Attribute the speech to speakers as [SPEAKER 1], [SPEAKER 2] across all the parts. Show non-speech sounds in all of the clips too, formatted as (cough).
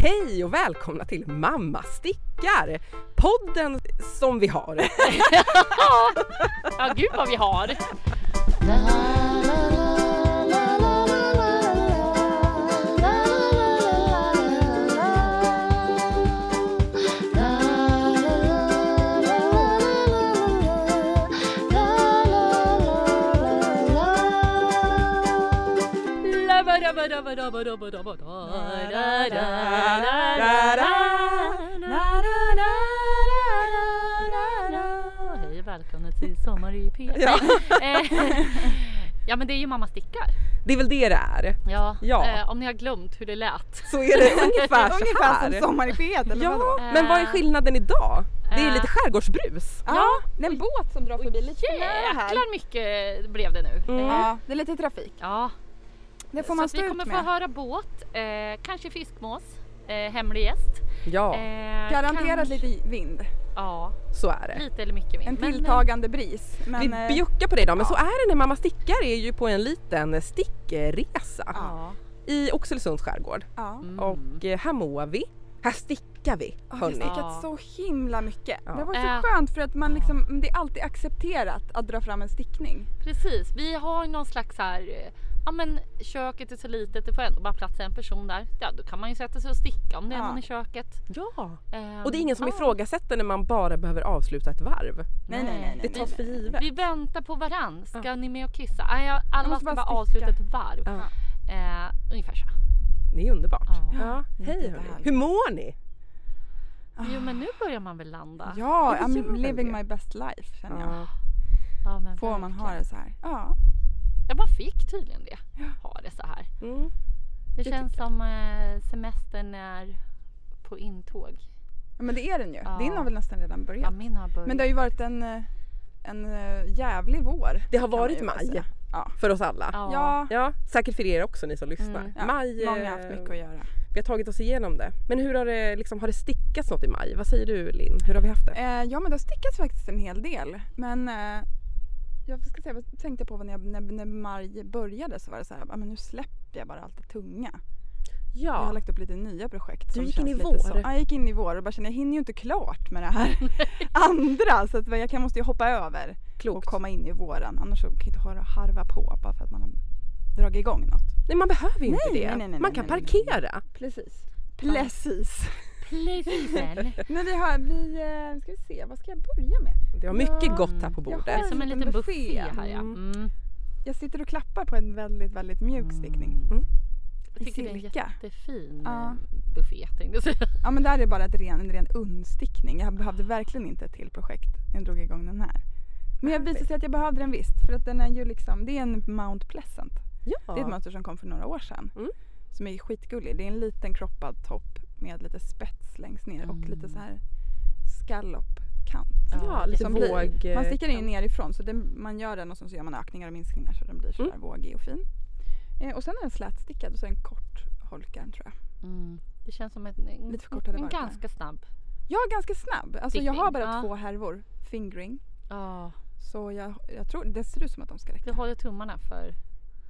[SPEAKER 1] Hej och välkomna till Mamma stickar! Podden som vi
[SPEAKER 2] (laughs)
[SPEAKER 1] har.
[SPEAKER 3] Ja, gud vad vi har! Hej och välkomna till Sommar i P.
[SPEAKER 1] Ja.
[SPEAKER 3] Eh, (laughs) ja men det är ju Mamma stickar.
[SPEAKER 1] Det är väl det det är.
[SPEAKER 3] Ja,
[SPEAKER 1] Ja.
[SPEAKER 3] Eh, om ni har glömt hur det lät.
[SPEAKER 1] Så är
[SPEAKER 2] (laughs)
[SPEAKER 1] det ungefär så här.
[SPEAKER 2] Ungefär som Eh. Sommar i P1 eller
[SPEAKER 1] Ja,
[SPEAKER 2] vadå?
[SPEAKER 1] men vad är skillnaden idag? Det är ju
[SPEAKER 3] Eh.
[SPEAKER 1] lite skärgårdsbrus.
[SPEAKER 2] Ja, det är en båt som drar förbi lite för nära här.
[SPEAKER 3] Jäklar mycket blev det nu.
[SPEAKER 1] Mm.
[SPEAKER 3] Eh,
[SPEAKER 2] Ja, det är lite trafik.
[SPEAKER 3] Ja,
[SPEAKER 2] Det får
[SPEAKER 3] så
[SPEAKER 2] man
[SPEAKER 3] att
[SPEAKER 2] stå
[SPEAKER 3] vi
[SPEAKER 2] ut
[SPEAKER 3] kommer få
[SPEAKER 2] med.
[SPEAKER 3] höra båt, eh, kanske fiskmås, eh, hemlig gäst.
[SPEAKER 1] Ja,
[SPEAKER 3] Eh,
[SPEAKER 2] Garanterat
[SPEAKER 3] kanske-
[SPEAKER 2] lite vind.
[SPEAKER 3] Ja,
[SPEAKER 1] så är det.
[SPEAKER 3] lite eller mycket mer.
[SPEAKER 2] En
[SPEAKER 3] Men, eh,
[SPEAKER 2] tilltagande bris. Men,
[SPEAKER 1] Vi
[SPEAKER 2] eh,
[SPEAKER 1] bjuckar på det idag, men så är det när Mamma stickar är ju på en liten stickresa
[SPEAKER 3] Ja.
[SPEAKER 1] i Oxelösunds skärgård.
[SPEAKER 2] ja.
[SPEAKER 3] Mm.
[SPEAKER 1] Och eh, här mår vi. Här stickar vi,
[SPEAKER 2] Ja, Jag har
[SPEAKER 1] hörni.
[SPEAKER 3] Ja.
[SPEAKER 2] stickat så himla mycket.
[SPEAKER 1] Ja.
[SPEAKER 2] Det var
[SPEAKER 3] Äh.
[SPEAKER 2] så skönt för att man liksom, det är alltid accepterat att dra fram en stickning.
[SPEAKER 3] Precis, vi har ju någon slags så här, eh, ja men köket är så litet, det får ändå bara plats en person där. Ja, då kan man ju sätta sig och sticka om det är
[SPEAKER 2] Ja.
[SPEAKER 3] någon i köket.
[SPEAKER 1] Ja,
[SPEAKER 3] Ehm,
[SPEAKER 1] och det är ingen som
[SPEAKER 3] ja.
[SPEAKER 1] ifrågasätter när man bara behöver avsluta ett varv.
[SPEAKER 2] Nej, nej, nej, nej,
[SPEAKER 1] Det
[SPEAKER 2] nej.
[SPEAKER 1] tas för givet.
[SPEAKER 3] Vi väntar på varann. Ska ni med och kissa? Nej, jag- alla
[SPEAKER 2] måste
[SPEAKER 3] ska bara,
[SPEAKER 2] bara
[SPEAKER 3] avsluta
[SPEAKER 2] sticka.
[SPEAKER 3] ett varv.
[SPEAKER 1] Ja.
[SPEAKER 3] Eh, ungefär så.
[SPEAKER 1] Det är underbart.
[SPEAKER 3] Ja.
[SPEAKER 1] Ja, hej hörni.
[SPEAKER 2] jättehärligt.
[SPEAKER 1] Hur mår ni?
[SPEAKER 3] Jo men nu börjar man väl landa?
[SPEAKER 2] Ja,
[SPEAKER 1] Ja, det gör
[SPEAKER 2] I'm
[SPEAKER 1] väl
[SPEAKER 2] living
[SPEAKER 1] det.
[SPEAKER 2] my best life känner jag.
[SPEAKER 1] Ja.
[SPEAKER 3] Ja, men
[SPEAKER 2] Får man ha
[SPEAKER 3] verkligen.
[SPEAKER 2] det så här? Ja.
[SPEAKER 3] Ja man fick tydligen det. Ha det så här.
[SPEAKER 1] Mm.
[SPEAKER 3] Det,
[SPEAKER 1] Det
[SPEAKER 3] känns som eh, semestern är på intåg.
[SPEAKER 2] Ja, Men det är den ju.
[SPEAKER 3] Ja.
[SPEAKER 2] Din har väl nästan redan
[SPEAKER 3] Ja
[SPEAKER 2] börjat.
[SPEAKER 3] min har börjat.
[SPEAKER 2] Men det har ju varit en, eh, en eh, jävlig vår.
[SPEAKER 1] Det har
[SPEAKER 2] kan man
[SPEAKER 1] varit
[SPEAKER 2] ju bara
[SPEAKER 1] maj.
[SPEAKER 2] säga. Ja.
[SPEAKER 1] För oss alla. Ja.
[SPEAKER 2] Ja,
[SPEAKER 1] säkert för er också ni som lyssnar.
[SPEAKER 3] Mm.
[SPEAKER 2] Ja,
[SPEAKER 1] Maj,
[SPEAKER 2] många har
[SPEAKER 1] eh,
[SPEAKER 2] haft mycket att göra.
[SPEAKER 1] vi har tagit oss igenom det. Men hur har det, liksom, har det stickats något i maj? Vad säger du Linn? Hur har vi haft det?
[SPEAKER 2] Eh, ja men det har stickats faktiskt en hel del. Men eh, jag ska säga, jag tänkte på vad när, jag, när, när maj började så var det så här, "Ah, men nu släpper jag bara allt det tunga. Jag har
[SPEAKER 1] Ja,
[SPEAKER 2] lagt upp lite nya projekt. som
[SPEAKER 1] gick in
[SPEAKER 2] känns
[SPEAKER 1] i
[SPEAKER 2] lite
[SPEAKER 1] vår.
[SPEAKER 2] Så. Ja, jag gick in i vår och bara kände jag hinner ju inte klart med
[SPEAKER 1] (laughs)
[SPEAKER 2] det här andra så att jag kan, måste ju hoppa över och
[SPEAKER 1] klokt.
[SPEAKER 2] komma in i våren. Annars så kan jag inte har- harva på bara för att man har dragit igång något.
[SPEAKER 1] Nej man behöver ju inte
[SPEAKER 2] Nej,
[SPEAKER 1] det.
[SPEAKER 2] nej, nej, nej,
[SPEAKER 1] man kan
[SPEAKER 2] nej, nej, nej.
[SPEAKER 1] parkera.
[SPEAKER 2] Precis.
[SPEAKER 1] (laughs)
[SPEAKER 2] Precis.
[SPEAKER 3] Precis.
[SPEAKER 2] Men vi har, vi, eh, ska vi se, vad ska jag börja med?
[SPEAKER 1] Det har mycket
[SPEAKER 2] Ja.
[SPEAKER 1] gott här på bordet.
[SPEAKER 3] Det är som en liten buffé här ja. Mm.
[SPEAKER 2] Jag sitter och klappar på en väldigt, väldigt mjuk stickning.
[SPEAKER 1] Mm.
[SPEAKER 3] Jag tycker det är en
[SPEAKER 2] Silka.
[SPEAKER 3] jättefin
[SPEAKER 2] Ja.
[SPEAKER 3] ja. buffé tänkte jag säga.
[SPEAKER 2] Ja men där är bara ett ren, en ren undstickning. Jag behövde verkligen inte ett till projekt när jag drog igång den här. Men jag visade sig att jag behövde den visst för att den är ju liksom, det är en Mount Pleasant.
[SPEAKER 1] Ja.
[SPEAKER 2] Det är ett mönster som kom för några år sedan.
[SPEAKER 1] Mm.
[SPEAKER 2] Som är skitgullig. Det är en liten kroppad topp med lite spets längst ner och lite så här scallopkant.
[SPEAKER 1] ja, lite
[SPEAKER 2] som blir-
[SPEAKER 1] våg. eh,
[SPEAKER 2] Man stickar den ju
[SPEAKER 1] kan-
[SPEAKER 2] nerifrån så den, man gör den och sen så gör man ökningar och minskningar så den blir sådär vågig och fin. Eh, och sen är den slätstickad och så är den kort holkad tror jag.
[SPEAKER 3] Mm. Det känns som en, en,
[SPEAKER 2] Lite förkortade
[SPEAKER 3] en
[SPEAKER 2] varv där.
[SPEAKER 3] ganska snabb.
[SPEAKER 2] Jag är ganska snabb. Alltså jag
[SPEAKER 3] Stickning,
[SPEAKER 2] har bara
[SPEAKER 3] ja.
[SPEAKER 2] två härvor fingering.
[SPEAKER 3] Ja,
[SPEAKER 2] Så jag, jag tror, det ser ut som att de ska
[SPEAKER 3] vi
[SPEAKER 2] räcka.
[SPEAKER 3] håller tummarna för...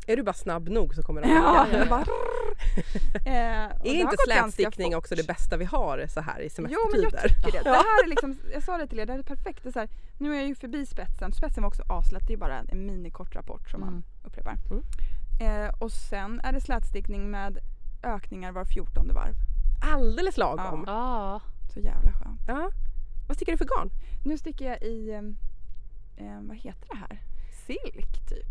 [SPEAKER 1] Är du bara snabb nog så kommer det
[SPEAKER 2] (laughs) Ja,
[SPEAKER 3] ja, ja.
[SPEAKER 2] jag bara... Eh, och det
[SPEAKER 1] Är
[SPEAKER 2] har
[SPEAKER 1] inte
[SPEAKER 2] gått ganska
[SPEAKER 1] slätstickning
[SPEAKER 2] fort.
[SPEAKER 1] också det bästa vi har så här i
[SPEAKER 2] Jo men jag
[SPEAKER 1] semestertider?
[SPEAKER 2] tycker det. Det här är liksom, jag sa det till er, det här är perfekt. Det är så här, nu är jag ju förbi spetsen. Spetsen var också aslätt, det är bara en minikort rapport som
[SPEAKER 3] Mm.
[SPEAKER 2] man upprepar.
[SPEAKER 1] Mm.
[SPEAKER 2] Eh, och sen är det slätstickning med ökningar var fjortonde varv.
[SPEAKER 1] Alldeles lagom. Ja.
[SPEAKER 3] Ja,
[SPEAKER 2] Så jävla skönt.
[SPEAKER 1] Vad stickar du för garn?
[SPEAKER 2] Nu sticker jag i, eh, eh, vad heter det här? Silk typ.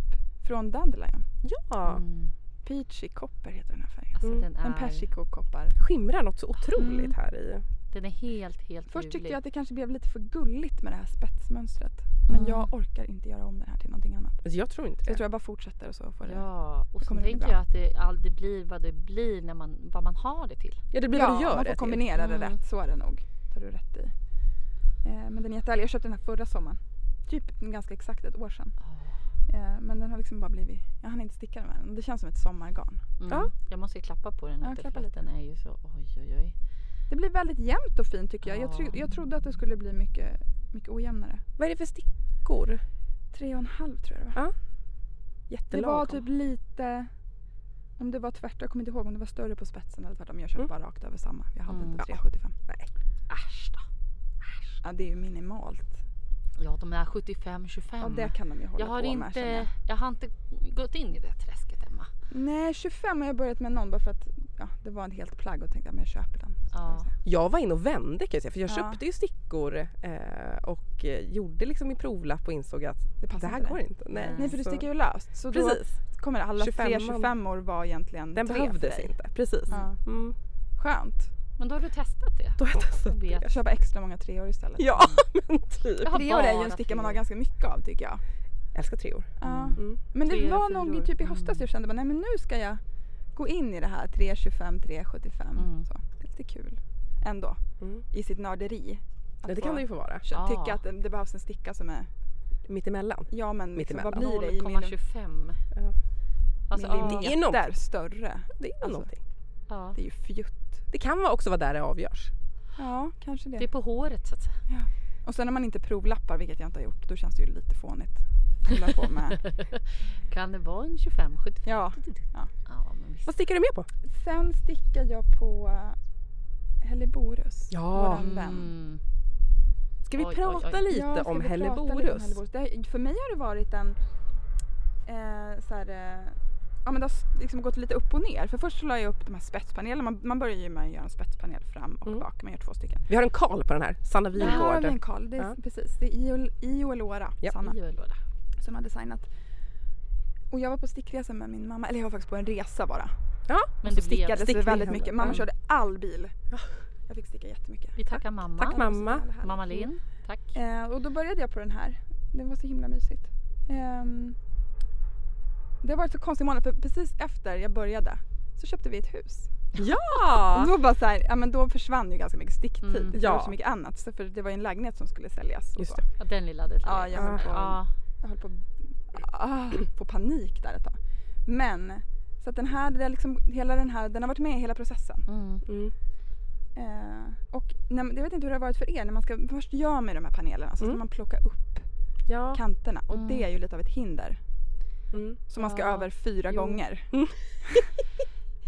[SPEAKER 2] Från Dandelion.
[SPEAKER 1] Ja,
[SPEAKER 3] Mm.
[SPEAKER 2] Peachy copper heter den här färgen.
[SPEAKER 3] Alltså
[SPEAKER 1] Mm.
[SPEAKER 3] den
[SPEAKER 2] En
[SPEAKER 3] är...
[SPEAKER 2] persikokoppar.
[SPEAKER 1] skimrar något så otroligt
[SPEAKER 3] Mm.
[SPEAKER 1] här i.
[SPEAKER 3] Den är helt, helt
[SPEAKER 2] Först tyckte
[SPEAKER 3] ljuvlig.
[SPEAKER 2] jag att det kanske blev lite för gulligt med det här spetsmönstret. Men
[SPEAKER 3] Mm.
[SPEAKER 2] jag orkar inte göra om det här till någonting annat.
[SPEAKER 1] Alltså jag tror inte
[SPEAKER 2] Så jag
[SPEAKER 1] det.
[SPEAKER 2] tror jag bara fortsätter och så får det.
[SPEAKER 3] Ja, och så
[SPEAKER 2] kommer det bli
[SPEAKER 3] tänker
[SPEAKER 2] bra.
[SPEAKER 3] jag att det aldrig blir vad det blir när man, vad man har det till.
[SPEAKER 1] Ja det blir vad du gör
[SPEAKER 2] man
[SPEAKER 1] det typ. till.
[SPEAKER 2] får kombinera det
[SPEAKER 3] Mm.
[SPEAKER 2] rätt. Så är det nog. Det har du rätt i. Eh, men den är jättehärlig. Jag köpte den här förra sommaren. Typ ganska exakt ett år sedan. Eh, men den har liksom bara blivit... Jag hann inte sticka den med den. Det känns som ett sommargarn.
[SPEAKER 3] Mm.
[SPEAKER 1] Ja.
[SPEAKER 3] Jag måste ju klappa på den
[SPEAKER 2] Ja,
[SPEAKER 3] lite
[SPEAKER 2] klappa
[SPEAKER 3] för att
[SPEAKER 2] lite.
[SPEAKER 3] den är ju så oj oj oj.
[SPEAKER 2] Det blir väldigt jämnt och fint tycker jag. Jag, tro,
[SPEAKER 3] Ja.
[SPEAKER 2] jag trodde att det skulle bli mycket, mycket ojämnare.
[SPEAKER 1] Vad är det för stickor?
[SPEAKER 2] Tre och en halv tror jag det var.
[SPEAKER 1] Ja.
[SPEAKER 2] Det var
[SPEAKER 1] Jättelagom.
[SPEAKER 2] typ lite... Om det var tvärtom, jag kommer inte ihåg om det var större på spetsen eller tvärtom. Jag körde
[SPEAKER 1] Mm.
[SPEAKER 2] bara rakt över samma. Jag hade
[SPEAKER 3] Mm.
[SPEAKER 2] inte
[SPEAKER 1] Ja.
[SPEAKER 2] 375.
[SPEAKER 3] Äsch då.
[SPEAKER 2] Ja, det är ju minimalt.
[SPEAKER 3] Ja de där 75, 25.
[SPEAKER 2] Ja, det kan de ju hålla
[SPEAKER 3] Mm. jag har
[SPEAKER 2] på med
[SPEAKER 3] inte,
[SPEAKER 2] känner jag.
[SPEAKER 3] jag. har inte gått in i det träsket Emma.
[SPEAKER 2] Nej, 25 har jag börjat med någon bara för att ja, det var en helt plagg och tänkte att jag köper den. Så
[SPEAKER 3] Ja.
[SPEAKER 2] får vi se.
[SPEAKER 1] Jag var inne och vände kan jag säga för jag
[SPEAKER 2] Ja.
[SPEAKER 1] köpte ju stickor eh, och eh, gjorde liksom min provlapp och insåg att
[SPEAKER 2] Det passar
[SPEAKER 1] det här
[SPEAKER 2] inte
[SPEAKER 1] går
[SPEAKER 2] dig.
[SPEAKER 1] inte. Nej,
[SPEAKER 3] Nej.
[SPEAKER 2] Nej, för du
[SPEAKER 1] så-
[SPEAKER 2] sticker ju löst. Så
[SPEAKER 1] Precis,
[SPEAKER 2] då kommer alla
[SPEAKER 1] 25an.
[SPEAKER 2] 3 25 år var egentligen
[SPEAKER 1] den
[SPEAKER 2] tre
[SPEAKER 1] behövdes
[SPEAKER 2] för dig.
[SPEAKER 1] inte. Precis.
[SPEAKER 2] Ja.
[SPEAKER 1] Mm.
[SPEAKER 2] Skönt.
[SPEAKER 3] Men då har du testat det.
[SPEAKER 1] Då har jag testat
[SPEAKER 3] och vet.
[SPEAKER 1] det.
[SPEAKER 2] Köpa extra många treor istället.
[SPEAKER 1] Ja (laughs) men typ.
[SPEAKER 3] Jag har
[SPEAKER 2] Treor är ju en
[SPEAKER 3] bara
[SPEAKER 2] sticka man har
[SPEAKER 3] treor.
[SPEAKER 2] ganska mycket av tycker jag.
[SPEAKER 1] Jag älskar treor.
[SPEAKER 2] Ja.
[SPEAKER 3] Mm.
[SPEAKER 1] Mm.
[SPEAKER 2] Men det
[SPEAKER 3] Treor,
[SPEAKER 2] var
[SPEAKER 3] fyror.
[SPEAKER 2] nog typ i höstas jag kände bara, nej men nu ska jag gå in i det här 325, 375.
[SPEAKER 3] Mm.
[SPEAKER 2] Så. Det är lite kul ändå
[SPEAKER 1] Mm.
[SPEAKER 2] i sitt nörderi. Att
[SPEAKER 1] Nej, det
[SPEAKER 2] få
[SPEAKER 1] kan det ju få vara.
[SPEAKER 2] kö-
[SPEAKER 3] Ja.
[SPEAKER 2] tycka att det, det behövs en sticka som är,
[SPEAKER 1] Mittemellan.
[SPEAKER 2] ja men liksom, vad
[SPEAKER 1] Mittemellan.
[SPEAKER 2] blir det i millim-
[SPEAKER 3] 0,25.
[SPEAKER 1] Ja.
[SPEAKER 3] Alltså,
[SPEAKER 1] Millimeter.
[SPEAKER 3] ja,
[SPEAKER 1] Det är något.
[SPEAKER 2] millimeter större.
[SPEAKER 1] Det är ju
[SPEAKER 2] Alltså.
[SPEAKER 1] någonting.
[SPEAKER 3] ja.
[SPEAKER 2] Det är ju fjutt.
[SPEAKER 1] Det kan vara också vara där det avgörs.
[SPEAKER 2] Ja, kanske
[SPEAKER 3] Det är
[SPEAKER 2] det.
[SPEAKER 3] på håret så att säga. (laughs)
[SPEAKER 2] Och sen när man inte provlappar, vilket jag inte har gjort, då känns det ju lite fånigt. att Hålla
[SPEAKER 3] (laughs)
[SPEAKER 2] på med.
[SPEAKER 3] Kan det vara en 25, 75?
[SPEAKER 2] Ja.
[SPEAKER 3] Ja, men visst.
[SPEAKER 1] Vad stickar du med på?
[SPEAKER 2] Sen stickar jag på eh, Helleborus.
[SPEAKER 1] Ja.
[SPEAKER 2] Våran vän.
[SPEAKER 3] Mm.
[SPEAKER 1] Ska vi
[SPEAKER 3] Oj, oj,
[SPEAKER 1] prata
[SPEAKER 3] oj.
[SPEAKER 1] lite
[SPEAKER 2] Ja, ska
[SPEAKER 1] om
[SPEAKER 2] vi prata lite om
[SPEAKER 1] Helleborus?
[SPEAKER 2] Helleborus? Det har, för mig har det varit en... Eh, så här, eh, ja, men det har s- liksom gått lite upp och ner. För först så la jag upp de här spetspanelerna. Man, man börjar ju med att göra en spetspanel fram och
[SPEAKER 1] Mm.
[SPEAKER 2] bak. Man gör två stycken.
[SPEAKER 1] Vi har en Karl på den här, Sanna
[SPEAKER 2] Ja,
[SPEAKER 1] Wingård.
[SPEAKER 2] men Karl, det är
[SPEAKER 1] Ja.
[SPEAKER 2] precis. Det är Iol, Iolora,
[SPEAKER 1] Ja.
[SPEAKER 2] Sanna,
[SPEAKER 3] Biolåda.
[SPEAKER 2] som har designat. Och jag var på stickresa med min mamma. Eller jag var faktiskt på en resa bara.
[SPEAKER 3] Men
[SPEAKER 2] Så
[SPEAKER 3] det blev,
[SPEAKER 2] stickades
[SPEAKER 1] stickning
[SPEAKER 2] vi väldigt
[SPEAKER 1] hemma.
[SPEAKER 2] mycket. Mamma
[SPEAKER 1] Mm.
[SPEAKER 2] körde all bil.
[SPEAKER 1] Ja.
[SPEAKER 2] Jag fick sticka jättemycket.
[SPEAKER 3] vi tackar mamma.
[SPEAKER 1] Tack, mamma.
[SPEAKER 3] Mamma Linn. Tack.
[SPEAKER 2] Eh, och då började jag på den här. Den var så himla mysigt. Ehm, det har varit så konstig månad för precis efter jag började så köpte vi ett hus. Och
[SPEAKER 1] Ja!
[SPEAKER 2] då bara så här, ja men då försvann ju ganska mycket sticktid.
[SPEAKER 3] Mm.
[SPEAKER 2] Det var
[SPEAKER 1] Ja.
[SPEAKER 2] så mycket annat. Så för det var ju en lägenhet som skulle säljas. Och
[SPEAKER 1] Just
[SPEAKER 2] så.
[SPEAKER 1] det.
[SPEAKER 3] Ja, Den lilla detaljen.
[SPEAKER 2] Ja, jag höll på.
[SPEAKER 3] Ja.
[SPEAKER 2] Jag höll på att ah, få panik där ett tag. Men så att den här, det är liksom, hela den här, den har varit med i hela processen.
[SPEAKER 3] Mm.
[SPEAKER 1] Mm.
[SPEAKER 2] Eh, och när, jag vet inte hur det har varit för er när man ska, först gör man ju de här panelerna så ska
[SPEAKER 1] Mm.
[SPEAKER 2] man plocka upp
[SPEAKER 1] Ja.
[SPEAKER 2] kanterna och
[SPEAKER 3] Mm.
[SPEAKER 2] det är ju lite av ett hinder.
[SPEAKER 1] Mm.
[SPEAKER 2] som man ska
[SPEAKER 3] Ja.
[SPEAKER 2] över fyra
[SPEAKER 3] Jo.
[SPEAKER 2] gånger.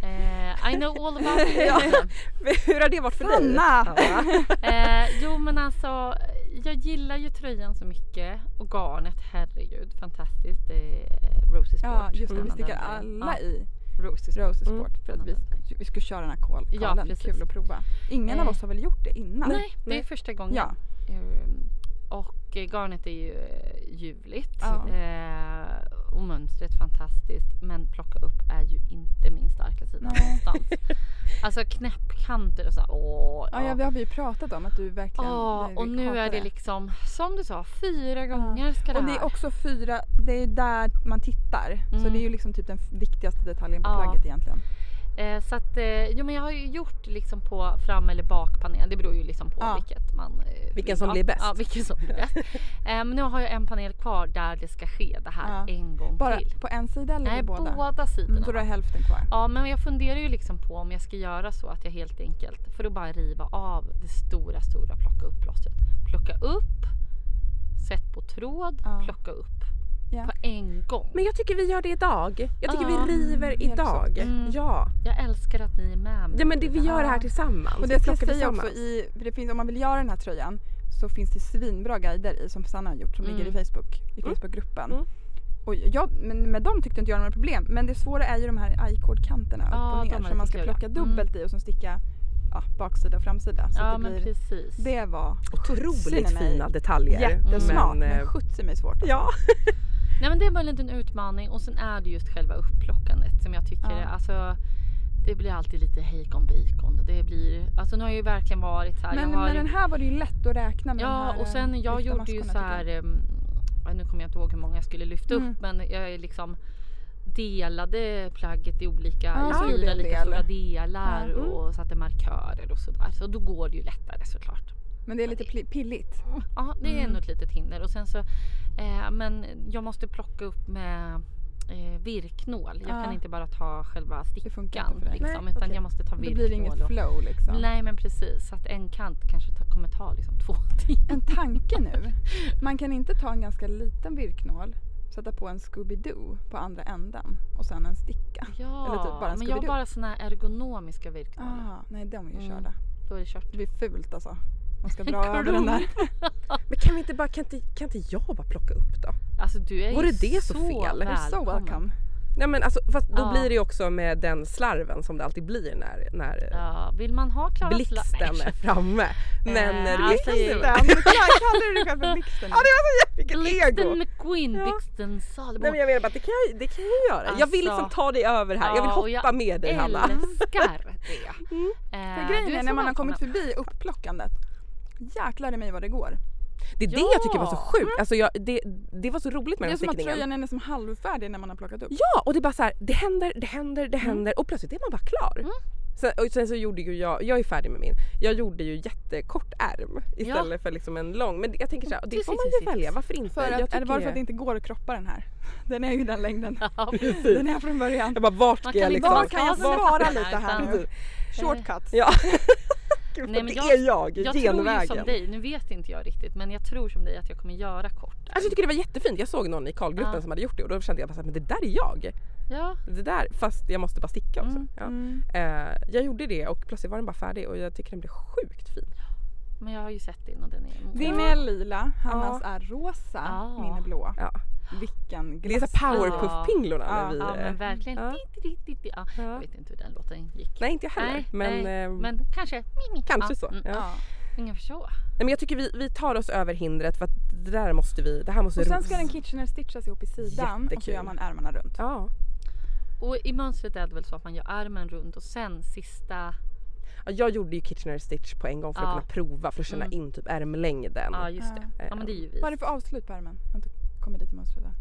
[SPEAKER 3] Eh, I know all about it.
[SPEAKER 1] Ja. Hur har det varit för dig?
[SPEAKER 2] Sanna!
[SPEAKER 3] eh, jo men alltså, jag gillar ju tröjan så mycket och garnet, herregud fantastiskt. Det är Rosie Sport.
[SPEAKER 2] Ja just det, vi
[SPEAKER 3] använder
[SPEAKER 2] stickar
[SPEAKER 3] den.
[SPEAKER 2] alla
[SPEAKER 3] Ja,
[SPEAKER 2] i
[SPEAKER 3] Rosie Sport.
[SPEAKER 2] Roses
[SPEAKER 1] Mm.
[SPEAKER 2] Sport för att vi, vi skulle köra den här kol-
[SPEAKER 3] Ja,
[SPEAKER 2] kolen.
[SPEAKER 3] precis.
[SPEAKER 2] Kul att prova. Ingen av
[SPEAKER 3] Eh.
[SPEAKER 2] oss har väl gjort det innan?
[SPEAKER 3] Nej, det är
[SPEAKER 1] Nej.
[SPEAKER 3] första gången.
[SPEAKER 2] Ja.
[SPEAKER 3] Ehm, Och eh, garnet är ju eh, ljuvligt
[SPEAKER 2] Ja.
[SPEAKER 3] eh, och mönstret fantastiskt men plocka upp är ju inte min starka sida
[SPEAKER 2] Nej.
[SPEAKER 3] någonstans. Alltså knäppkanter och så här, åh.
[SPEAKER 2] Ja, ja, det har vi ju pratat om att du verkligen
[SPEAKER 3] Ja,
[SPEAKER 2] vi
[SPEAKER 3] och nu
[SPEAKER 2] hatar
[SPEAKER 3] är det liksom som du sa, fyra gånger ska det
[SPEAKER 2] Och
[SPEAKER 3] här.
[SPEAKER 2] det är också fyra, det är ju där man tittar. Så
[SPEAKER 3] Mm.
[SPEAKER 2] det är ju liksom typ den f- viktigaste detaljen på
[SPEAKER 3] Ja.
[SPEAKER 2] plagget egentligen.
[SPEAKER 3] Eh, så att, eh, jo men jag har ju gjort liksom på fram eller bakpanel. Det beror ju liksom på
[SPEAKER 2] Ja.
[SPEAKER 3] vilket man... eh,
[SPEAKER 1] Vilken som
[SPEAKER 3] ja,
[SPEAKER 1] blir bäst.
[SPEAKER 3] Ja, vilken som blir
[SPEAKER 2] (laughs)
[SPEAKER 3] bäst. Eh, Men nu har jag en panel kvar där det ska ske det här
[SPEAKER 2] Ja.
[SPEAKER 3] en gång
[SPEAKER 2] Bara
[SPEAKER 3] till.
[SPEAKER 2] på en sida eller
[SPEAKER 3] Nej,
[SPEAKER 2] på båda?
[SPEAKER 3] båda,
[SPEAKER 2] Mm,
[SPEAKER 3] sidorna.
[SPEAKER 2] så du
[SPEAKER 3] va?
[SPEAKER 2] har hälften kvar.
[SPEAKER 3] Ja, men jag funderar ju liksom på om jag ska göra så att jag helt enkelt, för att bara riva av det stora, stora plocka upp plåstret. Plocka upp, sätt på tråd,
[SPEAKER 2] Ja.
[SPEAKER 3] plocka upp.
[SPEAKER 2] Ja.
[SPEAKER 3] På en gång.
[SPEAKER 1] Men jag tycker vi gör det idag. Jag tycker
[SPEAKER 3] Ja.
[SPEAKER 1] vi river
[SPEAKER 2] Hjälps
[SPEAKER 1] idag.
[SPEAKER 3] åt. Mm.
[SPEAKER 1] Ja.
[SPEAKER 3] Jag älskar att ni är med mig.
[SPEAKER 1] ja, men det, vi gör det här
[SPEAKER 2] Ja.
[SPEAKER 1] tillsammans.
[SPEAKER 2] Och
[SPEAKER 1] Vi
[SPEAKER 2] det ska jag
[SPEAKER 1] plockar
[SPEAKER 2] säga också,
[SPEAKER 1] tillsammans.
[SPEAKER 2] i, för det finns, om man vill göra den här tröjan så finns det svinbra guider i som Sanna har gjort som
[SPEAKER 3] Mm.
[SPEAKER 2] ligger i Facebook, i
[SPEAKER 1] Mm.
[SPEAKER 2] Facebookgruppen.
[SPEAKER 1] Mm.
[SPEAKER 2] Och jag, men med dem tyckte inte jag några problem men det svåra är ju de här i-kodkanterna
[SPEAKER 3] Ja,
[SPEAKER 2] upp och
[SPEAKER 3] de är
[SPEAKER 2] ner
[SPEAKER 3] lite
[SPEAKER 2] som man ska
[SPEAKER 3] kluriga.
[SPEAKER 2] plocka dubbelt i och sen sticka ja, baksida och framsida. Så
[SPEAKER 3] Ja,
[SPEAKER 2] att det,
[SPEAKER 3] men
[SPEAKER 2] blir,
[SPEAKER 3] precis.
[SPEAKER 2] det var
[SPEAKER 1] Otroligt
[SPEAKER 2] Sjuttsingen är
[SPEAKER 1] fina detaljer.
[SPEAKER 2] jättesmart men,
[SPEAKER 1] eh,
[SPEAKER 2] sjuttsingen är svårt. alltså.
[SPEAKER 1] ja.
[SPEAKER 3] Nej men det är bara en liten utmaning och sen är det just själva upplockandet som jag tycker
[SPEAKER 2] Ja.
[SPEAKER 3] alltså det blir alltid lite hejkon bikon. Det blir, alltså nu har jag ju verkligen varit så här.
[SPEAKER 2] Men
[SPEAKER 3] jag har,
[SPEAKER 2] med den här var det ju lätt att räkna med. de
[SPEAKER 3] ja
[SPEAKER 2] här,
[SPEAKER 3] och sen
[SPEAKER 2] eh,
[SPEAKER 3] jag
[SPEAKER 2] lyfta
[SPEAKER 3] gjorde ju
[SPEAKER 2] maskorna,
[SPEAKER 3] så
[SPEAKER 2] tycker
[SPEAKER 3] här, em, ja, nu kommer jag inte ihåg hur många jag skulle lyfta
[SPEAKER 2] Mm.
[SPEAKER 3] upp men jag är liksom delade plagget i olika,
[SPEAKER 2] Ja,
[SPEAKER 3] i
[SPEAKER 2] du gjorde
[SPEAKER 3] fyra
[SPEAKER 2] en
[SPEAKER 3] lika
[SPEAKER 2] del.
[SPEAKER 3] stora delar
[SPEAKER 1] Ja. Mm.
[SPEAKER 3] och satte markörer och sådär. Så då går det ju lättare såklart.
[SPEAKER 2] jag. Men det är lite pli- pilligt.
[SPEAKER 3] Ja, det är
[SPEAKER 2] Mm.
[SPEAKER 3] nog ett litet hinder. Och sen så, eh, men jag måste plocka upp med eh, virknål. Jag
[SPEAKER 2] Ja.
[SPEAKER 3] kan inte bara ta själva
[SPEAKER 2] Det
[SPEAKER 3] stickan.
[SPEAKER 2] funkar inte för dig.
[SPEAKER 3] Liksom,
[SPEAKER 1] Nej,
[SPEAKER 3] utan
[SPEAKER 1] okej.
[SPEAKER 3] jag måste ta
[SPEAKER 2] Då blir det
[SPEAKER 3] virknål.
[SPEAKER 2] inget
[SPEAKER 3] Och,
[SPEAKER 2] flow liksom.
[SPEAKER 3] nej men precis, så att en kant kanske ta, kommer ta liksom två (laughs) timmar.
[SPEAKER 2] en tanke nu. Man kan inte ta en ganska liten virknål sätta på en Scooby-Doo på andra änden och sen en sticka.
[SPEAKER 3] Ja,
[SPEAKER 2] Eller typ bara en
[SPEAKER 3] men jag har
[SPEAKER 2] Scooby-Doo.
[SPEAKER 3] bara såna här ergonomiska virknålar.
[SPEAKER 2] Ah, nej de är ju
[SPEAKER 3] Mm.
[SPEAKER 2] körda.
[SPEAKER 3] Då är det kört.
[SPEAKER 2] Det blir fult alltså. Man ska dra över den där.
[SPEAKER 1] Men kan, vi inte bara, kan, inte, kan inte jag bara plocka upp då?
[SPEAKER 3] Alltså du är
[SPEAKER 1] Vore
[SPEAKER 3] ju
[SPEAKER 1] det så fel? You're
[SPEAKER 2] So
[SPEAKER 3] välkommen.
[SPEAKER 2] welcome.
[SPEAKER 1] Nej men alltså, fast då
[SPEAKER 3] Ja.
[SPEAKER 1] blir det ju också med den slarven som det alltid blir när, när
[SPEAKER 3] Ja, vill man ha Klara
[SPEAKER 1] blixten är framme. Men
[SPEAKER 3] Eh,
[SPEAKER 1] det
[SPEAKER 3] alltså,
[SPEAKER 1] kan ju
[SPEAKER 3] jag-
[SPEAKER 1] vara-
[SPEAKER 2] Blixten! Kallar du dig själv för Blixten? nu?
[SPEAKER 1] Vilket ego!
[SPEAKER 3] Blixten McQueen,
[SPEAKER 1] Ja.
[SPEAKER 3] Blixten Salomo.
[SPEAKER 1] Nej men jag menar bara att det kan jag, det kan jag göra. jag vill liksom
[SPEAKER 3] Alltså.
[SPEAKER 1] ta dig över här. Jag vill
[SPEAKER 3] Ja, och
[SPEAKER 1] hoppa
[SPEAKER 3] jag
[SPEAKER 1] med dig Hanna.
[SPEAKER 3] älskar det. Eh,
[SPEAKER 2] För
[SPEAKER 3] du
[SPEAKER 2] grejen är
[SPEAKER 3] så
[SPEAKER 2] när man har
[SPEAKER 3] välkommen.
[SPEAKER 2] kommit förbi upplockandet. Jäklar i mig vad det går.
[SPEAKER 1] Det är det jag tycker var så sjukt. Alltså jag, det, det var så roligt med
[SPEAKER 2] Det är
[SPEAKER 1] den
[SPEAKER 2] som att
[SPEAKER 1] stickningen.
[SPEAKER 2] tröjan är nästan halvfärdig när man har plockat upp.
[SPEAKER 1] Ja och det är bara så här, det händer, det händer, det händer och plötsligt är man bara klar.
[SPEAKER 3] Mm.
[SPEAKER 1] Sen, och sen så gjorde ju jag, jag är färdig med min, jag gjorde ju jättekort ärm istället för liksom en lång. Men jag tänker så här, det
[SPEAKER 3] Precis,
[SPEAKER 1] får man
[SPEAKER 3] precis.
[SPEAKER 1] ju välja, varför inte?
[SPEAKER 2] För
[SPEAKER 1] jag
[SPEAKER 2] att, är det
[SPEAKER 1] tycker
[SPEAKER 2] bara för att det inte går att kroppa den här? (laughs) Den är ju
[SPEAKER 1] (laughs)
[SPEAKER 2] den längden.
[SPEAKER 3] Ja, precis.
[SPEAKER 2] Den är från början.
[SPEAKER 1] Jag bara vart
[SPEAKER 3] Man
[SPEAKER 1] ska jag
[SPEAKER 3] kan inte
[SPEAKER 1] liksom?
[SPEAKER 3] bara
[SPEAKER 2] Var kan jag
[SPEAKER 3] ta den
[SPEAKER 2] spara
[SPEAKER 3] här
[SPEAKER 2] lite här
[SPEAKER 3] utan-
[SPEAKER 2] nu? Shortcuts.
[SPEAKER 1] Ja. (laughs) Gud,
[SPEAKER 3] Nej, men
[SPEAKER 1] det
[SPEAKER 3] jag-
[SPEAKER 1] är jag,
[SPEAKER 3] Jag tror ju
[SPEAKER 1] genvägen.
[SPEAKER 3] som dig, nu vet inte jag riktigt men jag tror som dig att jag kommer göra kort.
[SPEAKER 1] Alltså jag tycker det var jättefint. Jag såg någon i Karlgruppen
[SPEAKER 3] Ja.
[SPEAKER 1] som hade gjort det och då kände jag bara så här, men det där är jag.
[SPEAKER 3] Ja,
[SPEAKER 1] Det där, fast jag måste bara sticka också.
[SPEAKER 3] Mm.
[SPEAKER 1] Ja.
[SPEAKER 2] Mm.
[SPEAKER 1] Eh, jag gjorde det och plötsligt var den bara färdig och jag tycker den blev sjukt fin.
[SPEAKER 3] men jag har ju sett din och den är...
[SPEAKER 2] Din är lila, Hannas
[SPEAKER 1] Ja.
[SPEAKER 2] är rosa,
[SPEAKER 3] Ja.
[SPEAKER 2] min är blå.
[SPEAKER 1] Ja.
[SPEAKER 2] Vilken
[SPEAKER 1] Det är
[SPEAKER 2] glass.
[SPEAKER 1] så powerpuff-pinglorna
[SPEAKER 2] Ja.
[SPEAKER 1] när vi... eh,
[SPEAKER 3] Ja men verkligen.
[SPEAKER 1] Ja.
[SPEAKER 3] Di, di, di, di, ja. Jag
[SPEAKER 1] ja.
[SPEAKER 3] vet inte hur den låten gick.
[SPEAKER 1] Nej inte jag heller
[SPEAKER 3] Nej,
[SPEAKER 1] men,
[SPEAKER 3] nej,
[SPEAKER 1] eh,
[SPEAKER 3] men kanske. Mi, mi.
[SPEAKER 1] kanske
[SPEAKER 3] Ja,
[SPEAKER 1] så.
[SPEAKER 3] mm,
[SPEAKER 1] Ja.
[SPEAKER 2] Ja.
[SPEAKER 3] Ungefär så.
[SPEAKER 1] Nej, men jag tycker vi, vi tar oss över hindret för att det där måste vi, det här måste
[SPEAKER 2] Och sen
[SPEAKER 1] ros.
[SPEAKER 2] ska den kitchener stitchas ihop i sidan och så
[SPEAKER 1] Jättekul.
[SPEAKER 2] gör man ärmarna runt.
[SPEAKER 1] Ja.
[SPEAKER 3] Och i mönstret är det väl så att man gör armen runt och sen sista...
[SPEAKER 1] Ja, Jag gjorde ju Kitchener Stitch på en gång för att
[SPEAKER 3] Ja.
[SPEAKER 1] kunna prova för att känna
[SPEAKER 3] Mm.
[SPEAKER 1] in typ ärmlängden.
[SPEAKER 3] Ja just det. Ja men det är ju vi.
[SPEAKER 2] Vad är det för avslut på ärmen? Jag har inte kommit dit i mönstret än.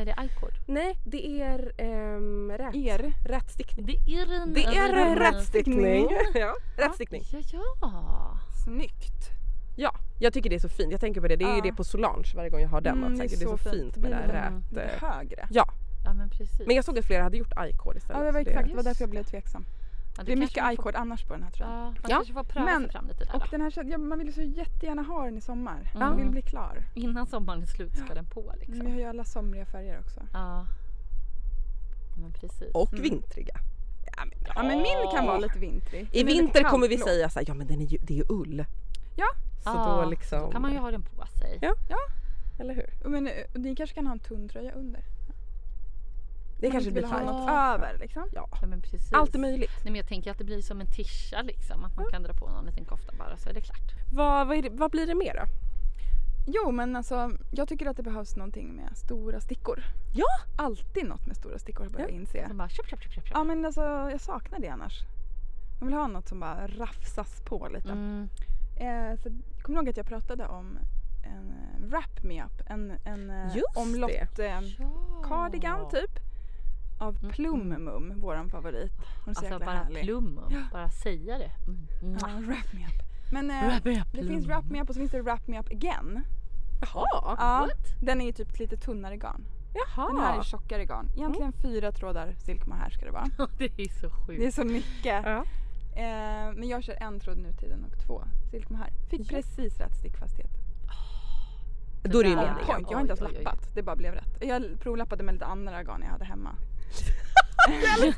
[SPEAKER 3] Är det I-cord?
[SPEAKER 1] Nej det är ehm, rät,
[SPEAKER 2] Er.
[SPEAKER 1] rätstickning.
[SPEAKER 3] Det är en...
[SPEAKER 1] Det är
[SPEAKER 3] en-
[SPEAKER 1] rätstickning. (laughs) ja, rätstickning.
[SPEAKER 3] Ja, ja.
[SPEAKER 2] Snyggt!
[SPEAKER 1] Ja, jag tycker det är så fint. Jag tänker på det, det är ju
[SPEAKER 2] Ja.
[SPEAKER 1] det på Solange varje gång jag har den.
[SPEAKER 2] Mm,
[SPEAKER 1] att så här, det är så fint med det
[SPEAKER 2] blir
[SPEAKER 1] här
[SPEAKER 3] lite-
[SPEAKER 1] rät.
[SPEAKER 2] Lite
[SPEAKER 1] eh.
[SPEAKER 2] högre.
[SPEAKER 1] Ja,
[SPEAKER 3] Ja men precis.
[SPEAKER 1] men jag såg att flera hade gjort I-cord
[SPEAKER 2] Ja,
[SPEAKER 1] istället.
[SPEAKER 2] det var
[SPEAKER 1] så
[SPEAKER 2] exakt. Det var
[SPEAKER 3] Just
[SPEAKER 2] därför jag
[SPEAKER 3] det.
[SPEAKER 2] blev tveksam.
[SPEAKER 3] ja,
[SPEAKER 2] Det är
[SPEAKER 3] kanske
[SPEAKER 2] mycket
[SPEAKER 3] man får-
[SPEAKER 2] i-kod annars på den här
[SPEAKER 3] Ja,
[SPEAKER 2] tröjan.
[SPEAKER 3] man
[SPEAKER 1] Ja,
[SPEAKER 3] kanske får pröva
[SPEAKER 2] men-
[SPEAKER 3] sig fram lite där.
[SPEAKER 2] Och
[SPEAKER 3] då.
[SPEAKER 2] den här, tröjan- ja, man vill ju så jättegärna ha den i sommar.
[SPEAKER 1] Mm.
[SPEAKER 3] Ja.
[SPEAKER 2] Man vill bli klar.
[SPEAKER 3] Innan sommaren är slut ska den på liksom.
[SPEAKER 2] Men jag har ju alla somriga färger också.
[SPEAKER 3] Ja. Ja, Men precis.
[SPEAKER 1] Och
[SPEAKER 2] Mm.
[SPEAKER 1] vintriga. Ja, men,
[SPEAKER 2] Ja men min kan vara
[SPEAKER 1] ja.
[SPEAKER 2] lite vintrig.
[SPEAKER 1] I
[SPEAKER 2] Den är lite
[SPEAKER 1] vinter kommer vi
[SPEAKER 2] kallt blå.
[SPEAKER 1] säga så här, ja men den är ju, det är ju ull.
[SPEAKER 2] Ja.
[SPEAKER 1] Så
[SPEAKER 3] Ja,
[SPEAKER 1] då liksom.
[SPEAKER 3] Då kan man ju ha den på sig.
[SPEAKER 1] Ja. Eller hur?
[SPEAKER 2] Men eh, ni kanske kan ha en tunn tröja under?
[SPEAKER 1] Det kanske
[SPEAKER 2] inte
[SPEAKER 1] blir
[SPEAKER 2] vill ha
[SPEAKER 1] tajt.
[SPEAKER 2] något över liksom.
[SPEAKER 1] Ja.
[SPEAKER 3] Ja, men precis.
[SPEAKER 1] Allt är möjligt.
[SPEAKER 3] Nej, men jag tänker att det blir som en tisha liksom. Att man kan dra på någon liten kofta bara så är det klart.
[SPEAKER 1] Vad, vad, är det, vad blir det mer då?
[SPEAKER 2] Jo men alltså jag tycker att det behövs någonting med stora stickor.
[SPEAKER 1] Ja!
[SPEAKER 2] Alltid något med stora stickor börjar jag inse.
[SPEAKER 3] Som bara köp, köp, köp, köp. köp.
[SPEAKER 2] Ja men alltså jag saknar det annars. Man vill ha något som bara rafsas på lite.
[SPEAKER 3] Mm.
[SPEAKER 2] Eh, så, kommer du ihåg att jag pratade om en eh, wrap me up? En, en eh,
[SPEAKER 1] Just
[SPEAKER 2] omlott eh,
[SPEAKER 3] Ja.
[SPEAKER 2] cardigan typ. Av
[SPEAKER 3] Mm,
[SPEAKER 2] Plum Mum, våran favorit. Hon är så
[SPEAKER 3] Alltså
[SPEAKER 2] jäkla
[SPEAKER 3] bara
[SPEAKER 2] härlig.
[SPEAKER 3] plum.
[SPEAKER 2] Ja.
[SPEAKER 3] Bara säga det. Mm. Mm.
[SPEAKER 2] Ja, wrap me up. Men eh, det finns wrap me up och så finns det wrap me up again.
[SPEAKER 1] Jaha.
[SPEAKER 2] Ja,
[SPEAKER 3] What?
[SPEAKER 2] den är ju typ lite tunnare garn.
[SPEAKER 1] Jaha.
[SPEAKER 2] Den här är tjockare garn. Egentligen fyra trådar silkma här ska det vara.
[SPEAKER 3] (laughs) det är så
[SPEAKER 2] Det är
[SPEAKER 3] sjukt.
[SPEAKER 2] så mycket.
[SPEAKER 1] Ja.
[SPEAKER 2] Eh, men jag kör en tråd nu tiden och två silkma här. Fick precis rätt stickfasthet.
[SPEAKER 1] Då är det ju
[SPEAKER 3] Ja.
[SPEAKER 2] On
[SPEAKER 1] meningen.
[SPEAKER 2] point. Jag har inte ens
[SPEAKER 3] Oj, oj, oj.
[SPEAKER 2] lappat. Det bara blev rätt. Jag provlappade med lite andra garn jag hade hemma.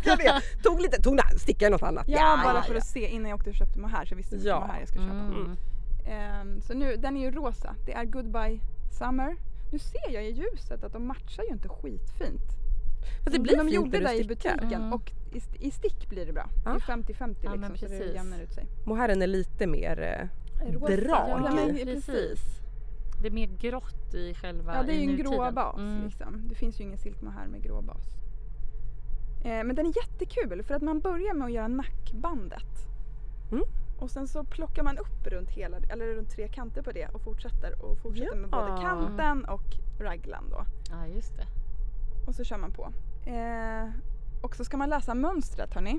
[SPEAKER 1] Jag vet. Tog lite, tog na- sticka i något annat.
[SPEAKER 2] Ja, bara för att se innan jag åkte och köpte de här så jag visste vilka
[SPEAKER 1] Ja.
[SPEAKER 2] de här jag skulle köpa.
[SPEAKER 3] Mm.
[SPEAKER 2] Ehm, så nu, den är ju rosa. Det är Goodbye Summer. Nu ser jag i ljuset att de matchar ju inte skitfint.
[SPEAKER 1] Fast det blir
[SPEAKER 2] de
[SPEAKER 1] fint
[SPEAKER 2] gjorde
[SPEAKER 1] när
[SPEAKER 2] det
[SPEAKER 1] du
[SPEAKER 2] i
[SPEAKER 1] stickar.
[SPEAKER 2] butiken
[SPEAKER 3] Mm.
[SPEAKER 2] och i, st- i stick blir det bra.
[SPEAKER 1] Ah.
[SPEAKER 2] Det är 50-50 liksom
[SPEAKER 3] Ja, men
[SPEAKER 2] så det
[SPEAKER 3] precis.
[SPEAKER 2] jämnar ut sig.
[SPEAKER 1] Mohairn är lite mer... eh,
[SPEAKER 2] Rosa,
[SPEAKER 1] Drag.
[SPEAKER 2] Ja,
[SPEAKER 3] Ja,
[SPEAKER 2] men, precis.
[SPEAKER 3] precis. Det är mer grått i själva
[SPEAKER 2] Ja, det är
[SPEAKER 3] i
[SPEAKER 2] ju en grå
[SPEAKER 3] nutiden.
[SPEAKER 2] bas
[SPEAKER 3] Mm.
[SPEAKER 2] liksom. Det finns ju ingen silkmohair med grå bas. Eh, men den är jättekul för att man börjar med att göra nackbandet.
[SPEAKER 1] Mm.
[SPEAKER 2] Och sen så plockar man upp runt hela, eller runt tre kanter på det och fortsätter och fortsätter med både
[SPEAKER 1] Ja.
[SPEAKER 2] kanten och raglan då.
[SPEAKER 3] Ja, just det.
[SPEAKER 2] Och så kör man på. Eh, och så ska man läsa mönstret hörni.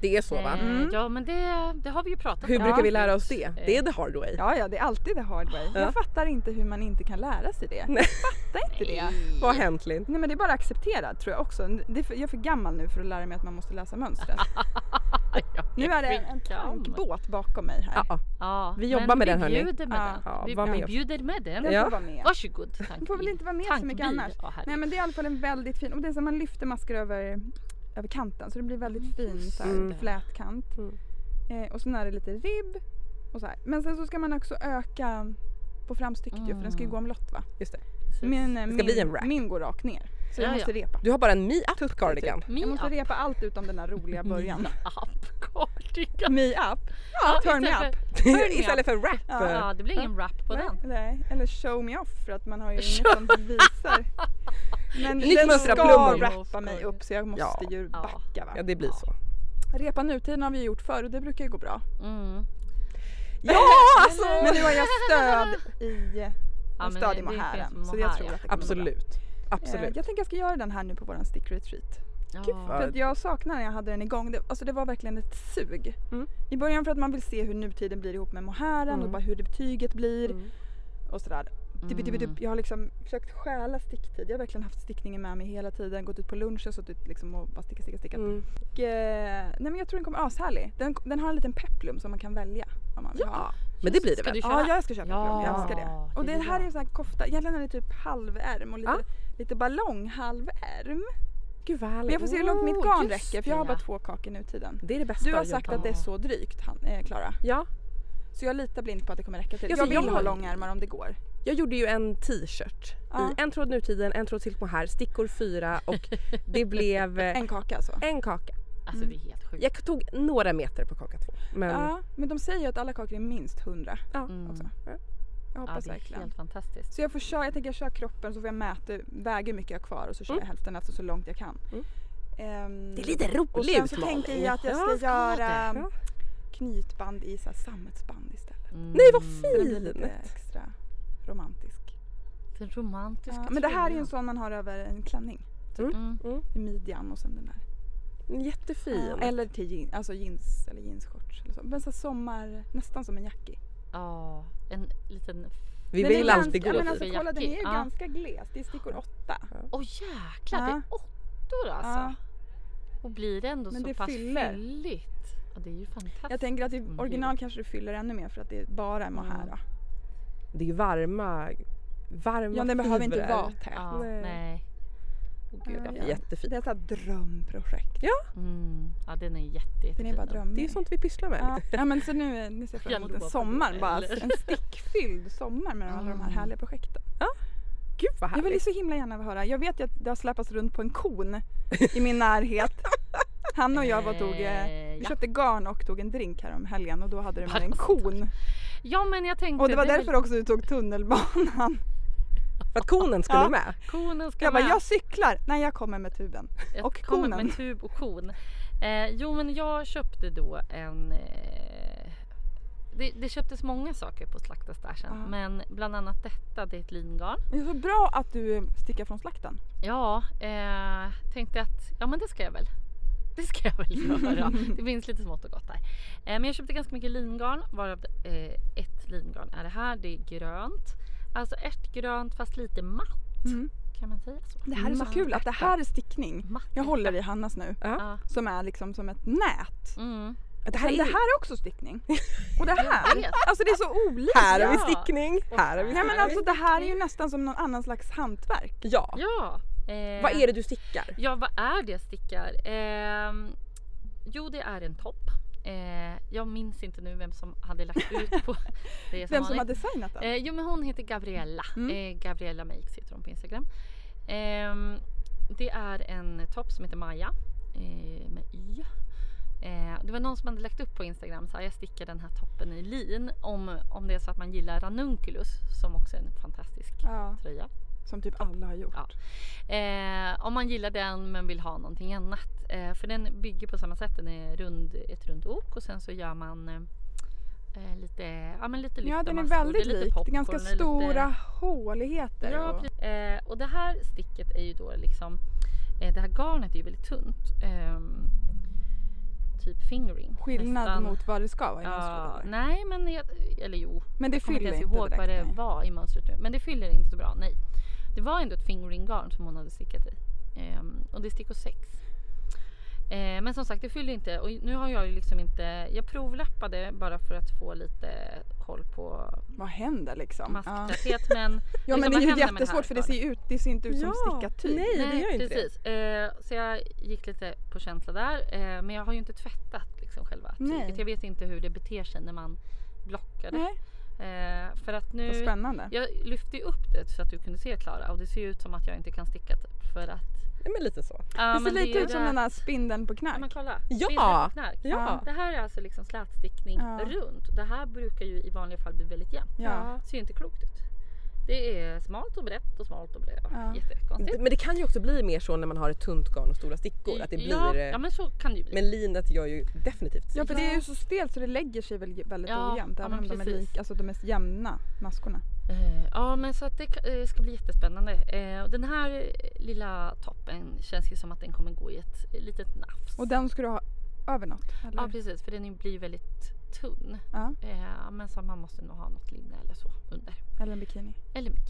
[SPEAKER 1] Det är så va?
[SPEAKER 3] Eh,
[SPEAKER 2] Mm.
[SPEAKER 3] Ja, men det, det har vi ju pratat
[SPEAKER 1] Hur
[SPEAKER 3] om.
[SPEAKER 1] brukar
[SPEAKER 3] Ja.
[SPEAKER 1] vi lära oss det?
[SPEAKER 3] Eh,
[SPEAKER 1] Det är the hard way.
[SPEAKER 2] Ja, ja, det är alltid the hard way.
[SPEAKER 1] Ja. Mm.
[SPEAKER 2] Jag fattar inte hur man inte kan lära sig det.
[SPEAKER 1] Nej.
[SPEAKER 2] Jag fattar inte (laughs) det.
[SPEAKER 1] Vad har hänt Linn?
[SPEAKER 2] Nej men det är bara accepterat tror jag också. Det är för, jag är för gammal nu för att lära mig att man måste läsa mönstret.
[SPEAKER 3] Jag
[SPEAKER 2] Nu är det en
[SPEAKER 3] skitgammal.
[SPEAKER 2] tankbåt bakom mig här.
[SPEAKER 1] Ja, ja.
[SPEAKER 3] Ja,
[SPEAKER 1] Vi
[SPEAKER 3] men
[SPEAKER 1] jobbar med den, hörni.
[SPEAKER 3] Vi bjuder med
[SPEAKER 2] Ja.
[SPEAKER 3] den.
[SPEAKER 1] Ja,
[SPEAKER 3] vi
[SPEAKER 1] var med oss.
[SPEAKER 3] bjuder med den.
[SPEAKER 2] Den
[SPEAKER 1] Ja.
[SPEAKER 2] får vara med.
[SPEAKER 3] Varsågod tankbil.
[SPEAKER 2] Du får väl inte vara med så mycket
[SPEAKER 3] Tankbil.
[SPEAKER 2] annars.
[SPEAKER 3] Ja, herregud.
[SPEAKER 2] Nej men det är i alla fall en väldigt fin, och det är så man lyfter masker över, över kanten så det blir
[SPEAKER 3] Mm,
[SPEAKER 2] väldigt fin
[SPEAKER 3] just
[SPEAKER 2] så här,
[SPEAKER 1] det.
[SPEAKER 2] flätkant.
[SPEAKER 1] Mm.
[SPEAKER 2] Eh, och sen är det lite ribb och så här. Men sen så ska man också öka på framstycket ju för den ska ju
[SPEAKER 3] Mm.
[SPEAKER 2] gå omlott va.
[SPEAKER 3] Precis.
[SPEAKER 2] Min, eh,
[SPEAKER 1] ska
[SPEAKER 2] min,
[SPEAKER 1] bli en wrap.
[SPEAKER 2] min går rakt ner. Så
[SPEAKER 3] Ja,
[SPEAKER 2] jag måste repa.
[SPEAKER 1] Du har bara en me-up cardigan.
[SPEAKER 2] Jag måste
[SPEAKER 3] Min app.
[SPEAKER 2] repa allt utom den där roliga början.
[SPEAKER 3] Min (laughs) app. Cardigan.
[SPEAKER 2] Me up. Ja, turn me
[SPEAKER 3] istället
[SPEAKER 2] up.
[SPEAKER 3] för-
[SPEAKER 1] (laughs) Istället för rap.
[SPEAKER 2] Ja.
[SPEAKER 1] eh,
[SPEAKER 3] Ja, det blir ingen rap på
[SPEAKER 2] Nej,
[SPEAKER 3] den.
[SPEAKER 2] Nej, eller show me off för att man har ju inget
[SPEAKER 3] Show-
[SPEAKER 2] som
[SPEAKER 3] (laughs)
[SPEAKER 2] visar. Men
[SPEAKER 1] Nytt
[SPEAKER 2] den
[SPEAKER 1] mönster
[SPEAKER 2] ska
[SPEAKER 1] av plommon.
[SPEAKER 2] rappa mig upp så jag måste
[SPEAKER 1] Ja.
[SPEAKER 2] ju
[SPEAKER 3] Ja.
[SPEAKER 2] backa va.
[SPEAKER 1] Ja det blir så.
[SPEAKER 2] Repa nutiden har vi gjort förr och det brukar ju gå bra.
[SPEAKER 3] Mm. (laughs)
[SPEAKER 1] Ja alltså!
[SPEAKER 2] Men nu har jag stöd i,
[SPEAKER 3] Ja, men
[SPEAKER 2] stöd i
[SPEAKER 3] det- det
[SPEAKER 2] mohären.
[SPEAKER 3] finns
[SPEAKER 2] Så jag
[SPEAKER 3] mohair,
[SPEAKER 2] tror
[SPEAKER 3] ja.
[SPEAKER 2] att det kommer gå bra.
[SPEAKER 1] Absolut.
[SPEAKER 2] Eh,
[SPEAKER 1] Absolut.
[SPEAKER 2] Jag tänker jag ska göra den här nu på våran stick retreat.
[SPEAKER 1] vad-
[SPEAKER 3] Ja.
[SPEAKER 2] För att jag saknar när jag hade den igång. Det, alltså det var verkligen ett sug.
[SPEAKER 1] Mm.
[SPEAKER 2] I början för att man vill se hur nutiden blir ihop med mohären
[SPEAKER 1] Mm.
[SPEAKER 2] och bara hur det betyget blir
[SPEAKER 1] Mm.
[SPEAKER 2] och sådär. Dup, dup,
[SPEAKER 3] Mm.
[SPEAKER 2] dup. Jag har liksom försökt stjäla sticktid. Jag har verkligen haft stickningen med mig hela tiden. Gått ut på lunch och suttit liksom och bara sticka, sticka, sticka.
[SPEAKER 1] Mm.
[SPEAKER 2] Och, eh, nej men jag tror den kommer ashärlig. Den, den har en liten peplum som man kan välja om man vill ha.
[SPEAKER 1] Men det blir det
[SPEAKER 3] Ska
[SPEAKER 1] väl?
[SPEAKER 3] du köra?
[SPEAKER 2] Ja, jag ska köpa
[SPEAKER 3] Ja,
[SPEAKER 2] peplum. Jag älskar det. Och
[SPEAKER 3] det
[SPEAKER 2] det,
[SPEAKER 3] är
[SPEAKER 2] här
[SPEAKER 3] bra.
[SPEAKER 2] är en sån här kofta. Egentligen är det typ halvärm och lite,
[SPEAKER 1] Ja.
[SPEAKER 2] lite ballonghalvärm.
[SPEAKER 1] Gud vad
[SPEAKER 2] Men jag får se hur långt mitt
[SPEAKER 3] Oh,
[SPEAKER 2] garn
[SPEAKER 3] just
[SPEAKER 2] räcker för jag har
[SPEAKER 3] det,
[SPEAKER 2] bara
[SPEAKER 3] ja.
[SPEAKER 2] två kakor nu i tiden.
[SPEAKER 1] Det är det bästa
[SPEAKER 2] Du har
[SPEAKER 1] att göra.
[SPEAKER 2] sagt att det är så drygt han- eh, Klara.
[SPEAKER 1] Ja.
[SPEAKER 2] så jag litar blint på att det kommer räcka till.
[SPEAKER 1] Ja,
[SPEAKER 2] jag
[SPEAKER 1] så
[SPEAKER 2] vill
[SPEAKER 1] jag-
[SPEAKER 2] ha långärmar om det går.
[SPEAKER 1] Jag gjorde ju en t-shirt
[SPEAKER 2] Ja.
[SPEAKER 1] i en tråd nutiden, en tråd silk mohair, stickor fyra och
[SPEAKER 2] (laughs)
[SPEAKER 1] det blev eh,
[SPEAKER 2] En kaka alltså.
[SPEAKER 1] en kaka.
[SPEAKER 3] Alltså det är
[SPEAKER 2] Mm.
[SPEAKER 3] helt sjukt.
[SPEAKER 1] Jag tog några meter på kaka två. Men
[SPEAKER 2] Ja, men de säger ju att alla kakor är minst 100
[SPEAKER 3] Mm.
[SPEAKER 2] också.
[SPEAKER 1] Ja.
[SPEAKER 2] Jag
[SPEAKER 3] Ja,
[SPEAKER 2] hoppas
[SPEAKER 3] det är
[SPEAKER 2] verkligen.
[SPEAKER 3] helt fantastiskt.
[SPEAKER 2] Så jag får köra, jag tänker jag kör kroppen så får jag mäta, väger hur mycket jag har kvar och så kör
[SPEAKER 1] Mm.
[SPEAKER 2] jag hälften alltså så långt jag kan.
[SPEAKER 1] Mm.
[SPEAKER 2] Ehm,
[SPEAKER 1] det är lite
[SPEAKER 2] och sen
[SPEAKER 1] roligt
[SPEAKER 2] så
[SPEAKER 1] Malin.
[SPEAKER 2] tänker jag att jag
[SPEAKER 3] Ja,
[SPEAKER 2] ska
[SPEAKER 3] ska
[SPEAKER 2] göra
[SPEAKER 3] det.
[SPEAKER 1] Ja.
[SPEAKER 2] knytband i så här sammetsband istället.
[SPEAKER 3] Mm.
[SPEAKER 1] Nej vad
[SPEAKER 2] Så den blir lite
[SPEAKER 1] fint!
[SPEAKER 2] extra romantisk.
[SPEAKER 3] Den romantiska
[SPEAKER 2] Ja, men det här är ju
[SPEAKER 3] tröjan.
[SPEAKER 2] en sån man har över en klänning.
[SPEAKER 3] Mm.
[SPEAKER 2] I midjan och sen den där. Mm,
[SPEAKER 1] Jättefin.
[SPEAKER 2] Ja, eller till jean, alltså jeans eller jeansshorts eller så. Men så här sommar, nästan som en jackie.
[SPEAKER 3] Ja, en liten...
[SPEAKER 1] Vi
[SPEAKER 2] Den är
[SPEAKER 1] vill
[SPEAKER 2] ganska-
[SPEAKER 1] alltid gå
[SPEAKER 2] ja, men
[SPEAKER 1] dit.
[SPEAKER 2] alltså, kolla, den är ju
[SPEAKER 3] Ja.
[SPEAKER 2] ganska gles. Det är stickor åtta.
[SPEAKER 3] Åh jäklar, det
[SPEAKER 2] Ja.
[SPEAKER 3] är åttor alltså. Och blir det ändå
[SPEAKER 2] Men
[SPEAKER 3] så
[SPEAKER 2] det
[SPEAKER 3] pass
[SPEAKER 2] fyller.
[SPEAKER 3] fylligt. Ja, det är ju fantastiskt.
[SPEAKER 2] Jag tänker att i
[SPEAKER 3] Mm.
[SPEAKER 2] original kanske du fyller ännu mer för att det är bara en mohair.
[SPEAKER 3] Mm.
[SPEAKER 2] då.
[SPEAKER 1] Det är ju varma, varma
[SPEAKER 2] Ja, den behöver inte
[SPEAKER 1] fibrer.
[SPEAKER 2] vara tät.
[SPEAKER 3] ja,
[SPEAKER 1] nej.
[SPEAKER 3] nej. Åh, gud,
[SPEAKER 2] Ja,
[SPEAKER 3] jag-
[SPEAKER 2] ja.
[SPEAKER 1] Jättefint.
[SPEAKER 2] Det är ett sånt här drömprojekt.
[SPEAKER 3] Mm. ja, den är jätte, jättefin.
[SPEAKER 2] Den är bara drömmig.
[SPEAKER 1] Det är ju sånt vi pysslar med.
[SPEAKER 2] Ja. ja men så nu, nu ser jag fram emot
[SPEAKER 3] Jag
[SPEAKER 2] en
[SPEAKER 3] lovar
[SPEAKER 2] sommar
[SPEAKER 3] det,
[SPEAKER 2] bara.
[SPEAKER 3] eller?
[SPEAKER 2] En stickfylld sommar med alla de här
[SPEAKER 3] Mm.
[SPEAKER 2] härliga projekten.
[SPEAKER 1] Gud vad
[SPEAKER 2] Jag vill ju
[SPEAKER 1] härligt.
[SPEAKER 2] så himla gärna höra. Jag vet ju att det har släpats runt på en kon i min närhet. Han och jag var och tog, eh,
[SPEAKER 3] Eh,
[SPEAKER 2] vi
[SPEAKER 3] (laughs) ja.
[SPEAKER 2] köpte garn och tog en drink här om helgen och då hade de
[SPEAKER 3] Bara
[SPEAKER 2] en kon.
[SPEAKER 3] ja, men jag tänkte...
[SPEAKER 2] Och det var
[SPEAKER 3] är
[SPEAKER 2] därför också du tog tunnelbanan.
[SPEAKER 1] För att konen skulle
[SPEAKER 2] liksom- Ja.
[SPEAKER 1] med.
[SPEAKER 3] väl- Konen ska
[SPEAKER 2] Jag bara,
[SPEAKER 3] med.
[SPEAKER 2] jag cyklar! Nej, jag kommer med tuben.
[SPEAKER 3] Jag
[SPEAKER 2] Och
[SPEAKER 3] kommer
[SPEAKER 2] konen.
[SPEAKER 3] med tub och kon. Eh, jo men jag köpte då en... Eh, det, det köptes många saker på slaktastärsen
[SPEAKER 2] Ja.
[SPEAKER 3] men bland annat detta, det är ett lingarn.
[SPEAKER 2] Det är så bra att du eh, stickar från slakten.
[SPEAKER 3] Ja, eh, tänkte att ja men det ska jag väl. (laughs) Det ska jag väl göra. det finns lite smått och gott där. Eh, men jag köpte ganska mycket lingarn varav eh, ett lingarn är det här. Det är grönt. Alltså ärtgrönt fast lite matt
[SPEAKER 2] Mm.
[SPEAKER 3] kan man säga så.
[SPEAKER 2] Det här är så
[SPEAKER 1] Man
[SPEAKER 2] kul att det här är stickning.
[SPEAKER 3] Matt.
[SPEAKER 2] Jag håller i Hannas nu
[SPEAKER 3] Ja.
[SPEAKER 2] som är liksom som ett nät.
[SPEAKER 3] Mm.
[SPEAKER 1] Det här
[SPEAKER 2] Men
[SPEAKER 1] är,
[SPEAKER 2] det här är också stickning. Och det här,
[SPEAKER 3] vet.
[SPEAKER 2] alltså det är så olika.
[SPEAKER 1] här har vi
[SPEAKER 3] Ja.
[SPEAKER 1] stickning, här har vi
[SPEAKER 3] Nej,
[SPEAKER 2] Nej
[SPEAKER 1] stickning.
[SPEAKER 2] men alltså det här är ju nästan som någon annan slags hantverk.
[SPEAKER 1] Ja.
[SPEAKER 3] Ja. Eh,
[SPEAKER 1] Vad är det du stickar?
[SPEAKER 3] Ja, vad är det jag stickar? Ehm, jo, det är en topp. Eh, jag minns inte nu vem som hade lagt ut på det. är
[SPEAKER 2] Vem som har
[SPEAKER 3] vanligt.
[SPEAKER 2] designat den.
[SPEAKER 3] Eh, jo, men hon heter Gabriella.
[SPEAKER 2] Mm.
[SPEAKER 3] Eh, Gabriella Makes heter hon på Instagram. Ehm, det är en topp som heter Maja eh, med Y. Eh, det var någon som hade lagt upp på Instagram så här, jag stickar den här toppen i lin om, om det är så att man gillar ranunculus som också är en fantastisk
[SPEAKER 2] Ja,
[SPEAKER 3] tröja.
[SPEAKER 2] som typ alla har gjort.
[SPEAKER 3] Ja. Eh, om man gillar den men vill ha någonting annat. Eh, för den bygger på samma sätt. Den är rund, ett runt ok och sen så gör man eh, eh, lite, ja men lite lyft
[SPEAKER 2] Ja
[SPEAKER 3] och
[SPEAKER 2] den är
[SPEAKER 3] maskor.
[SPEAKER 2] väldigt
[SPEAKER 3] lite
[SPEAKER 2] lik. Det är ganska
[SPEAKER 3] popcorn, det är lite-
[SPEAKER 2] stora håligheter.
[SPEAKER 3] Ja,
[SPEAKER 2] och-
[SPEAKER 3] precis. Eh, och det här sticket är ju då liksom, eh, det här garnet är ju väldigt tunt. ehm, typ fingering.
[SPEAKER 2] skillnad
[SPEAKER 3] nästan.
[SPEAKER 2] mot vad det ska vara i
[SPEAKER 3] Ja,
[SPEAKER 2] mönstret eller?
[SPEAKER 3] nej men jag, eller jo,
[SPEAKER 2] Men det
[SPEAKER 3] jag kommer inte
[SPEAKER 2] fyller
[SPEAKER 3] ens
[SPEAKER 2] inte
[SPEAKER 3] ihåg
[SPEAKER 2] direkt.
[SPEAKER 3] vad det
[SPEAKER 2] nej.
[SPEAKER 3] var i mönstret nu. Men det fyller inte så bra, nej. Det var ändå ett fingering garn som hon hade stickat i. Ehm, och det är stickor 6. Eh, men som sagt, det fyller inte. Och nu har jag ju liksom inte... Jag provlappade bara för att få lite koll på
[SPEAKER 2] Vad händer liksom? Ja,
[SPEAKER 3] masktäthet.
[SPEAKER 2] (laughs)
[SPEAKER 3] Men
[SPEAKER 2] ja
[SPEAKER 3] liksom,
[SPEAKER 2] men
[SPEAKER 3] vad
[SPEAKER 2] det är ju
[SPEAKER 3] händer med det här
[SPEAKER 2] jättesvårt för det
[SPEAKER 3] för?
[SPEAKER 2] ser ju ut, det ser inte ut som typ. stickat tyg.
[SPEAKER 1] Nej, det gör inte
[SPEAKER 3] precis. Eh, så jag gick lite på känsla där. Eh, men jag har ju inte tvättat liksom själva
[SPEAKER 2] Nej.
[SPEAKER 3] tyget. Jag vet inte hur det beter sig när man blockar det.
[SPEAKER 2] Nej,
[SPEAKER 3] Eh, för att
[SPEAKER 2] vad
[SPEAKER 3] nu...
[SPEAKER 2] spännande.
[SPEAKER 3] Jag lyfte ju upp det så att du kunde se Klara och det ser ju ut som att jag inte kan sticka typ. För att...
[SPEAKER 1] det. Men lite så.
[SPEAKER 3] Ja,
[SPEAKER 2] det ser
[SPEAKER 3] men
[SPEAKER 2] lite
[SPEAKER 3] är
[SPEAKER 2] ut som
[SPEAKER 3] det-
[SPEAKER 2] den här spindeln på knark.
[SPEAKER 3] Ja, Men kolla!
[SPEAKER 1] Ja!
[SPEAKER 3] Spindeln på knark.
[SPEAKER 1] Ja.
[SPEAKER 3] Det här är alltså liksom slätstickning
[SPEAKER 2] Ja.
[SPEAKER 3] runt. Det här brukar ju i vanliga fall bli väldigt jämnt.
[SPEAKER 2] Ja.
[SPEAKER 3] Det ser ju inte klokt ut. Det är smalt och brett och smalt och brett.
[SPEAKER 2] Ja.
[SPEAKER 3] Ja. Jättekonstigt.
[SPEAKER 1] Men det kan ju också bli mer så när man har ett tunt garn och stora stickor. Att det blir, eh,
[SPEAKER 3] ja, ja men så kan det ju bli.
[SPEAKER 1] Men linet gör ju definitivt
[SPEAKER 2] Ja
[SPEAKER 1] sig.
[SPEAKER 2] för det är ju så stelt så det lägger sig väl väldigt
[SPEAKER 3] Ja,
[SPEAKER 2] ojämnt
[SPEAKER 3] ja,
[SPEAKER 2] även om
[SPEAKER 3] men
[SPEAKER 2] de är
[SPEAKER 3] precis.
[SPEAKER 2] lika, alltså de mest jämna maskorna.
[SPEAKER 3] Eh, Ja men så att det ka- eh, ska bli jättespännande. Eh, och Den här eh, lilla toppen känns ju som att den kommer gå i ett litet nafs.
[SPEAKER 2] Och den ska du ha över något? Eller?
[SPEAKER 3] Ja precis för den blir ju väldigt tunn.
[SPEAKER 2] Ja,
[SPEAKER 3] Eh, Men så man måste nog ha något linne eller så under.
[SPEAKER 2] eller en bikini.
[SPEAKER 3] Eller bikini.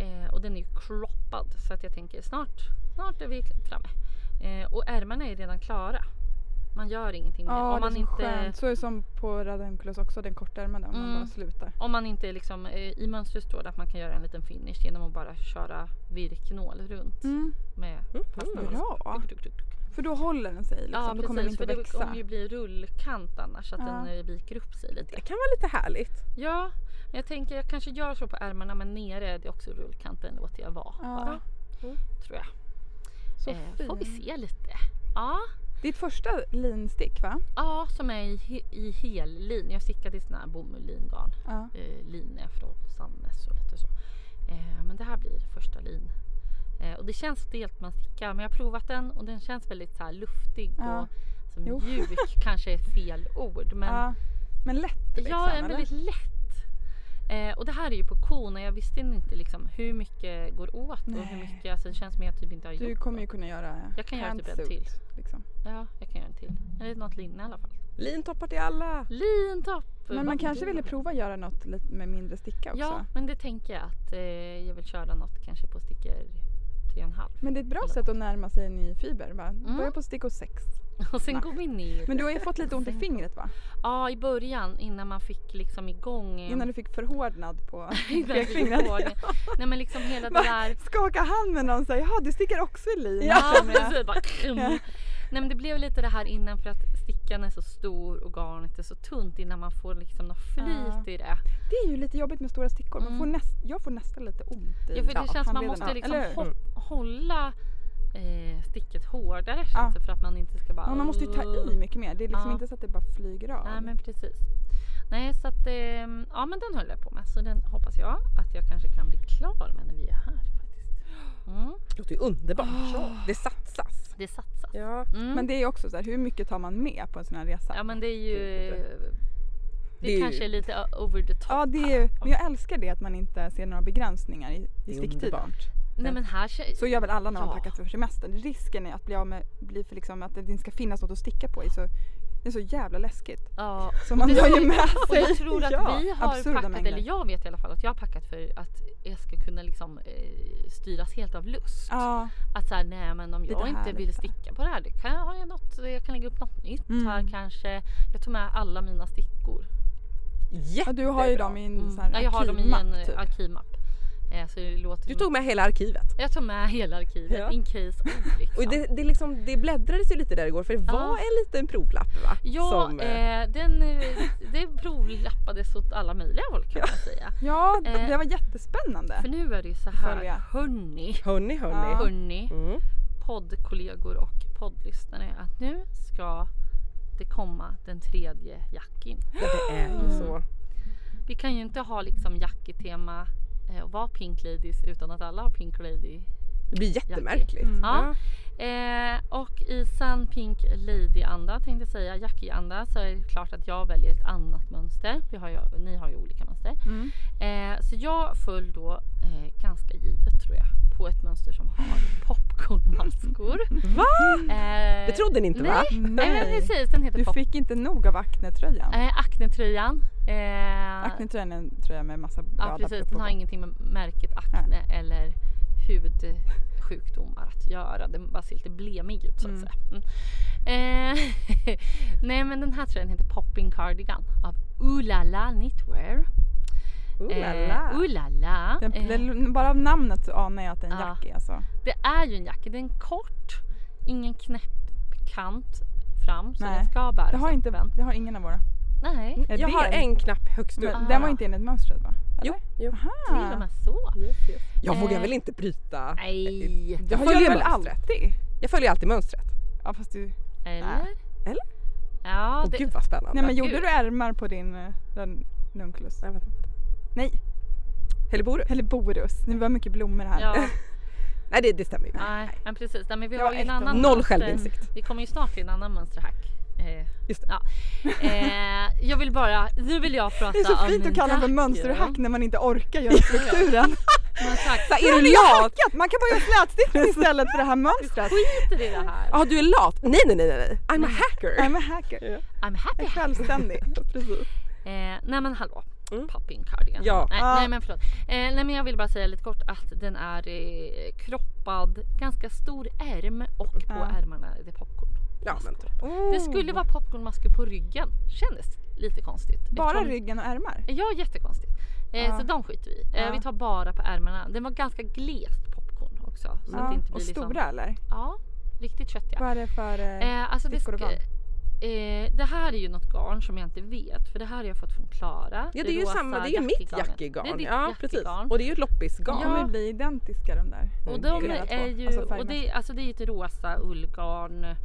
[SPEAKER 3] Eh, och den är ju croppad så att jag tänker snart, snart är vi framme. Eh, och ärmarna är redan klara. Man gör ingenting mer.
[SPEAKER 2] Ja
[SPEAKER 3] om,
[SPEAKER 2] det är
[SPEAKER 3] man
[SPEAKER 2] så
[SPEAKER 3] inte,
[SPEAKER 2] skönt. Så är det som på Radenculus också, den kortärmade om man
[SPEAKER 3] Mm.
[SPEAKER 2] bara slutar.
[SPEAKER 3] om man inte liksom, eh, i mönstret står det att man kan göra en liten finish genom att bara köra virknål runt. Med fast
[SPEAKER 1] Mhm.
[SPEAKER 3] nål.
[SPEAKER 2] Mm. Bra!
[SPEAKER 3] Tuk, tuk, tuk, tuk.
[SPEAKER 2] För då håller den sig liksom,
[SPEAKER 3] Ja
[SPEAKER 2] då kommer
[SPEAKER 3] precis
[SPEAKER 2] den inte
[SPEAKER 3] för det
[SPEAKER 2] växa.
[SPEAKER 3] kommer ju bli rullkant annars så att
[SPEAKER 2] Ja.
[SPEAKER 3] den eh, viker upp sig lite.
[SPEAKER 1] Det kan vara lite härligt.
[SPEAKER 3] Ja, men jag tänker jag kanske gör så på ärmarna men nere är det också rullkanten låter jag vara
[SPEAKER 2] Ja.
[SPEAKER 3] bara.
[SPEAKER 1] Mm.
[SPEAKER 3] Tror jag.
[SPEAKER 2] Så
[SPEAKER 3] Eh, får vi
[SPEAKER 2] fin.
[SPEAKER 3] se lite. Ja,
[SPEAKER 2] Ditt första linstick va?
[SPEAKER 3] ja som är i, he- i hellin. Jag stickade i sån här bomulllingarn.
[SPEAKER 2] Ja.
[SPEAKER 3] Eh, linne från Sannes och lite så. Eh, men det här blir första lin. Eh, och det känns stelt man stickar men jag har provat den och den känns väldigt så här luftig
[SPEAKER 2] Ja.
[SPEAKER 3] och som
[SPEAKER 2] Jo. (laughs)
[SPEAKER 3] mjuk kanske är fel ord. Men
[SPEAKER 2] ja. Men lätt liksom?
[SPEAKER 3] Ja, en
[SPEAKER 2] eller?
[SPEAKER 3] väldigt lätt. Eh, och det här är ju på kon och jag visste inte liksom hur mycket går åt och hur
[SPEAKER 2] Nej.
[SPEAKER 3] mycket, alltså det känns som jag typ inte har gjort
[SPEAKER 2] Du kommer ju
[SPEAKER 3] något.
[SPEAKER 2] kunna göra
[SPEAKER 3] Jag kan göra typ en
[SPEAKER 2] pantsuit,
[SPEAKER 3] till.
[SPEAKER 2] Liksom.
[SPEAKER 3] Ja, jag kan göra en till. Eller något linne i alla fall.
[SPEAKER 1] Lintoppar till alla!
[SPEAKER 3] Lintopp!
[SPEAKER 2] Men man
[SPEAKER 3] Vad
[SPEAKER 2] kanske
[SPEAKER 3] kul.
[SPEAKER 2] ville prova göra något lite med mindre sticka också.
[SPEAKER 3] Ja, men det tänker jag att eh, jag vill köra något kanske på stickor tre och en halv. (laughs)
[SPEAKER 2] Men det är ett bra
[SPEAKER 3] Eller-
[SPEAKER 2] sätt att närma sig en ny fiber. Va?
[SPEAKER 3] Mm.
[SPEAKER 2] Börja på stickor 6.
[SPEAKER 3] Och sen
[SPEAKER 2] Nej.
[SPEAKER 3] går vi ner.
[SPEAKER 2] Men du har ju fått
[SPEAKER 3] (laughs)
[SPEAKER 2] lite ont i
[SPEAKER 3] Sen-
[SPEAKER 2] fingret va?
[SPEAKER 3] Ja, i början innan man fick liksom igång. eh,
[SPEAKER 2] Innan du fick förhårdnad på (laughs)
[SPEAKER 3] (laughs) innan jag fick
[SPEAKER 2] pekfingret.
[SPEAKER 3] igång. Nej men liksom
[SPEAKER 2] (laughs)
[SPEAKER 3] hela det
[SPEAKER 2] Va?
[SPEAKER 3] där.
[SPEAKER 2] Skaka hand med någon och säga jaha du stickar också i lin.
[SPEAKER 3] Ja,
[SPEAKER 2] känner jag. (laughs)
[SPEAKER 3] precis. Bara, krum. Nej men det blev lite det här innan för att stickan är så stor och garnet är så tunt innan man får liksom något flyt
[SPEAKER 2] Ja.
[SPEAKER 3] i det.
[SPEAKER 2] Det är ju lite jobbigt med stora stickor. Man
[SPEAKER 3] Mm.
[SPEAKER 2] får näst, jag får nästan lite ont i
[SPEAKER 3] Ja, för det
[SPEAKER 1] Ja,
[SPEAKER 3] känns som man
[SPEAKER 2] handleden, ja.
[SPEAKER 3] måste liksom
[SPEAKER 2] Eller hur?
[SPEAKER 3] hå- hålla eh, sticket hårdare känns
[SPEAKER 2] Ja.
[SPEAKER 3] det för att man inte ska bara...
[SPEAKER 2] Men man måste ju ta i mycket mer. Det är liksom
[SPEAKER 3] Ja.
[SPEAKER 2] inte så att det bara flyger av.
[SPEAKER 3] Nej men precis. Nej så att ehm, ja men den höll jag på med så den hoppas jag att jag kanske kan bli klar med när vi är här faktiskt. Mm,
[SPEAKER 1] Det låter ju underbart.
[SPEAKER 2] Ah.
[SPEAKER 1] Det satsas.
[SPEAKER 3] det satsas.
[SPEAKER 1] Ja.
[SPEAKER 3] Mm.
[SPEAKER 2] Men det är ju också så här, hur mycket tar man med på en sån här resa?
[SPEAKER 3] ja men det är ju...
[SPEAKER 1] Gud.
[SPEAKER 3] Det,
[SPEAKER 1] Det är ju-
[SPEAKER 3] kanske är lite ö- over the top.
[SPEAKER 2] Ja, det är ju, men jag älskar det att man inte ser några begränsningar i,
[SPEAKER 1] Det
[SPEAKER 2] i
[SPEAKER 1] är
[SPEAKER 2] sticktiden.
[SPEAKER 1] underbart.
[SPEAKER 3] Nej men här kä-
[SPEAKER 2] Så gör väl alla när man
[SPEAKER 3] Ja.
[SPEAKER 2] packar för semestern. Risken är att bli av med, bli för liksom, att det inte ska finnas något att sticka på i så det är så jävla läskigt. (laughs)
[SPEAKER 3] (laughs) Ja.
[SPEAKER 2] Så man
[SPEAKER 3] Det
[SPEAKER 2] har
[SPEAKER 3] är-
[SPEAKER 2] ju med
[SPEAKER 3] Och
[SPEAKER 2] sig
[SPEAKER 3] jag tror att
[SPEAKER 2] ja,
[SPEAKER 3] vi har
[SPEAKER 2] absurda
[SPEAKER 3] packat,
[SPEAKER 2] mängder.
[SPEAKER 3] eller jag vet i alla fall att jag har packat för att jag ska kunna liksom eh, styras helt av lust.
[SPEAKER 2] Ja,
[SPEAKER 3] Att såhär, nej men om
[SPEAKER 2] Lite
[SPEAKER 3] jag inte
[SPEAKER 2] härligt
[SPEAKER 3] vill
[SPEAKER 2] så här.
[SPEAKER 3] sticka på det här, det kan jag, har jag, något, jag kan lägga upp något nytt
[SPEAKER 2] Mm.
[SPEAKER 3] här kanske. Jag tog med alla mina stickor.
[SPEAKER 2] ja,
[SPEAKER 1] Jättebra.
[SPEAKER 2] du har ju dem i en sån Mm, här
[SPEAKER 3] Mm. Ja, jag har dem i en
[SPEAKER 2] arkivmapp, typ.
[SPEAKER 3] arkivmapp. Eh, så det låter
[SPEAKER 1] Du
[SPEAKER 3] som-
[SPEAKER 1] tog med hela arkivet.
[SPEAKER 3] Jag tog med hela arkivet
[SPEAKER 1] Ja.
[SPEAKER 3] in case of,
[SPEAKER 2] (laughs)
[SPEAKER 3] liksom.
[SPEAKER 1] Och det, det, liksom, det bläddrades ju lite där igår för det var
[SPEAKER 3] Ja.
[SPEAKER 1] en liten provlapp va?
[SPEAKER 3] Ja,
[SPEAKER 1] Som, eh,
[SPEAKER 3] eh, den, eh, det provlappades åt alla möjliga håll kan man säga.
[SPEAKER 2] Ja,
[SPEAKER 3] Eh,
[SPEAKER 2] det var jättespännande.
[SPEAKER 3] För nu är det ju så här,
[SPEAKER 2] Följa.
[SPEAKER 3] hörni,
[SPEAKER 1] Hörni hörni.
[SPEAKER 2] Ja.
[SPEAKER 3] hörni,
[SPEAKER 1] Mm.
[SPEAKER 3] poddkollegor och poddlyssnare att nu ska det komma den tredje jackin.
[SPEAKER 1] Ja, det är ju
[SPEAKER 3] Mm.
[SPEAKER 1] så.
[SPEAKER 3] Vi kan ju inte ha liksom jackitema eh, och vara pink ladies utan att alla har pink lady.
[SPEAKER 1] Det blir jättemärkligt.
[SPEAKER 2] Mm.
[SPEAKER 3] Ja. Eh, och i sann pink lady-anda tänkte jag säga, jackie-anda så är det klart att jag väljer ett annat mönster. Vi har ju, ni har ju olika mönster.
[SPEAKER 2] Mm.
[SPEAKER 3] Eh, så jag föll då eh, ganska givet tror jag på ett mönster som har popcornmaskor.
[SPEAKER 1] (laughs) Va?
[SPEAKER 3] Eh,
[SPEAKER 1] Det trodde ni inte va?
[SPEAKER 3] nej. Nej men precis, den heter
[SPEAKER 2] Du
[SPEAKER 3] Pop.
[SPEAKER 2] fick inte nog av Acne-tröjan.
[SPEAKER 3] Eh, Acne-tröjan. Eh,
[SPEAKER 2] Acne-tröjan är en tröja med massa
[SPEAKER 3] ja
[SPEAKER 2] röda
[SPEAKER 3] precis,
[SPEAKER 2] pluppar
[SPEAKER 3] den har
[SPEAKER 2] på.
[SPEAKER 3] ingenting med märket Acne eller hudsjukdomar att göra. Den bara ser lite blemig ut så att
[SPEAKER 2] Mm.
[SPEAKER 3] säga. Mm. Eh, (laughs) nej men den här tröjan heter Popping Cardigan av Ulala Knitwear.
[SPEAKER 1] Oh la
[SPEAKER 3] Eh,
[SPEAKER 1] la.
[SPEAKER 3] Ulala.
[SPEAKER 2] Den,
[SPEAKER 3] Eh, Ah.
[SPEAKER 2] den, bara av namnet så anar jag att det är en
[SPEAKER 3] Ja.
[SPEAKER 2] jacke alltså.
[SPEAKER 3] det är ju en jacka. Den är kort, ingen knäppkant fram så
[SPEAKER 2] Nej.
[SPEAKER 3] den ska bäras
[SPEAKER 2] Det har, inte,
[SPEAKER 3] upp en.
[SPEAKER 2] det har ingen av våra.
[SPEAKER 3] Nej,
[SPEAKER 2] Eh,
[SPEAKER 1] Jag har
[SPEAKER 2] del.
[SPEAKER 1] en knapp högst upp.
[SPEAKER 3] Ah.
[SPEAKER 2] Men den var inte enligt mönstret va?
[SPEAKER 1] Jo, jo.
[SPEAKER 3] till och med så.
[SPEAKER 1] Yes, yes. Jag vågar
[SPEAKER 3] Eh.
[SPEAKER 1] väl inte bryta?
[SPEAKER 3] Nej,
[SPEAKER 1] Jag
[SPEAKER 2] Jag gör
[SPEAKER 1] följer
[SPEAKER 2] väl
[SPEAKER 1] mönstret.
[SPEAKER 2] alltid?
[SPEAKER 1] Jag följer alltid mönstret.
[SPEAKER 2] Ja fast du...
[SPEAKER 3] eller?
[SPEAKER 1] Äh, Eller?
[SPEAKER 3] Ja,
[SPEAKER 1] Åh
[SPEAKER 3] det,
[SPEAKER 1] gud vad spännande.
[SPEAKER 2] Nej men gjorde
[SPEAKER 3] gud.
[SPEAKER 2] du ärmar på din eh, ranunculus?
[SPEAKER 1] Nej, vänta.
[SPEAKER 2] Nej,
[SPEAKER 1] Helleborus?
[SPEAKER 2] eller borus. Det var mycket blommor här.
[SPEAKER 1] (laughs)
[SPEAKER 3] ja,
[SPEAKER 1] Nej det, det stämmer ju.
[SPEAKER 3] nej, men precis. Nej, men vi
[SPEAKER 2] Det
[SPEAKER 3] har
[SPEAKER 2] var
[SPEAKER 3] ju en
[SPEAKER 2] ett av-
[SPEAKER 3] annan
[SPEAKER 1] Noll
[SPEAKER 3] mönster-
[SPEAKER 1] självinsikt.
[SPEAKER 3] Vi kommer ju snart till en annan mönsterhack. Eh,
[SPEAKER 1] Just det.
[SPEAKER 3] Ja. Eh, jag vill bara, nu vill jag prata om
[SPEAKER 2] Det är så fint
[SPEAKER 3] min
[SPEAKER 2] att kalla för
[SPEAKER 3] jack,
[SPEAKER 2] mönsterhack
[SPEAKER 3] ja.
[SPEAKER 2] när man inte orkar göra
[SPEAKER 3] (laughs)
[SPEAKER 2] strukturen.
[SPEAKER 3] Mönsterhack.
[SPEAKER 1] Så här, är
[SPEAKER 2] Är
[SPEAKER 1] du
[SPEAKER 2] det jag
[SPEAKER 1] lat?
[SPEAKER 2] hackat? Man kan bara göra slätstickning istället för det här
[SPEAKER 3] (laughs)
[SPEAKER 2] mönstret.
[SPEAKER 3] Skiter i det här.
[SPEAKER 1] Ja du är lat? Nej nej nej nej. I'm a hacker.
[SPEAKER 2] I'm a hacker.
[SPEAKER 3] I'm
[SPEAKER 2] Jag
[SPEAKER 3] happy
[SPEAKER 2] är
[SPEAKER 3] (laughs)
[SPEAKER 2] självständig.
[SPEAKER 1] Precis.
[SPEAKER 3] Eh, nej men hallå.
[SPEAKER 1] Mm.
[SPEAKER 3] Popping cardigan.
[SPEAKER 1] Ja.
[SPEAKER 3] Nej,
[SPEAKER 2] Ah.
[SPEAKER 3] nej men förlåt. Eh, nej men jag vill bara säga lite kort att den är eh, kroppad, ganska stor ärm och på
[SPEAKER 1] Ah.
[SPEAKER 2] Ja.
[SPEAKER 3] ärmarna är det popcorn.
[SPEAKER 1] Ja men typ.
[SPEAKER 3] Det skulle vara popcornmasker på ryggen. Kändes lite konstigt.
[SPEAKER 2] Bara
[SPEAKER 3] Eftersom-
[SPEAKER 2] ryggen och ärmar?
[SPEAKER 3] Ja jättekonstigt. Eh,
[SPEAKER 2] Ja.
[SPEAKER 3] Så de skiter vi i. eh,
[SPEAKER 2] Ja.
[SPEAKER 3] Vi tar bara på ärmarna. Den var ganska glest popcorn också. Så att
[SPEAKER 2] Ja.
[SPEAKER 3] det inte blir
[SPEAKER 2] Och stora
[SPEAKER 3] Liksom,
[SPEAKER 2] eller?
[SPEAKER 3] ja, riktigt köttiga.
[SPEAKER 2] Vad är det för... eh,
[SPEAKER 3] Eh, alltså det,
[SPEAKER 2] Stickor och
[SPEAKER 3] ska, eh, det här är ju något garn som jag inte vet för det här har jag fått från Klara.
[SPEAKER 1] Ja det är ju
[SPEAKER 3] rosa
[SPEAKER 1] samma, det är ju mitt
[SPEAKER 3] jackegarnet. Det är
[SPEAKER 1] jackegarn.
[SPEAKER 3] ditt
[SPEAKER 1] Ja precis.
[SPEAKER 3] jackegarn.
[SPEAKER 1] Och det är ju ett loppisgarn.
[SPEAKER 2] De kommer bli identiska de där.
[SPEAKER 3] Och
[SPEAKER 1] det är
[SPEAKER 3] de
[SPEAKER 1] ju
[SPEAKER 2] alla två.
[SPEAKER 3] är ju,
[SPEAKER 2] Alltså färgmässigt.
[SPEAKER 3] och det, alltså det är ju ett rosa ullgarn,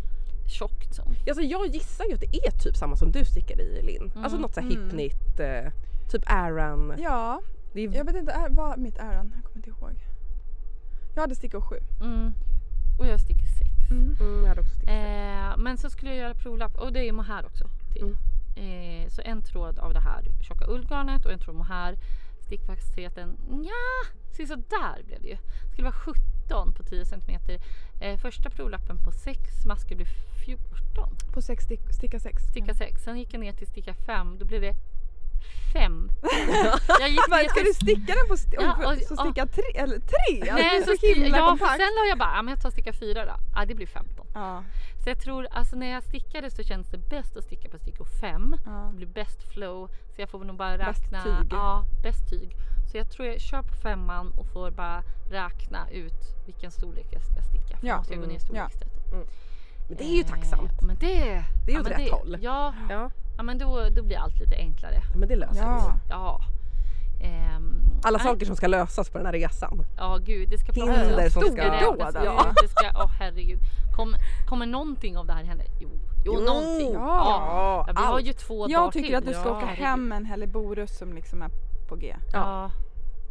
[SPEAKER 3] tjockt som.
[SPEAKER 1] Alltså jag gissar ju att det är typ samma som du stickar i Linn. Alltså något såhär
[SPEAKER 2] Mm.
[SPEAKER 1] hipnit, eh, typ Aran.
[SPEAKER 2] Ja,
[SPEAKER 1] Det är,
[SPEAKER 2] jag vet inte är, vad mitt äran, jag kommer inte ihåg. Jag hade stickor sju.
[SPEAKER 3] Mm. Och jag sticker sex.
[SPEAKER 2] Mm.
[SPEAKER 1] mm, jag hade också stickat.
[SPEAKER 3] Eh, men så skulle jag göra provlapp och det är mohair också. Till.
[SPEAKER 1] Mm.
[SPEAKER 3] Eh, så en tråd av det här tjocka ullgarnet och en tråd mohair. Stickfastheten, ja, se så där blev det ju. Det skulle vara 17 på 10 cm. Eh, första provlappen på 6, masker blev 14.
[SPEAKER 2] På sex stick, sticka sex.
[SPEAKER 3] Sticka 6, sen gick jag ner till sticka 5, då blev det
[SPEAKER 2] (laughs)
[SPEAKER 3] 5. jag gick
[SPEAKER 2] Vad, Ska du sticka den på st-
[SPEAKER 3] Ja,
[SPEAKER 2] och,
[SPEAKER 3] och-
[SPEAKER 2] så
[SPEAKER 3] och-
[SPEAKER 2] sticka tre eller tre? Alltså,
[SPEAKER 3] Nej,
[SPEAKER 2] det är
[SPEAKER 3] så
[SPEAKER 2] så himla
[SPEAKER 3] ja, för
[SPEAKER 2] kompakt.
[SPEAKER 3] sen la jag bara, ja, men jag tar sticka 4 då. Ja, det blir 15.
[SPEAKER 2] Ja,
[SPEAKER 3] Så jag tror, alltså när jag stickade så kändes det bäst att sticka på stickor 5.
[SPEAKER 2] ja.
[SPEAKER 3] Det blir bäst flow. Så jag får nog bara
[SPEAKER 2] Bäst
[SPEAKER 3] räkna.
[SPEAKER 2] tyg.
[SPEAKER 3] Ja, bäst tyg. Så jag tror jag kör på femman och får bara räkna ut vilken storlek jag ska sticka. För
[SPEAKER 2] Ja,
[SPEAKER 3] ja. måste jag gå ner i
[SPEAKER 2] ja.
[SPEAKER 3] storleksrätt.
[SPEAKER 1] Men det är ju
[SPEAKER 3] Eh,
[SPEAKER 1] tacksamt.
[SPEAKER 3] Men det,
[SPEAKER 1] Det är
[SPEAKER 3] ja,
[SPEAKER 1] åt
[SPEAKER 3] men
[SPEAKER 1] rätt håll.
[SPEAKER 3] Ja,
[SPEAKER 1] Ja.
[SPEAKER 3] ja men då, då blir allt lite enklare.
[SPEAKER 1] Men det löser sig.
[SPEAKER 2] ja.
[SPEAKER 3] Ja. Ehm,
[SPEAKER 1] Alla
[SPEAKER 3] nej,
[SPEAKER 1] saker som ska lösas på den här resan.
[SPEAKER 3] Ja gud, det ska
[SPEAKER 1] Hinder
[SPEAKER 3] om
[SPEAKER 1] som ska
[SPEAKER 3] storräknas
[SPEAKER 2] dådas.
[SPEAKER 3] ut,
[SPEAKER 2] Ja.
[SPEAKER 3] Det ska, åh herregud. Kom, kommer någonting av det här hända? Jo, jo,
[SPEAKER 1] Jo,
[SPEAKER 3] någonting.
[SPEAKER 2] ja.
[SPEAKER 3] Ja, vi har
[SPEAKER 1] allt.
[SPEAKER 3] ju två dagar
[SPEAKER 2] Jag tycker att du ska
[SPEAKER 1] Ja.
[SPEAKER 2] åka
[SPEAKER 3] Herregud.
[SPEAKER 2] hem en Helleborus som liksom är på G.
[SPEAKER 3] Ja.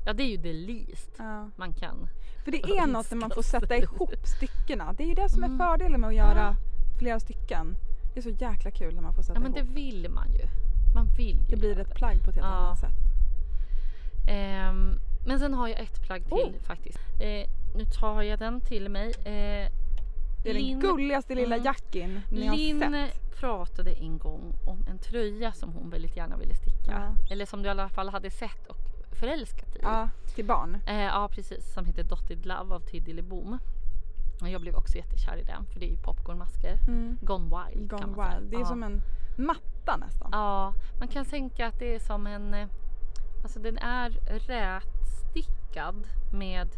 [SPEAKER 3] ja, det är ju det least
[SPEAKER 2] Ja.
[SPEAKER 3] man kan.
[SPEAKER 2] För det är något när man får sätta ihop styckena. Det är ju det som
[SPEAKER 3] Mm.
[SPEAKER 2] är fördelen med att göra flera stycken. Det är så jäkla kul när man får sätta
[SPEAKER 3] Ja men det
[SPEAKER 2] ihop.
[SPEAKER 3] vill man ju. Man vill ju.
[SPEAKER 2] Det blir
[SPEAKER 3] göra
[SPEAKER 2] ett plagg på ett helt
[SPEAKER 3] Ja.
[SPEAKER 2] annat sätt.
[SPEAKER 3] Ehm, men sen har jag ett plagg till
[SPEAKER 2] Oh!
[SPEAKER 3] faktiskt. Eh, nu tar jag den till mig. Eh,
[SPEAKER 2] Det är
[SPEAKER 3] Linn-
[SPEAKER 2] den gulligaste lilla
[SPEAKER 3] Mm.
[SPEAKER 2] jackin ni har
[SPEAKER 3] Linn
[SPEAKER 2] sett.
[SPEAKER 3] pratade en gång om en tröja som hon väldigt gärna ville sticka.
[SPEAKER 2] Ja.
[SPEAKER 3] Eller som du i alla fall hade sett och förälskat i.
[SPEAKER 2] Ja, till barn.
[SPEAKER 3] Eh, ja precis, som heter Dotted Love av Tiddy Lebom. Och Jag blev också jättekär i den för det är ju popcornmasker.
[SPEAKER 2] Mm.
[SPEAKER 3] Gone wild
[SPEAKER 2] Gone
[SPEAKER 3] kan man säga.
[SPEAKER 2] wild. Det är
[SPEAKER 3] Ja.
[SPEAKER 2] som en matta nästan.
[SPEAKER 3] Ja, man kan tänka att det är som en... eh, Alltså den är rätstickad med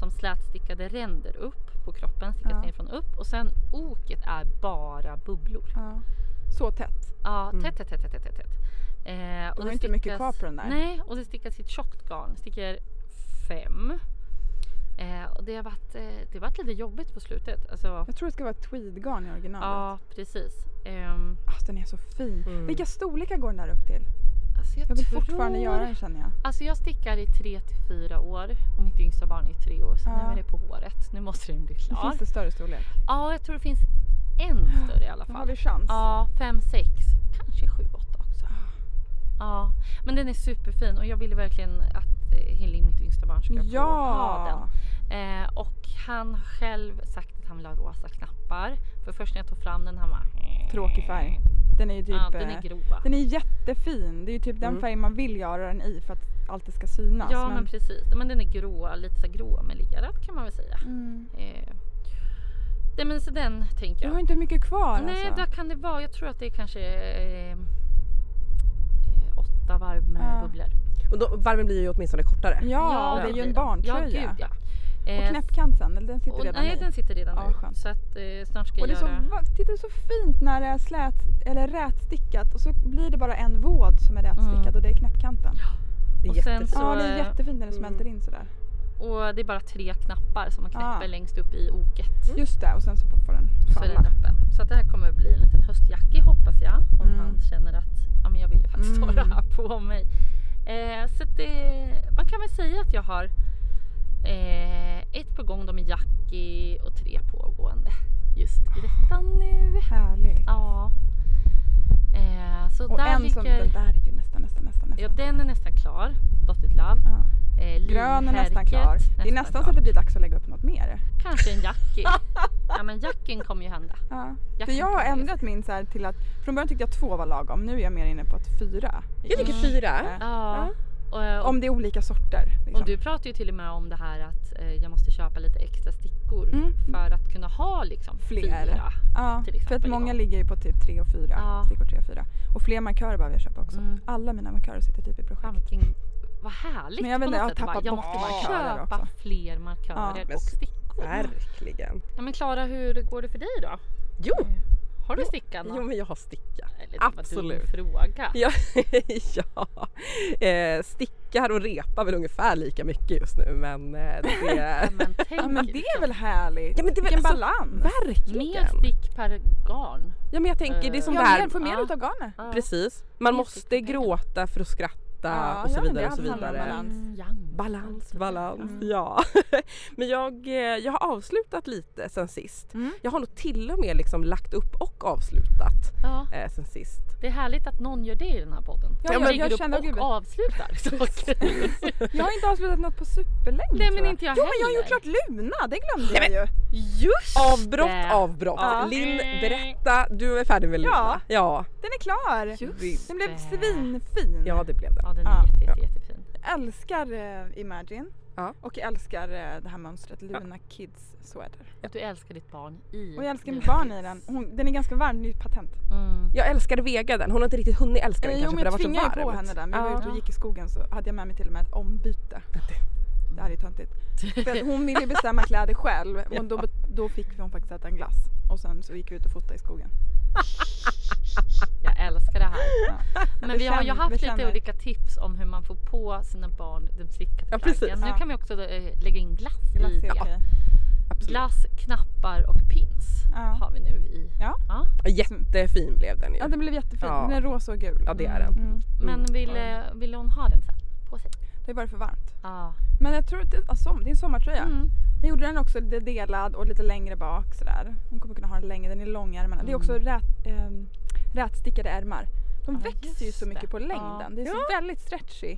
[SPEAKER 3] som slätstickade ränder upp på kroppen, stickas
[SPEAKER 2] Ja.
[SPEAKER 3] ner från upp och sen oket är bara bubblor.
[SPEAKER 2] Ja. Så tätt.
[SPEAKER 3] Ja,
[SPEAKER 1] Mm.
[SPEAKER 3] tätt, tätt, tätt, tätt, tätt, tätt. Eh,
[SPEAKER 2] Det var inte mycket kvar på den där.
[SPEAKER 3] Nej, och det stickas i ett tjockt garn, sticker fem. Eh, och det har, varit, eh, det har varit lite jobbigt på slutet. Alltså,
[SPEAKER 2] Jag tror det ska vara ett tweedgarn i originalet.
[SPEAKER 3] ja, precis. Ehm,
[SPEAKER 2] Alltså, den är så fin.
[SPEAKER 1] Mm.
[SPEAKER 2] Vilka storlekar går den där upp till?
[SPEAKER 3] alltså jag,
[SPEAKER 2] Jag vill
[SPEAKER 3] tror...
[SPEAKER 2] fortfarande göra den känner jag.
[SPEAKER 3] Alltså jag stickar i tre till fyra år och mitt yngsta barn är tre år så nu
[SPEAKER 2] Ja.
[SPEAKER 3] är det på håret. Nu måste den bli klar.
[SPEAKER 2] Finns det större storlek?
[SPEAKER 3] Ja, jag tror det finns en större i alla
[SPEAKER 2] Då har vi
[SPEAKER 3] fall.
[SPEAKER 2] chans.
[SPEAKER 3] Ja, fem, sex, kanske sju, åtta också. Ja, men den är superfin och jag ville verkligen att eh, Hilling, mitt yngsta barn, ska få ha den.
[SPEAKER 2] Ja!
[SPEAKER 3] Eh, och han har själv sagt att han vill ha rosa knappar. För först när jag tog fram den han bara...
[SPEAKER 2] Tråkig färg. Den är ju typ...
[SPEAKER 3] Ja, den är
[SPEAKER 2] eh,
[SPEAKER 3] grova.
[SPEAKER 2] den är jättefin. Det är ju typ den
[SPEAKER 1] Mm.
[SPEAKER 2] färgen man vill göra den i för att allt det ska synas.
[SPEAKER 3] ja men, precis. Men den är grå, lite så här gråmelerad kan man väl säga.
[SPEAKER 2] mm.
[SPEAKER 3] Eh, nej men så den tänker
[SPEAKER 2] Jag
[SPEAKER 3] jag.
[SPEAKER 2] har inte mycket kvar
[SPEAKER 3] Nej,
[SPEAKER 2] alltså.
[SPEAKER 3] vad kan det vara? Jag tror att det är kanske eh, eh, åtta varv med
[SPEAKER 2] Ja.
[SPEAKER 3] bubblor.
[SPEAKER 1] Och då, varven blir ju åtminstone kortare.
[SPEAKER 2] Ja, och det är ju
[SPEAKER 3] Ja,
[SPEAKER 2] en barntröja.
[SPEAKER 3] gud ja. Eh,
[SPEAKER 2] Och knäppkanten, eller den sitter
[SPEAKER 3] och,
[SPEAKER 2] redan
[SPEAKER 3] nej,
[SPEAKER 2] i.
[SPEAKER 3] den sitter redan
[SPEAKER 2] Ja,
[SPEAKER 3] nu.
[SPEAKER 2] skönt.
[SPEAKER 3] Så att eh, snart ska
[SPEAKER 2] Och
[SPEAKER 3] jag
[SPEAKER 2] det är så,
[SPEAKER 3] göra...
[SPEAKER 2] va- titta så fint när det är slät, eller rätstickat och så blir det bara en våd som är rätstickad
[SPEAKER 3] Mm.
[SPEAKER 2] och det är knäppkanten.
[SPEAKER 1] Det är
[SPEAKER 3] Och sen
[SPEAKER 1] jättefint.
[SPEAKER 3] så-
[SPEAKER 2] ja, det är
[SPEAKER 3] eh,
[SPEAKER 2] jättefint när det smälter
[SPEAKER 1] mm.
[SPEAKER 2] in sådär.
[SPEAKER 3] Och det är bara tre knappar som man
[SPEAKER 2] Ja.
[SPEAKER 3] knäpper längst upp i oket.
[SPEAKER 2] Just det, och sen så får den
[SPEAKER 3] Mm. Så är den
[SPEAKER 2] falla.
[SPEAKER 3] öppen. Så att det här kommer bli en liten höstjacka hoppas jag. Om
[SPEAKER 2] Mm.
[SPEAKER 3] han känner att ja, men jag ville faktiskt ha det
[SPEAKER 2] Mm.
[SPEAKER 3] här på mig. Eh, så att det, man kan väl säga att jag har eh, ett på gång, de är Jackie och tre pågående just i detta nu.
[SPEAKER 2] Härligt.
[SPEAKER 3] Ja. Eh, så
[SPEAKER 2] Och
[SPEAKER 3] där
[SPEAKER 2] en
[SPEAKER 3] ligger...
[SPEAKER 2] som, den där är ju nästan, nästan, nästan.
[SPEAKER 3] Ja,
[SPEAKER 2] nästan.
[SPEAKER 3] den är nästan klar. Dot it love.
[SPEAKER 2] Ja.
[SPEAKER 3] Eh,
[SPEAKER 2] Grön är nästan
[SPEAKER 3] linhärket,
[SPEAKER 2] klar. det är nästan så
[SPEAKER 3] klar.
[SPEAKER 2] att det blir dags att lägga upp något mer.
[SPEAKER 3] Kanske en
[SPEAKER 2] (laughs)
[SPEAKER 3] Jackie. ja men Jacken kommer ju hända.
[SPEAKER 2] Ja. För
[SPEAKER 3] Jacken
[SPEAKER 2] jag har
[SPEAKER 3] kommer ju-
[SPEAKER 2] ändrat min så här till att, från början tyckte jag två var lagom, nu är jag mer inne på att fyra. Eh,
[SPEAKER 1] Jag tycker
[SPEAKER 3] Mm.
[SPEAKER 1] fyra.
[SPEAKER 3] Ja. Och, och,
[SPEAKER 2] Om det är olika sorter. Liksom.
[SPEAKER 3] och du pratar ju till och med om det här att eh, jag måste köpa lite extra stickor
[SPEAKER 2] Mm.
[SPEAKER 3] för att kunna ha liksom
[SPEAKER 2] Fler.
[SPEAKER 3] fyra.
[SPEAKER 2] Ja,
[SPEAKER 3] till
[SPEAKER 2] för att
[SPEAKER 3] exempel
[SPEAKER 2] många
[SPEAKER 3] igång.
[SPEAKER 2] ligger ju på typ 3 och 4.
[SPEAKER 3] Ja.
[SPEAKER 2] Stickor 3 och 4. Och fler markörer behöver jag köpa också.
[SPEAKER 3] Mm.
[SPEAKER 2] Alla mina markörer sitter typ i projekt.
[SPEAKER 3] Fan vilken, vad härligt
[SPEAKER 2] Men jag vet
[SPEAKER 3] på något
[SPEAKER 2] inte, jag har
[SPEAKER 3] sätt att bara,
[SPEAKER 2] tappat
[SPEAKER 3] jag
[SPEAKER 2] bort
[SPEAKER 3] måste bara
[SPEAKER 2] markörer
[SPEAKER 3] köpa
[SPEAKER 2] också.
[SPEAKER 3] fler markörer
[SPEAKER 2] Ja,
[SPEAKER 1] men
[SPEAKER 3] och
[SPEAKER 1] s-
[SPEAKER 3] stickor.
[SPEAKER 1] Verkligen.
[SPEAKER 3] Ja, men Klara hur går det för dig då?
[SPEAKER 1] Jo,
[SPEAKER 3] Har du
[SPEAKER 1] Jo,
[SPEAKER 3] stickat något?
[SPEAKER 1] jo men jag har stickat.
[SPEAKER 3] Eller, det
[SPEAKER 1] absolut.
[SPEAKER 3] Var dum fråga.
[SPEAKER 1] Ja, (laughs) ja. Eh, stickar och repar väl ungefär lika mycket just nu men eh, det...
[SPEAKER 3] (laughs) Ja, men tänk
[SPEAKER 2] (laughs) Ja men det är väl härligt?
[SPEAKER 1] Ja, men det är väl-
[SPEAKER 2] Vilken
[SPEAKER 1] alltså,
[SPEAKER 2] balans!
[SPEAKER 3] Mer
[SPEAKER 1] Verkligen!
[SPEAKER 3] stick per garn.
[SPEAKER 1] Ja men jag tänker det är som
[SPEAKER 2] Ja,
[SPEAKER 1] det här.
[SPEAKER 2] mer, får mer
[SPEAKER 3] Ja.
[SPEAKER 2] utav
[SPEAKER 1] (laughs)
[SPEAKER 2] garnet.
[SPEAKER 3] Ja.
[SPEAKER 1] Precis. Man
[SPEAKER 3] Mer
[SPEAKER 1] måste
[SPEAKER 3] stickpengar.
[SPEAKER 1] gråta för att skratta
[SPEAKER 2] Ja,
[SPEAKER 1] och så
[SPEAKER 2] ja, men det
[SPEAKER 1] vidare och så
[SPEAKER 2] handlar om
[SPEAKER 1] vidare.
[SPEAKER 2] balans.
[SPEAKER 3] Yin, yang.
[SPEAKER 1] Balans, balans,
[SPEAKER 3] Mm.
[SPEAKER 1] ja. (laughs) Men jag, eh, jag har avslutat lite sen sist.
[SPEAKER 2] Mm.
[SPEAKER 1] Jag har nog till och med liksom lagt upp och avslutat
[SPEAKER 3] Ja,
[SPEAKER 1] eh, sen sist.
[SPEAKER 3] det är härligt att någon gör det i den här podden.
[SPEAKER 2] Ja,
[SPEAKER 3] jag
[SPEAKER 2] jag-
[SPEAKER 3] lägger
[SPEAKER 2] jag
[SPEAKER 3] upp
[SPEAKER 2] känner-
[SPEAKER 3] och
[SPEAKER 2] gud.
[SPEAKER 3] avslutar (laughs) saker.
[SPEAKER 2] (laughs) Jag har inte avslutat något på superlänge
[SPEAKER 3] Nej
[SPEAKER 2] tror
[SPEAKER 3] men inte jag
[SPEAKER 2] Jo
[SPEAKER 3] heller.
[SPEAKER 2] men jag har gjort klart Luna, det glömde jag ju.
[SPEAKER 3] Just
[SPEAKER 1] Avbrott,
[SPEAKER 3] det.
[SPEAKER 1] avbrott.
[SPEAKER 2] Ja.
[SPEAKER 1] Linn, berätta. Du är färdig med Luna.
[SPEAKER 2] Ja.
[SPEAKER 1] ja.
[SPEAKER 2] Den är klar!
[SPEAKER 1] Just
[SPEAKER 2] den blev
[SPEAKER 3] det.
[SPEAKER 2] svinfin.
[SPEAKER 1] Ja, det blev det.
[SPEAKER 3] Ja den är
[SPEAKER 2] Ja.
[SPEAKER 3] jätte, jätte, jättefin.
[SPEAKER 2] Jag älskar eh, Imagine
[SPEAKER 1] Ja.
[SPEAKER 2] och jag älskar eh, det här mönstret Luna Kids Sweater.
[SPEAKER 3] Och du älskar ditt barn i
[SPEAKER 2] Och jag älskar mitt
[SPEAKER 3] Luna
[SPEAKER 2] barn i
[SPEAKER 3] Kids.
[SPEAKER 2] den. Hon, den är ganska varm, ny patent.
[SPEAKER 3] Mm.
[SPEAKER 1] Jag älskade Vega den. Hon har inte riktigt hunnit älska den
[SPEAKER 2] Eh,
[SPEAKER 1] kanske för
[SPEAKER 2] jo, men
[SPEAKER 1] det
[SPEAKER 2] jag tvingade
[SPEAKER 1] var så
[SPEAKER 2] ju på
[SPEAKER 1] varmt.
[SPEAKER 2] henne den. Vi var
[SPEAKER 1] Ja.
[SPEAKER 2] ute och gick i skogen så hade jag med mig till och med ett ombyte. Det här är (laughs) töntigt. För att hon ville ju bestämma kläder själv och då, då fick hon faktiskt äta en glass. Och sen så gick vi ut och fotade i skogen.
[SPEAKER 3] Jag älskar det här.
[SPEAKER 2] Ja.
[SPEAKER 3] Men vi har ju
[SPEAKER 2] Bekänn-
[SPEAKER 3] haft lite
[SPEAKER 2] bekänner.
[SPEAKER 3] olika tips om hur man får på sina barn de stickade
[SPEAKER 1] Ja, precis.
[SPEAKER 3] plaggen. Nu
[SPEAKER 2] Ja.
[SPEAKER 3] kan vi också eh, lägga in glass,
[SPEAKER 2] Glass
[SPEAKER 3] i.
[SPEAKER 2] är okej.
[SPEAKER 1] Absolut.
[SPEAKER 3] Glass, knappar och pins
[SPEAKER 2] Ja.
[SPEAKER 3] har vi nu i.
[SPEAKER 2] Ja.
[SPEAKER 1] Jättefin blev den ju.
[SPEAKER 2] Ja den blev jättefin.
[SPEAKER 1] Ja.
[SPEAKER 2] Den är rosa och gul.
[SPEAKER 1] Ja det är den.
[SPEAKER 2] Mm.
[SPEAKER 3] Men
[SPEAKER 1] Mm.
[SPEAKER 3] ville, ville hon ha den sen på sig?
[SPEAKER 2] Det var för varmt.
[SPEAKER 3] Ja.
[SPEAKER 2] Men jag tror att det, alltså, det är en sommartröja.
[SPEAKER 3] Mm.
[SPEAKER 2] Jag gjorde den också lite delad och lite längre bak sådär. Hon kommer kunna ha den längre, den är långärmad. Det är också rät, ehm, rätstickade ärmar. De
[SPEAKER 3] Mm. Ja,
[SPEAKER 2] växer ju
[SPEAKER 3] just
[SPEAKER 2] så mycket
[SPEAKER 3] det.
[SPEAKER 2] på
[SPEAKER 3] Ja.
[SPEAKER 2] längden. Det är så väldigt stretchy.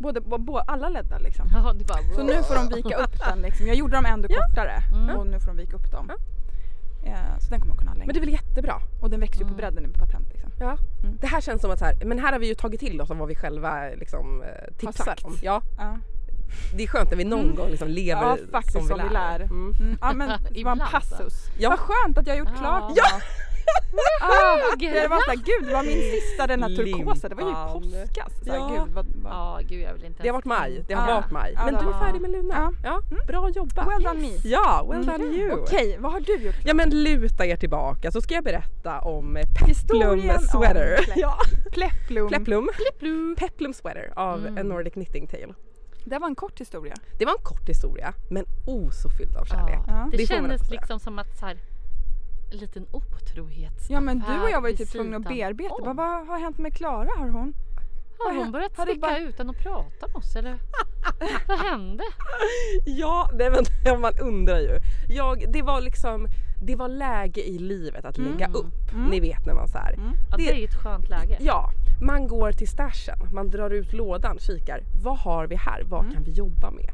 [SPEAKER 2] Både, bo, bo, alla leddar liksom.
[SPEAKER 3] (laughs) Ja, det bara,
[SPEAKER 2] Så nu
[SPEAKER 3] (laughs)
[SPEAKER 2] får de vika upp den liksom. Jag gjorde dem ändå kortare
[SPEAKER 3] Mm.
[SPEAKER 2] och nu får de vika upp dem.
[SPEAKER 1] Ja.
[SPEAKER 2] Eh, så den kommer kunna ha längre.
[SPEAKER 1] Men det är väl jättebra?
[SPEAKER 2] Och den växer ju på
[SPEAKER 3] Mm.
[SPEAKER 2] bredden i patent liksom.
[SPEAKER 1] Ja.
[SPEAKER 2] Mm.
[SPEAKER 1] Det här känns som att så här, men här har vi ju tagit till oss om vad vi själva liksom, eh, tipsar
[SPEAKER 2] sagt.
[SPEAKER 1] om. Ja,
[SPEAKER 2] Ja.
[SPEAKER 1] det är skönt när vi någon gång liksom lever
[SPEAKER 2] Ja, faktiskt, som vi lär.
[SPEAKER 1] Mm.
[SPEAKER 2] Mm,
[SPEAKER 3] (laughs)
[SPEAKER 2] ja men det var en
[SPEAKER 3] Ibland, alltså.
[SPEAKER 2] passus.
[SPEAKER 1] Ja.
[SPEAKER 2] Vad skönt att jag har gjort
[SPEAKER 3] Ja.
[SPEAKER 2] klart
[SPEAKER 3] Ja.
[SPEAKER 2] idag. Ah, det
[SPEAKER 3] grattis!
[SPEAKER 2] var såhär, gud det var min sista den här turkosa, det var ju
[SPEAKER 1] Limpan.
[SPEAKER 2] påskas. Såhär,
[SPEAKER 1] Ja.
[SPEAKER 2] Gud, vad, vad.
[SPEAKER 3] Ja, gud jag vill inte
[SPEAKER 1] Det har
[SPEAKER 3] ens
[SPEAKER 1] varit maj, det
[SPEAKER 3] tänka.
[SPEAKER 1] har
[SPEAKER 2] Ja.
[SPEAKER 1] varit maj.
[SPEAKER 2] Ja,
[SPEAKER 1] Men
[SPEAKER 2] det
[SPEAKER 1] du är
[SPEAKER 3] var-
[SPEAKER 1] färdig med Luna.
[SPEAKER 2] Ja.
[SPEAKER 1] Ja, bra jobbat!
[SPEAKER 2] Well done me. Mm.
[SPEAKER 1] Ja, well done you!
[SPEAKER 2] Okej, vad har du gjort?
[SPEAKER 1] Ja men luta er tillbaka så ska jag berätta om eh, Peplum
[SPEAKER 2] Historien om
[SPEAKER 1] Sweater.
[SPEAKER 2] Plepp-
[SPEAKER 1] (laughs) ja.
[SPEAKER 2] Pläpplum.
[SPEAKER 1] Pleplum. Peplum Sweater av A
[SPEAKER 2] Mm.
[SPEAKER 1] Nordic Knitting Tale.
[SPEAKER 2] Det var en kort historia.
[SPEAKER 1] Det var en kort historia men oh så fylld av kärlek.
[SPEAKER 2] Ja.
[SPEAKER 3] Det,
[SPEAKER 1] Det får man ändå
[SPEAKER 3] kändes
[SPEAKER 1] säga.
[SPEAKER 3] liksom som att så här, en liten otrohetsaffär
[SPEAKER 2] Ja men du och jag var ju
[SPEAKER 3] vid
[SPEAKER 2] typ tvungna att
[SPEAKER 3] sidan
[SPEAKER 2] bearbeta.
[SPEAKER 3] om.
[SPEAKER 2] Bara, vad har hänt med Klara? Har hon?
[SPEAKER 3] Har hon börjat
[SPEAKER 2] Har det
[SPEAKER 3] sticka
[SPEAKER 2] bara-
[SPEAKER 3] utan att prata med oss eller? (laughs) Vad hände?
[SPEAKER 1] Ja, nej, men, (laughs) man undrar ju. Jag, det var liksom, det var läge i livet att lägga upp. Ni vet när man så här.
[SPEAKER 3] Mm. Ja,
[SPEAKER 1] Det-
[SPEAKER 3] det är ju ett skönt läge.
[SPEAKER 1] Ja, man går till stashen, man drar ut lådan, kikar. Vad har vi här?
[SPEAKER 3] Mm.
[SPEAKER 1] Vad kan vi jobba med?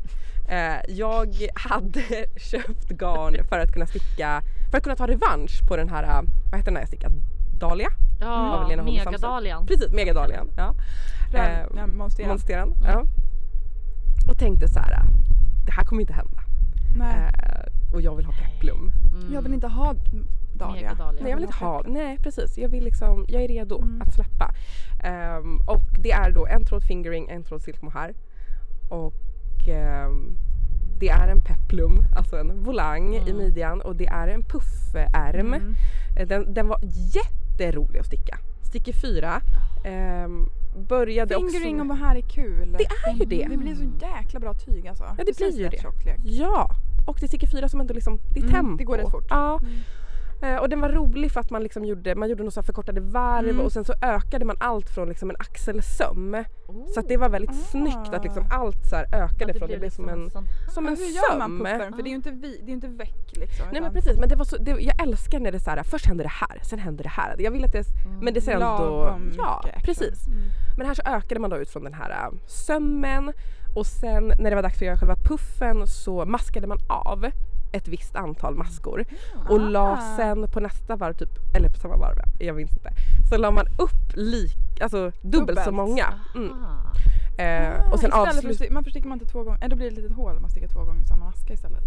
[SPEAKER 1] Eh, jag hade (laughs) köpt garn för att kunna sticka, för att kunna ta revansch på den här, eh, vad heter den här jag stickat? Dahlia? av
[SPEAKER 3] Ja,
[SPEAKER 1] Lena Holm Samson.
[SPEAKER 3] megadalian.
[SPEAKER 1] Precis, Megadalian. Ja.
[SPEAKER 2] Rör,
[SPEAKER 1] Eh,
[SPEAKER 2] ja, monstera.
[SPEAKER 1] Monsteren.
[SPEAKER 3] Mm.
[SPEAKER 1] Ja. Och tänkte så här, det här kommer inte hända.
[SPEAKER 2] Nej.
[SPEAKER 1] Eh, och jag vill ha Peplum.
[SPEAKER 3] Mm.
[SPEAKER 2] Jag vill inte ha Dahlia.
[SPEAKER 3] Megadalia.
[SPEAKER 1] Nej, jag vill inte ha,
[SPEAKER 2] Peplum.
[SPEAKER 1] nej precis, jag vill liksom, jag är redo
[SPEAKER 2] Mm.
[SPEAKER 1] att släppa. Ehm, och det är då en tråd fingering, en tråd silk mohair. Och ehm, det är en peplum, alltså en volang i
[SPEAKER 3] Mm.
[SPEAKER 1] midjan och det är en puffärm.
[SPEAKER 2] Mm.
[SPEAKER 1] Eh, Den, den var jätterolig att sticka. Sticker fyra. Ehm, började
[SPEAKER 2] Fingering Mm. och
[SPEAKER 1] också...
[SPEAKER 2] vad här är kul.
[SPEAKER 1] Det är ju det!
[SPEAKER 2] Det blir så jäkla bra tyg alltså.
[SPEAKER 1] det
[SPEAKER 2] Precis
[SPEAKER 1] blir ju
[SPEAKER 2] rätt liksom.
[SPEAKER 1] det.
[SPEAKER 2] tjocklek.
[SPEAKER 1] Ja! Och det sticker fyra som ändå liksom, det är
[SPEAKER 2] Mm,
[SPEAKER 1] tempo.
[SPEAKER 2] det går rätt fort.
[SPEAKER 1] Ja.
[SPEAKER 2] Mm.
[SPEAKER 1] Eh, Och den var rolig för att man liksom gjorde, man gjorde något så här förkortade varv
[SPEAKER 2] Mm.
[SPEAKER 1] och sen så ökade man allt från liksom en axelsöm.
[SPEAKER 3] Oh.
[SPEAKER 1] Så att det var väldigt
[SPEAKER 2] Ah.
[SPEAKER 1] snyggt att liksom allt så här ökade från, det blev som en,
[SPEAKER 3] sån
[SPEAKER 1] som
[SPEAKER 2] Men
[SPEAKER 1] en
[SPEAKER 2] liksom Alltså, hur gör man
[SPEAKER 1] söm.
[SPEAKER 2] puffaren? För det är ju inte, vi, det är ju inte väck liksom.
[SPEAKER 1] Nej men
[SPEAKER 2] utan
[SPEAKER 1] precis, men det var så, det, jag älskar när det är så här, först händer det här, sen händer det här. Jag vill att det, men det ser ändå,
[SPEAKER 2] Mm, lagom
[SPEAKER 1] ja
[SPEAKER 2] mycket action.
[SPEAKER 1] precis.
[SPEAKER 2] Mm.
[SPEAKER 1] Men här så ökade man då ut från den här äh, sömmen och sen när det var dags för att göra själva puffen så maskade man av ett visst antal maskor och la
[SPEAKER 2] Ah.
[SPEAKER 1] sen på nästa varv typ, eller på samma varv, jag minns inte. Så la man upp lik, alltså dubbelt så
[SPEAKER 2] Dubbelt.
[SPEAKER 1] många. Mm.
[SPEAKER 3] Ah.
[SPEAKER 1] Eh, och sen
[SPEAKER 2] Ah, istället för att
[SPEAKER 1] avslut...
[SPEAKER 2] sti- Man försticker man inte två gånger, eh, då blir det ett litet hål om man sticker två gånger i samma maska istället.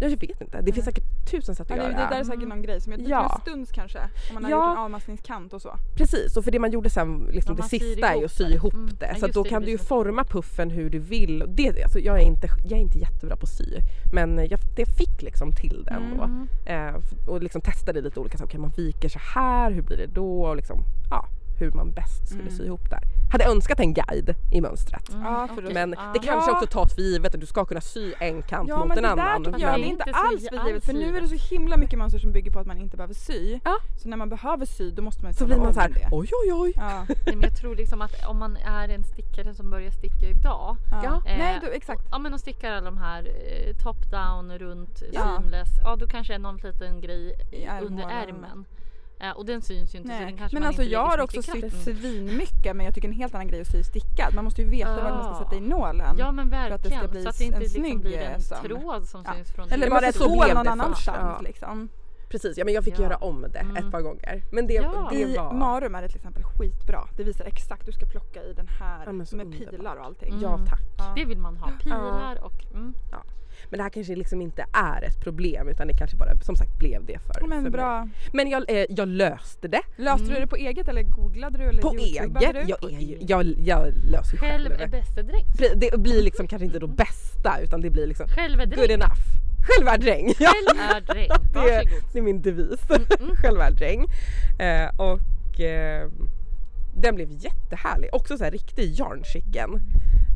[SPEAKER 1] Jag vet inte, det finns säkert tusen sätt
[SPEAKER 2] Mm. Ja,
[SPEAKER 1] att
[SPEAKER 2] det,
[SPEAKER 1] göra.
[SPEAKER 2] det där är säkert någon grej som jag tror
[SPEAKER 1] mm. Ja.
[SPEAKER 2] en stuns kanske. Om man har
[SPEAKER 1] Ja. Mm,
[SPEAKER 2] gjort en avmaskningskant och så.
[SPEAKER 1] Precis, och för det man gjorde sen, liksom
[SPEAKER 3] Ja,
[SPEAKER 1] det
[SPEAKER 3] man syr
[SPEAKER 1] sista är ju att sy
[SPEAKER 3] ihop
[SPEAKER 1] ihop
[SPEAKER 3] det. Mm.
[SPEAKER 1] det.
[SPEAKER 3] Ja,
[SPEAKER 1] Så att
[SPEAKER 3] just
[SPEAKER 1] då
[SPEAKER 3] det,
[SPEAKER 1] kan
[SPEAKER 3] det
[SPEAKER 1] du ju
[SPEAKER 3] visar-
[SPEAKER 1] forma puffen hur du vill. Och Det, alltså, jag, är inte, jag är inte jättebra på att sy, men jag, det fick liksom till det ändå.
[SPEAKER 3] Mm.
[SPEAKER 1] Eh, f- och liksom testade lite olika saker. Man viker så här, hur blir det då? Och liksom, ja, hur man bäst skulle
[SPEAKER 2] Mm.
[SPEAKER 1] sy ihop där. Hade önskat en guide i mönstret.
[SPEAKER 3] Mm,
[SPEAKER 2] Ja, för
[SPEAKER 3] okej.
[SPEAKER 1] Men
[SPEAKER 3] Ah.
[SPEAKER 1] det kanske
[SPEAKER 2] Ja.
[SPEAKER 1] också tas för givet att du ska kunna sy en kant
[SPEAKER 2] Ja
[SPEAKER 1] mot
[SPEAKER 2] men
[SPEAKER 1] en
[SPEAKER 2] det där
[SPEAKER 1] annan.
[SPEAKER 2] tycker
[SPEAKER 3] men-
[SPEAKER 2] jag, det är inte
[SPEAKER 3] Inte sy
[SPEAKER 2] alls för givet
[SPEAKER 3] alls
[SPEAKER 2] för nu är det
[SPEAKER 3] givet.
[SPEAKER 2] så himla mycket mönster som bygger på att man inte behöver sy.
[SPEAKER 1] Ja.
[SPEAKER 2] Så när man behöver sy då måste man ju
[SPEAKER 1] så
[SPEAKER 2] tala
[SPEAKER 1] blir man
[SPEAKER 2] om
[SPEAKER 1] så här,
[SPEAKER 2] det.
[SPEAKER 1] oj oj oj.
[SPEAKER 2] Ja,
[SPEAKER 3] Nej, men jag tror liksom att om man är en stickare som börjar sticka idag.
[SPEAKER 2] ja.
[SPEAKER 1] Ja.
[SPEAKER 3] eh,
[SPEAKER 2] Nej, du, exakt.
[SPEAKER 3] Ja men och stickar alla de här eh, top down, runt, eh,
[SPEAKER 2] Ja.
[SPEAKER 3] seamless. Ja då kanske är någon liten grej
[SPEAKER 2] I ärmhålan.
[SPEAKER 3] under ärmen. Eh, och den syns ju inte så den
[SPEAKER 2] Nej.
[SPEAKER 3] kanske
[SPEAKER 2] Men
[SPEAKER 3] man
[SPEAKER 2] alltså
[SPEAKER 3] inte
[SPEAKER 2] jag
[SPEAKER 3] lägger
[SPEAKER 2] har
[SPEAKER 3] så
[SPEAKER 2] också
[SPEAKER 3] mycket
[SPEAKER 2] sytt
[SPEAKER 3] kraft.
[SPEAKER 2] svinmycket men jag tycker en helt annan grej att sy stickad. Man måste ju veta var man ska
[SPEAKER 3] Ja.
[SPEAKER 2] sätta i nålen.
[SPEAKER 3] Mm. Ja men
[SPEAKER 2] att det ska
[SPEAKER 3] verkligen.
[SPEAKER 2] bli
[SPEAKER 3] så att det inte
[SPEAKER 2] en
[SPEAKER 3] liksom
[SPEAKER 2] snygg,
[SPEAKER 3] blir
[SPEAKER 2] eh,
[SPEAKER 3] en
[SPEAKER 2] söm.
[SPEAKER 3] tråd som
[SPEAKER 2] Ja.
[SPEAKER 3] syns från
[SPEAKER 2] Eller
[SPEAKER 1] Ja,
[SPEAKER 2] bara
[SPEAKER 1] men
[SPEAKER 2] ett
[SPEAKER 1] så
[SPEAKER 2] hål
[SPEAKER 1] blev det
[SPEAKER 2] någon
[SPEAKER 1] först.
[SPEAKER 2] annanstans
[SPEAKER 1] Ja.
[SPEAKER 2] liksom.
[SPEAKER 1] Precis, ja, men jag fick
[SPEAKER 3] Ja.
[SPEAKER 1] göra om det
[SPEAKER 3] Mm.
[SPEAKER 1] ett par gånger. Men det,
[SPEAKER 3] Ja.
[SPEAKER 1] det
[SPEAKER 2] I
[SPEAKER 1] var...
[SPEAKER 2] Marum är det till exempel skitbra. Det visar exakt, du ska plocka i den här
[SPEAKER 1] Ja, men
[SPEAKER 2] med
[SPEAKER 1] så underbart.
[SPEAKER 2] pilar och allting.
[SPEAKER 3] Mm.
[SPEAKER 1] Ja tack.
[SPEAKER 2] Ja.
[SPEAKER 3] Det vill man ha. Pilar och... Mm.
[SPEAKER 1] Men det här kanske liksom inte är ett problem utan det kanske bara som sagt blev det för,
[SPEAKER 2] Ja,
[SPEAKER 1] för
[SPEAKER 2] Men
[SPEAKER 1] mig.
[SPEAKER 2] bra.
[SPEAKER 1] Men jag, eh, jag löste det
[SPEAKER 2] Löste du
[SPEAKER 3] Mm.
[SPEAKER 2] det på eget eller googlade du? Eller
[SPEAKER 1] på
[SPEAKER 2] youtubade
[SPEAKER 1] eget.
[SPEAKER 2] du?
[SPEAKER 1] Jag, är ju, jag, jag löser själv.
[SPEAKER 3] Själv är
[SPEAKER 1] själv.
[SPEAKER 3] bäste dräng.
[SPEAKER 1] Pre- Det blir liksom kanske inte det bästa utan det blir liksom
[SPEAKER 3] Själv är
[SPEAKER 1] good
[SPEAKER 3] dräng.
[SPEAKER 1] enough. Själv är dräng! (laughs) Ja,
[SPEAKER 3] Själv är dräng.
[SPEAKER 1] (laughs) det, är,
[SPEAKER 3] Varsågod.
[SPEAKER 1] det är min devis. (laughs)
[SPEAKER 3] Mm.
[SPEAKER 1] Själv är dräng. Eh, och eh, den blev jättehärlig. Också så här riktig yarnchicken.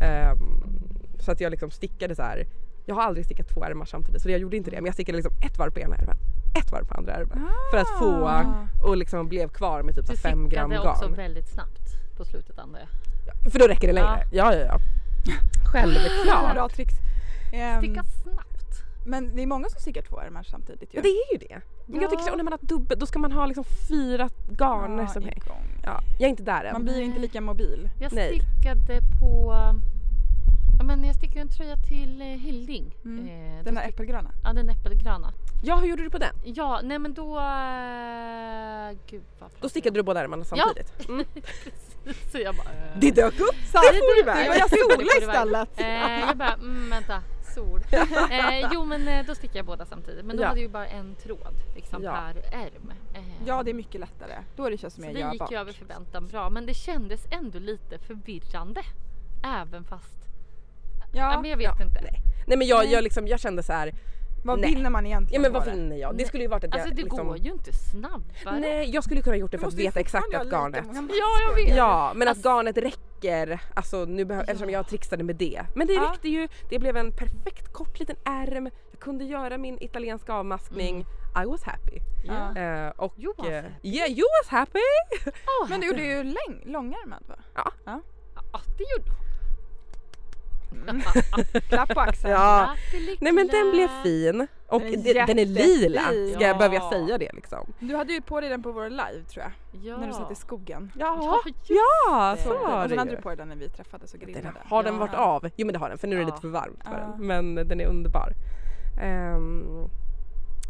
[SPEAKER 1] Ehm, så att jag liksom stickade så här. Jag har aldrig stickat två ärmar samtidigt så jag gjorde inte det. Men jag stickade liksom ett varv på ena ärmen, ett varv på andra ärmen. För att få
[SPEAKER 2] Ah.
[SPEAKER 1] och liksom blev kvar med typ så
[SPEAKER 3] Du
[SPEAKER 1] här fem gram
[SPEAKER 3] sickade också
[SPEAKER 1] garn.
[SPEAKER 3] väldigt snabbt på slutet antar jag.
[SPEAKER 1] För då räcker det längre. Ja, ja, ja. Självklart.
[SPEAKER 2] Bra tricks. Ehm,
[SPEAKER 3] Sticka snabbt.
[SPEAKER 2] men det är många som stickar två ärmar samtidigt ju.
[SPEAKER 1] Ja, det är ju det. Men jag tycker så,
[SPEAKER 3] Ja.
[SPEAKER 1] och när man har dubbel, då ska man ha liksom fyra garner
[SPEAKER 2] Ja,
[SPEAKER 1] som hänger.
[SPEAKER 2] igång.
[SPEAKER 1] Ja, jag är inte där än.
[SPEAKER 2] Man blir inte lika mobil.
[SPEAKER 3] Jag
[SPEAKER 1] Nej.
[SPEAKER 3] stickade på... Ja, men jag stickade en tröja till eh, Hilding.
[SPEAKER 2] Mm.
[SPEAKER 3] Eh, då
[SPEAKER 2] Den där
[SPEAKER 3] stick-
[SPEAKER 2] äppelgröna.
[SPEAKER 3] Ja, den äppelgröna.
[SPEAKER 1] Ja, hur gjorde du på den?
[SPEAKER 3] Ja, nej men då... eh, Gud vad
[SPEAKER 1] Då stickade du båda ärmarna samtidigt. Mm.
[SPEAKER 3] (laughs) Så jag bara... eh.
[SPEAKER 1] Det dök upp!
[SPEAKER 2] Så,
[SPEAKER 1] Det får du iväg!
[SPEAKER 3] Ja,
[SPEAKER 2] börjar
[SPEAKER 3] jag tror det
[SPEAKER 2] sola
[SPEAKER 3] får du iväg.
[SPEAKER 2] istället.
[SPEAKER 3] Eh, jag bara, mm, vänta,
[SPEAKER 1] (laughs)
[SPEAKER 3] sol. Eh, jo men eh, då stickar jag båda samtidigt. Men då
[SPEAKER 1] Ja.
[SPEAKER 3] hade jag ju bara en tråd liksom,
[SPEAKER 1] Ja.
[SPEAKER 3] per ärm. Eh,
[SPEAKER 2] Ja det är mycket lättare. Då är det känns som
[SPEAKER 3] så
[SPEAKER 2] jag
[SPEAKER 3] det
[SPEAKER 2] gör
[SPEAKER 3] gick ju
[SPEAKER 2] bak.
[SPEAKER 3] över förväntan bra. Men det kändes ändå lite förvirrande. Även fast... Ja,
[SPEAKER 2] Ja,
[SPEAKER 3] men jag vet inte.
[SPEAKER 1] Nej. Nej men jag, jag, liksom, jag kände så här,
[SPEAKER 2] vad
[SPEAKER 1] nej.
[SPEAKER 2] vinner man
[SPEAKER 1] ja
[SPEAKER 2] egentligen
[SPEAKER 1] men
[SPEAKER 2] på
[SPEAKER 1] vad
[SPEAKER 2] det?
[SPEAKER 1] vinner jag? Det
[SPEAKER 3] Nej.
[SPEAKER 1] skulle ju varit att jag
[SPEAKER 3] Alltså det
[SPEAKER 1] liksom,
[SPEAKER 3] går ju inte snabbare.
[SPEAKER 1] Nej jag skulle kunna gjort det
[SPEAKER 2] Du
[SPEAKER 1] för att
[SPEAKER 2] måste ju
[SPEAKER 1] veta exakt att
[SPEAKER 2] Alltså, fortfarande ha lite
[SPEAKER 1] garnet...
[SPEAKER 2] många
[SPEAKER 3] Ja, jag vet.
[SPEAKER 1] Ja men att
[SPEAKER 3] Alltså-
[SPEAKER 1] garnet räcker, alltså nu behö- eftersom jag trixade med det. Men det
[SPEAKER 2] Ja.
[SPEAKER 1] räckte ju, det blev en perfekt kort liten ärm, jag kunde göra min italienska avmaskning. I was happy.
[SPEAKER 3] Ja.
[SPEAKER 1] Eh, och,
[SPEAKER 3] You was
[SPEAKER 1] eh,
[SPEAKER 3] happy.
[SPEAKER 1] Yeah, you was happy!
[SPEAKER 3] Åh,
[SPEAKER 2] Men du gjorde ju läng- långärmad
[SPEAKER 1] (laughs)
[SPEAKER 2] va?
[SPEAKER 3] Ja, det gjorde (laughs) hon.
[SPEAKER 2] Klapp på axeln.
[SPEAKER 1] Mm. Ja.
[SPEAKER 3] Grattis,
[SPEAKER 1] Nej men den blev
[SPEAKER 3] Clara.
[SPEAKER 1] fin och
[SPEAKER 2] Den är
[SPEAKER 1] den är, den är lila,
[SPEAKER 2] jättefin.
[SPEAKER 1] ska jag, behöver jag
[SPEAKER 3] Ja.
[SPEAKER 1] säga det liksom?
[SPEAKER 2] Du hade ju på dig den på vår live tror jag.
[SPEAKER 3] Ja.
[SPEAKER 2] När du satt i skogen.
[SPEAKER 1] Ja,
[SPEAKER 3] just
[SPEAKER 1] ja
[SPEAKER 3] det.
[SPEAKER 1] så var
[SPEAKER 2] Eh, och
[SPEAKER 1] det
[SPEAKER 2] sen hade
[SPEAKER 1] ju.
[SPEAKER 2] du på dig den när vi träffades och grillade.
[SPEAKER 1] Den, har den
[SPEAKER 3] Ja.
[SPEAKER 1] varit av? Jo men det har den för nu är det
[SPEAKER 3] Ja.
[SPEAKER 1] lite för varmt för
[SPEAKER 2] Ja.
[SPEAKER 1] den. Men den är underbar. Ehm, Um,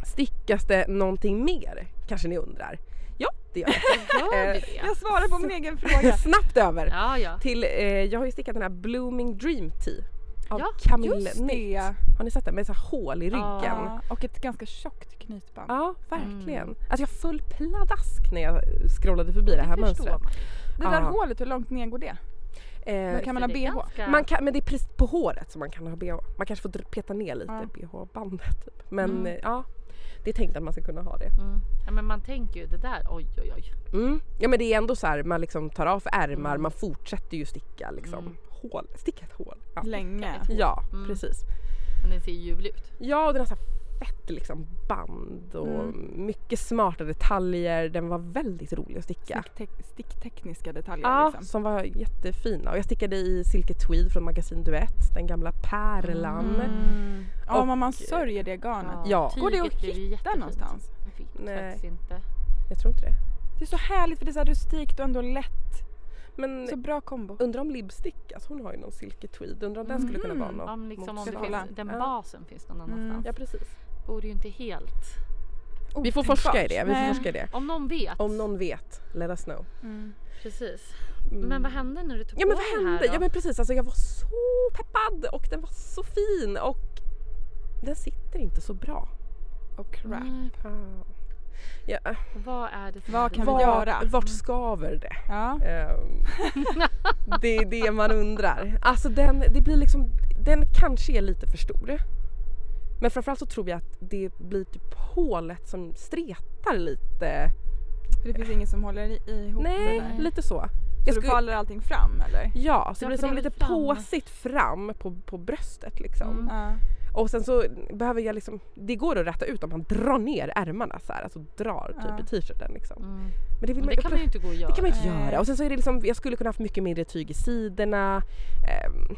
[SPEAKER 1] stickas det någonting mer? Kanske ni undrar. Ja, det gör jag.
[SPEAKER 3] Gör du
[SPEAKER 1] Eh,
[SPEAKER 3] det?
[SPEAKER 2] Jag svarar på min
[SPEAKER 1] (laughs)
[SPEAKER 2] egen fråga.
[SPEAKER 1] Snabbt över!
[SPEAKER 3] Ja, ja.
[SPEAKER 1] Till, eh, jag har ju stickat den här Blooming Dream Tea av
[SPEAKER 3] Ja,
[SPEAKER 1] Camille
[SPEAKER 2] Just
[SPEAKER 1] Nate.
[SPEAKER 2] det.
[SPEAKER 1] Har ni sett den? Med så här hål i ryggen. Ja,
[SPEAKER 2] Ja, och ett ganska tjockt knytband.
[SPEAKER 1] verkligen.
[SPEAKER 3] Mm.
[SPEAKER 1] Alltså jag föll pladask när jag scrollade förbi det, här
[SPEAKER 3] förstår
[SPEAKER 1] mönstret.
[SPEAKER 3] man.
[SPEAKER 2] Det där
[SPEAKER 1] Ja.
[SPEAKER 2] hålet, hur långt ner går det?
[SPEAKER 1] Eh,
[SPEAKER 2] Då kan man ha
[SPEAKER 3] Så det är
[SPEAKER 2] bh.
[SPEAKER 3] ganska-
[SPEAKER 1] man kan, men det är precis på håret som man kan ha bh. Man kanske får dr- peta ner lite
[SPEAKER 2] Ja.
[SPEAKER 1] bh-bandet. Typ. Men
[SPEAKER 3] Mm.
[SPEAKER 1] eh, ja, det är tänkt att man ska kunna ha det.
[SPEAKER 3] Mm. Ja, men man tänker ju det där, oj oj oj.
[SPEAKER 1] Mm. Ja men det är ändå så här, man liksom tar av ärmar,
[SPEAKER 3] Mm.
[SPEAKER 1] man fortsätter ju sticka liksom.
[SPEAKER 3] Mm.
[SPEAKER 1] Hål, sticka ett hål. Ja,
[SPEAKER 2] Länge.
[SPEAKER 1] ja
[SPEAKER 3] Mm.
[SPEAKER 1] precis.
[SPEAKER 3] Men det ser ju ljuvlig ut.
[SPEAKER 1] Ja, och den har så här fett liksom band och
[SPEAKER 2] Mm.
[SPEAKER 1] mycket smarta detaljer. Den var väldigt rolig att sticka.
[SPEAKER 2] Sticktek- Sticktekniska detaljer
[SPEAKER 1] Ja,
[SPEAKER 2] liksom.
[SPEAKER 1] som var jättefina. Och jag stickade i silke tweed från magasin Duett, den gamla pärlan.
[SPEAKER 2] Mm. Ja,
[SPEAKER 1] Och-
[SPEAKER 2] men man sörjer det garnet.
[SPEAKER 1] Ja.
[SPEAKER 2] Går det
[SPEAKER 3] tyget
[SPEAKER 2] att
[SPEAKER 3] blir ju
[SPEAKER 2] hitta
[SPEAKER 3] jättefint.
[SPEAKER 2] någonstans?
[SPEAKER 3] Jag vet
[SPEAKER 1] Nej.
[SPEAKER 3] faktiskt inte.
[SPEAKER 1] Jag tror inte det.
[SPEAKER 2] Det är så härligt för det är så här rustikt och ändå lätt.
[SPEAKER 1] Men
[SPEAKER 2] Så bra kombo.
[SPEAKER 1] undrar om Lipstick, alltså hon har ju någon silke tweed, undrar om den skulle kunna vara
[SPEAKER 2] Mhm.
[SPEAKER 1] något
[SPEAKER 3] Om, liksom, om det
[SPEAKER 1] motsvarande.
[SPEAKER 3] finns, den
[SPEAKER 1] Ja.
[SPEAKER 3] basen finns någon
[SPEAKER 2] Mm.
[SPEAKER 3] annanstans.
[SPEAKER 1] Ja precis.
[SPEAKER 3] Borde ju inte helt...
[SPEAKER 1] Vi får forska i det. Vi får
[SPEAKER 2] Nej.
[SPEAKER 1] forska i det.
[SPEAKER 3] Om någon vet.
[SPEAKER 1] Om någon vet, let us know.
[SPEAKER 2] Mm.
[SPEAKER 3] Precis.
[SPEAKER 1] Mm.
[SPEAKER 3] Men vad hände när du tog
[SPEAKER 1] Ja
[SPEAKER 3] på
[SPEAKER 1] men vad
[SPEAKER 3] den här
[SPEAKER 1] hände?
[SPEAKER 3] då?
[SPEAKER 1] Ja men precis, alltså jag var så peppad och den var så fin och den sitter inte så bra. Ah.
[SPEAKER 2] Och crap.
[SPEAKER 3] Nej,
[SPEAKER 1] Ja, äh,
[SPEAKER 3] Mm. Vad är det som
[SPEAKER 2] Vad
[SPEAKER 3] händer
[SPEAKER 2] kan vi
[SPEAKER 3] nu?
[SPEAKER 1] vart-
[SPEAKER 2] göra?
[SPEAKER 1] Vart skaver det?
[SPEAKER 2] Ja.
[SPEAKER 1] Ehm, det är det man undrar. Alltså den, det blir liksom, den kanske är lite för stor. Men framförallt så tror jag att det blir typ hålet som stretar lite.
[SPEAKER 2] För det finns ingen som håller i, ihop
[SPEAKER 1] Mm. Nej,
[SPEAKER 2] det där.
[SPEAKER 1] lite så.
[SPEAKER 2] Så
[SPEAKER 1] Jag
[SPEAKER 2] då
[SPEAKER 1] skulle-
[SPEAKER 2] faller allting fram eller?
[SPEAKER 1] Ja, så det
[SPEAKER 3] Ja,
[SPEAKER 1] blir
[SPEAKER 3] för det
[SPEAKER 1] som
[SPEAKER 3] är
[SPEAKER 1] lite
[SPEAKER 3] väl fram.
[SPEAKER 1] påsigt fram på, på bröstet liksom.
[SPEAKER 3] Mm.
[SPEAKER 2] Ja.
[SPEAKER 1] Och sen så behöver jag liksom, det går att rätta ut om man drar ner ärmarna så här, alltså drar
[SPEAKER 2] Ja.
[SPEAKER 1] typ i t-shirten liksom.
[SPEAKER 3] Mm.
[SPEAKER 1] Men det, vill
[SPEAKER 3] Men
[SPEAKER 1] man,
[SPEAKER 3] det kan man ju inte gå och göra.
[SPEAKER 1] det kan man ju inte
[SPEAKER 2] Nej.
[SPEAKER 1] göra. Och sen så är det liksom, jag skulle kunna haft mycket mindre tyg i sidorna. Ehm,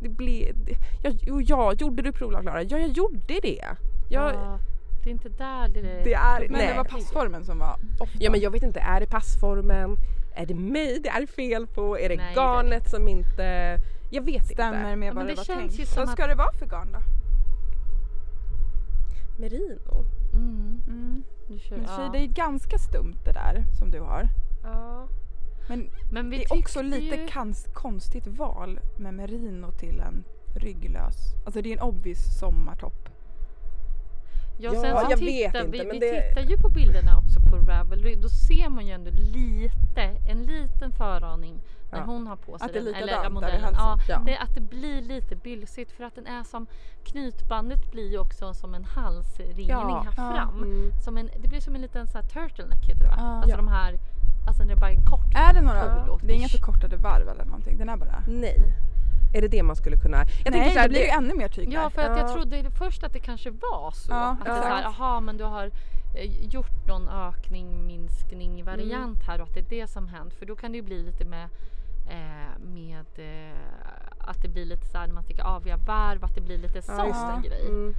[SPEAKER 1] det blev, det, jag, jo, ja, gjorde du provlag Klara? Ja, jag gjorde det. Jag,
[SPEAKER 3] Ja, det är inte där det är...
[SPEAKER 1] Det är,
[SPEAKER 2] Men
[SPEAKER 1] nej.
[SPEAKER 2] det var passformen som var off
[SPEAKER 1] Ja men jag vet inte, är det passformen? Är det mig det är fel på? Är det
[SPEAKER 3] Nej, det är
[SPEAKER 1] garnet som inte... Jag vet inte.
[SPEAKER 2] Stämmer med
[SPEAKER 3] Ja,
[SPEAKER 2] vad
[SPEAKER 3] men
[SPEAKER 2] det,
[SPEAKER 3] det
[SPEAKER 2] var
[SPEAKER 3] känns
[SPEAKER 2] tänkt.
[SPEAKER 3] ju som
[SPEAKER 2] Vad ska det vara för garn då?
[SPEAKER 1] Merino?
[SPEAKER 3] Mm,
[SPEAKER 2] Mm.
[SPEAKER 3] du kör,
[SPEAKER 2] Men
[SPEAKER 3] ja.
[SPEAKER 2] tjej, det är ganska stumt det där som du har.
[SPEAKER 1] Ja.
[SPEAKER 2] Men
[SPEAKER 3] Men vi
[SPEAKER 2] det är också
[SPEAKER 3] tyckte
[SPEAKER 2] lite
[SPEAKER 3] ju...
[SPEAKER 2] kans- konstigt val med merino till en rygglös. Alltså det är en obvious sommartopp.
[SPEAKER 3] Ja,
[SPEAKER 1] Ja,
[SPEAKER 3] sen så
[SPEAKER 1] jag
[SPEAKER 3] tittar,
[SPEAKER 1] vet
[SPEAKER 3] vi,
[SPEAKER 1] inte, men
[SPEAKER 3] vi
[SPEAKER 1] det-
[SPEAKER 3] tittar ju på bilderna också på Ravelry. Då ser man ju ändå lite, en liten föraning när
[SPEAKER 1] Ja.
[SPEAKER 3] hon har på sig
[SPEAKER 2] Att det är
[SPEAKER 3] den.
[SPEAKER 2] likadant där i
[SPEAKER 3] modellen.
[SPEAKER 2] halsen.
[SPEAKER 3] Ja,
[SPEAKER 1] Ja.
[SPEAKER 3] det, att det blir lite bylsigt för att den är som knytbandet blir ju också som en halsringning
[SPEAKER 1] Ja.
[SPEAKER 3] här
[SPEAKER 2] Ja.
[SPEAKER 3] fram.
[SPEAKER 1] Mm.
[SPEAKER 3] Som en, det blir som en liten så här turtleneck heter det va?
[SPEAKER 2] Ja.
[SPEAKER 3] Alltså
[SPEAKER 1] Ja.
[SPEAKER 3] de här, alltså när det bara är en kort.
[SPEAKER 2] Är det några,
[SPEAKER 3] Ja.
[SPEAKER 2] det är inga förkortade varv eller någonting? Den är bara...
[SPEAKER 1] Nej. Är det det man skulle kunna... Jag
[SPEAKER 2] Nej,
[SPEAKER 1] tänker Mm. så
[SPEAKER 2] det
[SPEAKER 1] här,
[SPEAKER 2] blir ju
[SPEAKER 1] det,
[SPEAKER 2] ännu mer tyg
[SPEAKER 3] Ja
[SPEAKER 2] där.
[SPEAKER 3] för att jag
[SPEAKER 1] Ja.
[SPEAKER 3] trodde först att det kanske var så.
[SPEAKER 2] Ja,
[SPEAKER 3] att det är
[SPEAKER 1] exakt.
[SPEAKER 3] så här, aha men du har eh, gjort någon ökning,
[SPEAKER 1] Mm.
[SPEAKER 3] minskning, variant här och att det är det som hänt. För då kan det ju bli lite med, eh, med eh, att det blir lite så här när man sticker aviga varv, att det blir lite
[SPEAKER 1] Ja,
[SPEAKER 3] sån
[SPEAKER 2] just det.
[SPEAKER 3] grej.
[SPEAKER 1] mm,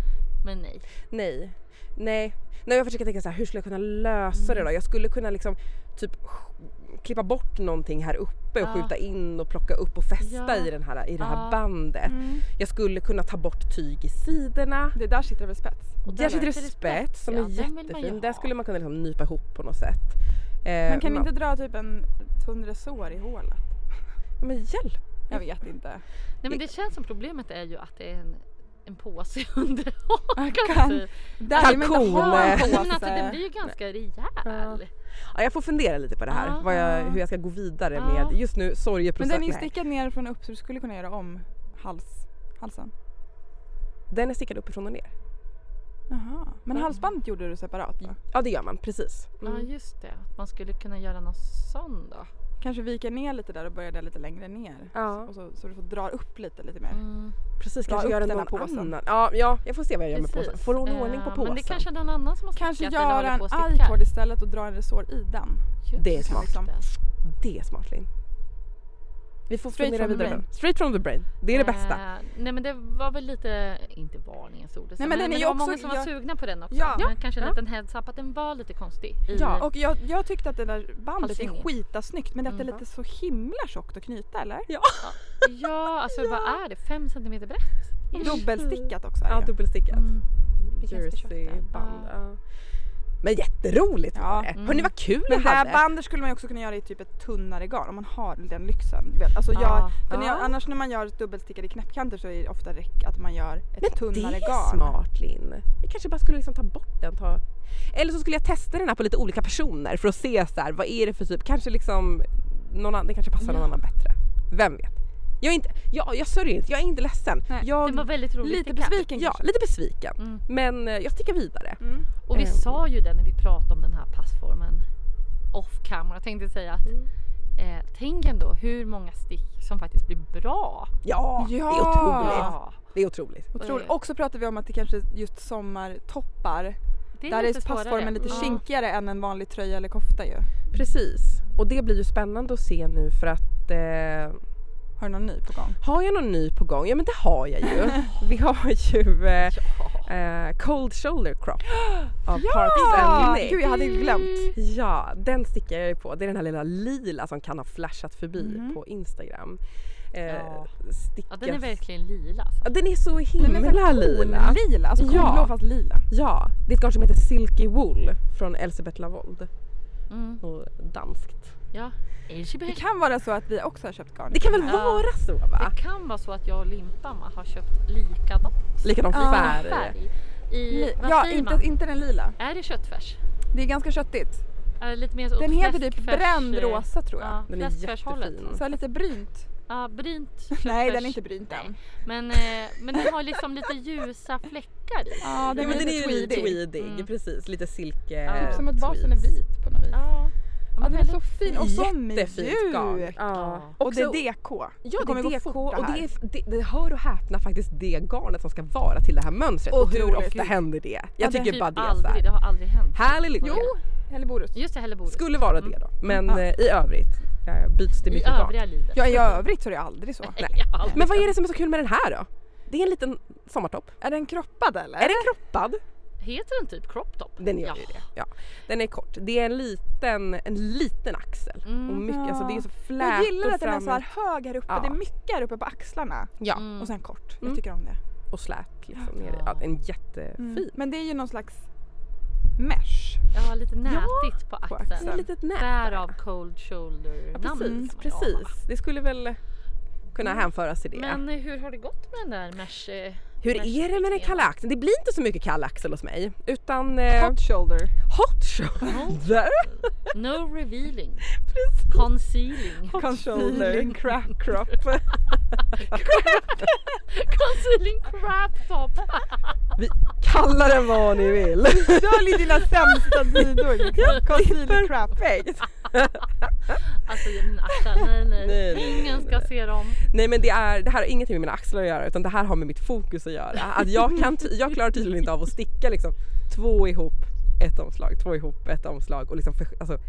[SPEAKER 3] Men nej.
[SPEAKER 1] nej. Nej. Nej, jag försöker tänka så här, hur skulle jag kunna lösa
[SPEAKER 3] Mm.
[SPEAKER 1] det då? Jag skulle kunna liksom typ sk- klippa bort någonting här uppe och
[SPEAKER 3] Ja.
[SPEAKER 1] skjuta in och plocka upp och fästa
[SPEAKER 3] Ja.
[SPEAKER 1] i, den här, i det här
[SPEAKER 3] Ja.
[SPEAKER 1] bandet.
[SPEAKER 2] Mm.
[SPEAKER 1] Jag skulle kunna ta bort tyg i sidorna.
[SPEAKER 2] Det där sitter väl spets?
[SPEAKER 3] Och
[SPEAKER 1] Där
[SPEAKER 3] där
[SPEAKER 1] sitter det
[SPEAKER 3] sitter det
[SPEAKER 1] spets som
[SPEAKER 3] ja,
[SPEAKER 1] är
[SPEAKER 3] den vill man ju
[SPEAKER 1] jättefin.
[SPEAKER 3] ha.
[SPEAKER 1] Där skulle man kunna liksom nypa ihop på något sätt. Eh,
[SPEAKER 2] Man kan inte dra typ en tunn resår i hålet?
[SPEAKER 1] Men hjälp!
[SPEAKER 2] Jag vet inte.
[SPEAKER 3] nej men det känns som problemet är ju att det är en, en påse (laughs) under hakan.
[SPEAKER 2] Kan-
[SPEAKER 3] typ.
[SPEAKER 2] Där vill man inte ha en
[SPEAKER 1] Kalkon.
[SPEAKER 3] Men alltså den
[SPEAKER 2] påse.
[SPEAKER 3] blir ju ganska rejäl.
[SPEAKER 1] Ja, jag får fundera lite på det här,
[SPEAKER 3] Ja.
[SPEAKER 1] vad jag, hur jag ska gå vidare
[SPEAKER 3] Ja.
[SPEAKER 1] med just nu
[SPEAKER 2] Men den
[SPEAKER 1] sorgeprocessen.
[SPEAKER 2] är ju
[SPEAKER 1] Nej.
[SPEAKER 2] stickad ner från upp så du skulle kunna göra om hals, halsen.
[SPEAKER 1] Den är stickad uppifrån och ner.
[SPEAKER 2] Jaha. Men
[SPEAKER 1] Mm.
[SPEAKER 2] halsbandet gjorde du separat va?
[SPEAKER 1] Ja det gör man, precis. Mm.
[SPEAKER 3] Ah, Ja just det, att man skulle kunna göra någon sån då.
[SPEAKER 2] Kanske vika ner lite där och börja där lite längre ner.
[SPEAKER 1] Ja.
[SPEAKER 2] Och så, så du får dra upp lite, lite mer.
[SPEAKER 3] Mm.
[SPEAKER 1] Precis,
[SPEAKER 2] Dra
[SPEAKER 1] kanske
[SPEAKER 2] upp
[SPEAKER 1] göra
[SPEAKER 2] den
[SPEAKER 1] någon
[SPEAKER 2] här påsen.
[SPEAKER 1] annan. Ja, ja, jag får se vad jag gör med påsen.
[SPEAKER 3] Precis.
[SPEAKER 1] Får hon
[SPEAKER 3] Eh,
[SPEAKER 1] ordning på påsen?
[SPEAKER 3] Men det kanske är någon annan som har
[SPEAKER 2] Kanske
[SPEAKER 3] stickat eller
[SPEAKER 2] göra
[SPEAKER 3] håller
[SPEAKER 2] en
[SPEAKER 3] på och
[SPEAKER 2] i-cord
[SPEAKER 3] stickar.
[SPEAKER 2] istället och dra en resår i den.
[SPEAKER 3] Just
[SPEAKER 1] Det är smart.
[SPEAKER 3] Liksom.
[SPEAKER 1] Det är smart Linn. Vi får
[SPEAKER 2] Straight
[SPEAKER 1] fundera
[SPEAKER 2] from the
[SPEAKER 1] vidare.
[SPEAKER 2] brain.
[SPEAKER 1] Straight from the brain. Det är det bästa.
[SPEAKER 3] Eh, nej men det var väl lite, inte varningens ord, men,
[SPEAKER 2] men den
[SPEAKER 3] men
[SPEAKER 2] är
[SPEAKER 3] det
[SPEAKER 2] ju
[SPEAKER 3] var
[SPEAKER 2] också-
[SPEAKER 3] många som var
[SPEAKER 2] jag-
[SPEAKER 3] sugna på den också.
[SPEAKER 2] Ja.
[SPEAKER 3] Men kanske en
[SPEAKER 1] Ja.
[SPEAKER 3] liten heads up att den var lite konstig. Mm. I,
[SPEAKER 1] Ja.
[SPEAKER 2] Och jag, jag tyckte att det där bandet är
[SPEAKER 3] Halsringen.
[SPEAKER 2] skitasnyggt men att det är
[SPEAKER 3] Mm.
[SPEAKER 2] lite så himla tjockt att
[SPEAKER 3] (laughs)
[SPEAKER 2] knyta eller?
[SPEAKER 3] ja alltså vad är det? 5 cm brett? Mm. Ish.
[SPEAKER 2] Dubbelstickat också är
[SPEAKER 1] Ja,
[SPEAKER 2] det ju.
[SPEAKER 1] dubbelstickat.
[SPEAKER 3] Mm. Det kanske är tjockt där.
[SPEAKER 1] Jerseyband. Ja. Men jätteroligt var
[SPEAKER 2] Ja.
[SPEAKER 1] det!
[SPEAKER 3] Mm.
[SPEAKER 1] Hörni vad kul
[SPEAKER 2] Men
[SPEAKER 1] jag
[SPEAKER 2] det
[SPEAKER 1] hade!
[SPEAKER 2] här bandet skulle man ju också kunna göra i typ ett tunnare garn om man har den lyxen. Väl, Alltså gör,
[SPEAKER 3] Ja.
[SPEAKER 2] för när jag,
[SPEAKER 1] Ja.
[SPEAKER 2] annars när man gör dubbelstickade knäppkanter så är det ofta räck att man gör ett
[SPEAKER 1] Men det
[SPEAKER 2] tunnare
[SPEAKER 1] är
[SPEAKER 2] garn.
[SPEAKER 1] smart Linn! Vi kanske bara skulle liksom ta bort den. Ta... Eller så skulle jag testa den här på lite olika personer för att se så här, vad är det för typ, kanske liksom någon annan, det kanske passar någon
[SPEAKER 3] Ja.
[SPEAKER 1] annan bättre. Vem vet? Jag, är inte, jag, jag sörjer inte, jag är inte ledsen.
[SPEAKER 2] Nej,
[SPEAKER 1] jag,
[SPEAKER 3] Det var väldigt roligt.
[SPEAKER 2] Lite
[SPEAKER 3] stickat.
[SPEAKER 2] besviken
[SPEAKER 1] ja,
[SPEAKER 2] kanske.
[SPEAKER 1] lite besviken.
[SPEAKER 3] Mm.
[SPEAKER 1] Men eh, jag sticker vidare.
[SPEAKER 2] Mm.
[SPEAKER 3] Och vi
[SPEAKER 1] Ehm.
[SPEAKER 3] sa ju det när vi pratade om den här passformen off camera tänkte jag säga att
[SPEAKER 1] Mm.
[SPEAKER 3] eh, tänk ändå hur många stick som faktiskt blir bra.
[SPEAKER 1] Ja, det är
[SPEAKER 2] Ja.
[SPEAKER 1] otroligt. Det är otroligt.
[SPEAKER 2] Otroligt. Och så pratar vi om att det kanske just sommartoppar.
[SPEAKER 3] Det
[SPEAKER 2] Där
[SPEAKER 3] lite
[SPEAKER 2] är passformen
[SPEAKER 3] svårare.
[SPEAKER 2] lite
[SPEAKER 3] Ja.
[SPEAKER 2] kinkigare än en vanlig tröja eller kofta ju.
[SPEAKER 1] Precis. Och det blir ju spännande att se nu för att eh,
[SPEAKER 2] Har du någon ny på gång?
[SPEAKER 1] har jag någon ny på gång? Ja men det har jag (laughs) ju. Vi har ju eh,
[SPEAKER 3] Ja.
[SPEAKER 1] eh, Cold Shoulder (gasps) Crop av Parks
[SPEAKER 2] Ah,
[SPEAKER 1] and Nick.
[SPEAKER 2] Gud jag hade glömt.
[SPEAKER 1] Ja, den stickar jag ju på. Det är den här lilla lila som kan ha flashat förbi
[SPEAKER 2] Mhm.
[SPEAKER 1] på Instagram. Eh,
[SPEAKER 3] Ja.
[SPEAKER 1] Stickas.
[SPEAKER 3] Ja, den är verkligen lila. Alltså.
[SPEAKER 1] Ja, den är så
[SPEAKER 2] Den är
[SPEAKER 1] himla lila.
[SPEAKER 2] väldigt lila. Alltså
[SPEAKER 1] Ja.
[SPEAKER 2] kornblå fast lila.
[SPEAKER 1] Ja, det är ett garn som heter Silky Wool från Elisabeth Lavold.
[SPEAKER 3] Mm.
[SPEAKER 1] Och danskt.
[SPEAKER 3] Ja.
[SPEAKER 2] Det
[SPEAKER 3] Elchibel.
[SPEAKER 2] kan vara så att vi också har köpt garn.
[SPEAKER 1] Det kan väl
[SPEAKER 3] Ja.
[SPEAKER 1] vara så va?
[SPEAKER 3] Det kan vara så att jag och Limpan har köpt likadan
[SPEAKER 1] Likadan
[SPEAKER 2] Ja.
[SPEAKER 1] färg.
[SPEAKER 3] färg. I,
[SPEAKER 2] Li-
[SPEAKER 3] vad
[SPEAKER 2] ja,
[SPEAKER 3] säger
[SPEAKER 2] inte,
[SPEAKER 3] man?
[SPEAKER 2] inte den lila.
[SPEAKER 3] Är det köttfärs?
[SPEAKER 2] Det är ganska köttigt.
[SPEAKER 3] Är det lite mer åt
[SPEAKER 2] Den heter typ
[SPEAKER 3] fläskfärs,
[SPEAKER 2] bränd
[SPEAKER 3] eh,
[SPEAKER 2] rosa tror jag.
[SPEAKER 3] Ja,
[SPEAKER 1] Den är
[SPEAKER 3] fläskfärshållet.
[SPEAKER 1] jättefin.
[SPEAKER 2] Så här lite brynt.
[SPEAKER 3] Ja,
[SPEAKER 1] (laughs)
[SPEAKER 3] brynt
[SPEAKER 2] Nej
[SPEAKER 3] köttfärs.
[SPEAKER 2] den är inte brynt än.
[SPEAKER 3] Men, eh, men den har liksom lite ljusa fläckar i.
[SPEAKER 2] Ja,
[SPEAKER 1] Ja,
[SPEAKER 2] den
[SPEAKER 1] men
[SPEAKER 2] är
[SPEAKER 1] den är
[SPEAKER 2] lite
[SPEAKER 1] ju
[SPEAKER 2] tweedig.
[SPEAKER 1] tweedig,
[SPEAKER 3] Mm.
[SPEAKER 1] precis. Lite silke...
[SPEAKER 3] Ja.
[SPEAKER 2] Typ som att basen är vit på något vis.
[SPEAKER 3] Ja.
[SPEAKER 2] Ja,
[SPEAKER 3] men
[SPEAKER 2] den är så
[SPEAKER 3] väldigt-
[SPEAKER 2] fin och så
[SPEAKER 1] Jättefint garn.
[SPEAKER 2] mjuk.
[SPEAKER 1] Ja.
[SPEAKER 2] Och det
[SPEAKER 1] Också-
[SPEAKER 2] är DK.
[SPEAKER 1] Ja,
[SPEAKER 2] det
[SPEAKER 1] det
[SPEAKER 2] kommer
[SPEAKER 1] är
[SPEAKER 2] gå
[SPEAKER 1] DK
[SPEAKER 2] fort
[SPEAKER 1] och det,
[SPEAKER 2] här.
[SPEAKER 1] är, det, det hör och häpna faktiskt det garnet som ska vara till det här mönstret. Och hur
[SPEAKER 2] Otroligt.
[SPEAKER 1] ofta händer det? Jag
[SPEAKER 2] Ja, det
[SPEAKER 1] tycker
[SPEAKER 3] typ
[SPEAKER 1] bara det är så
[SPEAKER 3] aldrig,
[SPEAKER 1] här.
[SPEAKER 3] det har aldrig hänt.
[SPEAKER 1] Härlig lycka!
[SPEAKER 3] Jo.
[SPEAKER 2] Helleborus.
[SPEAKER 3] Just det, Helleborus.
[SPEAKER 1] Skulle vara det då. Men eh, i övrigt eh, byts det
[SPEAKER 3] I
[SPEAKER 1] mycket garn.
[SPEAKER 3] övriga livet.
[SPEAKER 2] Ja i övrigt så är det aldrig
[SPEAKER 3] (laughs)
[SPEAKER 2] så.
[SPEAKER 1] Nej.
[SPEAKER 3] Jag har aldrig
[SPEAKER 1] Men vad är det som är så kul med den här då? Det är en liten sommartopp.
[SPEAKER 2] Är den kroppad eller?
[SPEAKER 1] Är den kroppad?
[SPEAKER 3] Heter den typ crop top?
[SPEAKER 1] Den gör ju det. Ja. Den är kort. Det är en liten, en liten axel.
[SPEAKER 3] Mm.
[SPEAKER 1] Och mycket, alltså det är så flätor
[SPEAKER 2] Jag gillar att den är
[SPEAKER 1] fram-
[SPEAKER 2] så här hög här uppe.
[SPEAKER 1] Ja.
[SPEAKER 2] Det är mycket här uppe på axlarna.
[SPEAKER 1] Ja,
[SPEAKER 3] Mm.
[SPEAKER 2] Och sen kort.
[SPEAKER 1] Mm.
[SPEAKER 2] Jag tycker om det.
[SPEAKER 1] och slät liksom ner i. Ja, en jättefin.
[SPEAKER 2] Men det är ju någon slags mesh.
[SPEAKER 3] Ja, lite nätigt på
[SPEAKER 2] på
[SPEAKER 3] axeln.
[SPEAKER 2] axeln.
[SPEAKER 1] Ett litet nät. där.
[SPEAKER 3] Därav cold shoulder
[SPEAKER 1] Ja, precis,
[SPEAKER 3] namnet.
[SPEAKER 1] precis. Det skulle väl kunna hänföras till det.
[SPEAKER 3] Men eh, hur har det gått med den där mesh? eh,
[SPEAKER 1] Hur
[SPEAKER 3] mesh
[SPEAKER 1] är det med den
[SPEAKER 3] stickningen?
[SPEAKER 1] kalla axeln? Det blir inte så mycket kall axel hos mig utan eh,
[SPEAKER 2] Hot shoulder.
[SPEAKER 1] hot shoulder.
[SPEAKER 3] No
[SPEAKER 1] (laughs)
[SPEAKER 3] revealing. Concealing.
[SPEAKER 1] Hot
[SPEAKER 2] Concealing crap crop.
[SPEAKER 3] (laughs) Concealing crap top.
[SPEAKER 1] Vi kallar den vad ni vill.
[SPEAKER 2] Dölj
[SPEAKER 1] (laughs)
[SPEAKER 2] dina sämsta sidor liksom. Concealer crap.
[SPEAKER 1] Perfekt.
[SPEAKER 3] Alltså mina axlar, nej nej.
[SPEAKER 1] Nej, nej,
[SPEAKER 3] Ingen
[SPEAKER 1] nej,
[SPEAKER 3] ska
[SPEAKER 1] nej.
[SPEAKER 3] se dem.
[SPEAKER 1] Nej men det, är, det här har ingenting med mina axlar att göra utan det här har med mitt fokus att göra. Att jag, kan ty- jag klarar tydligen inte av att sticka liksom två ihop ett omslag, två ihop ett omslag och liksom för, alltså, ja,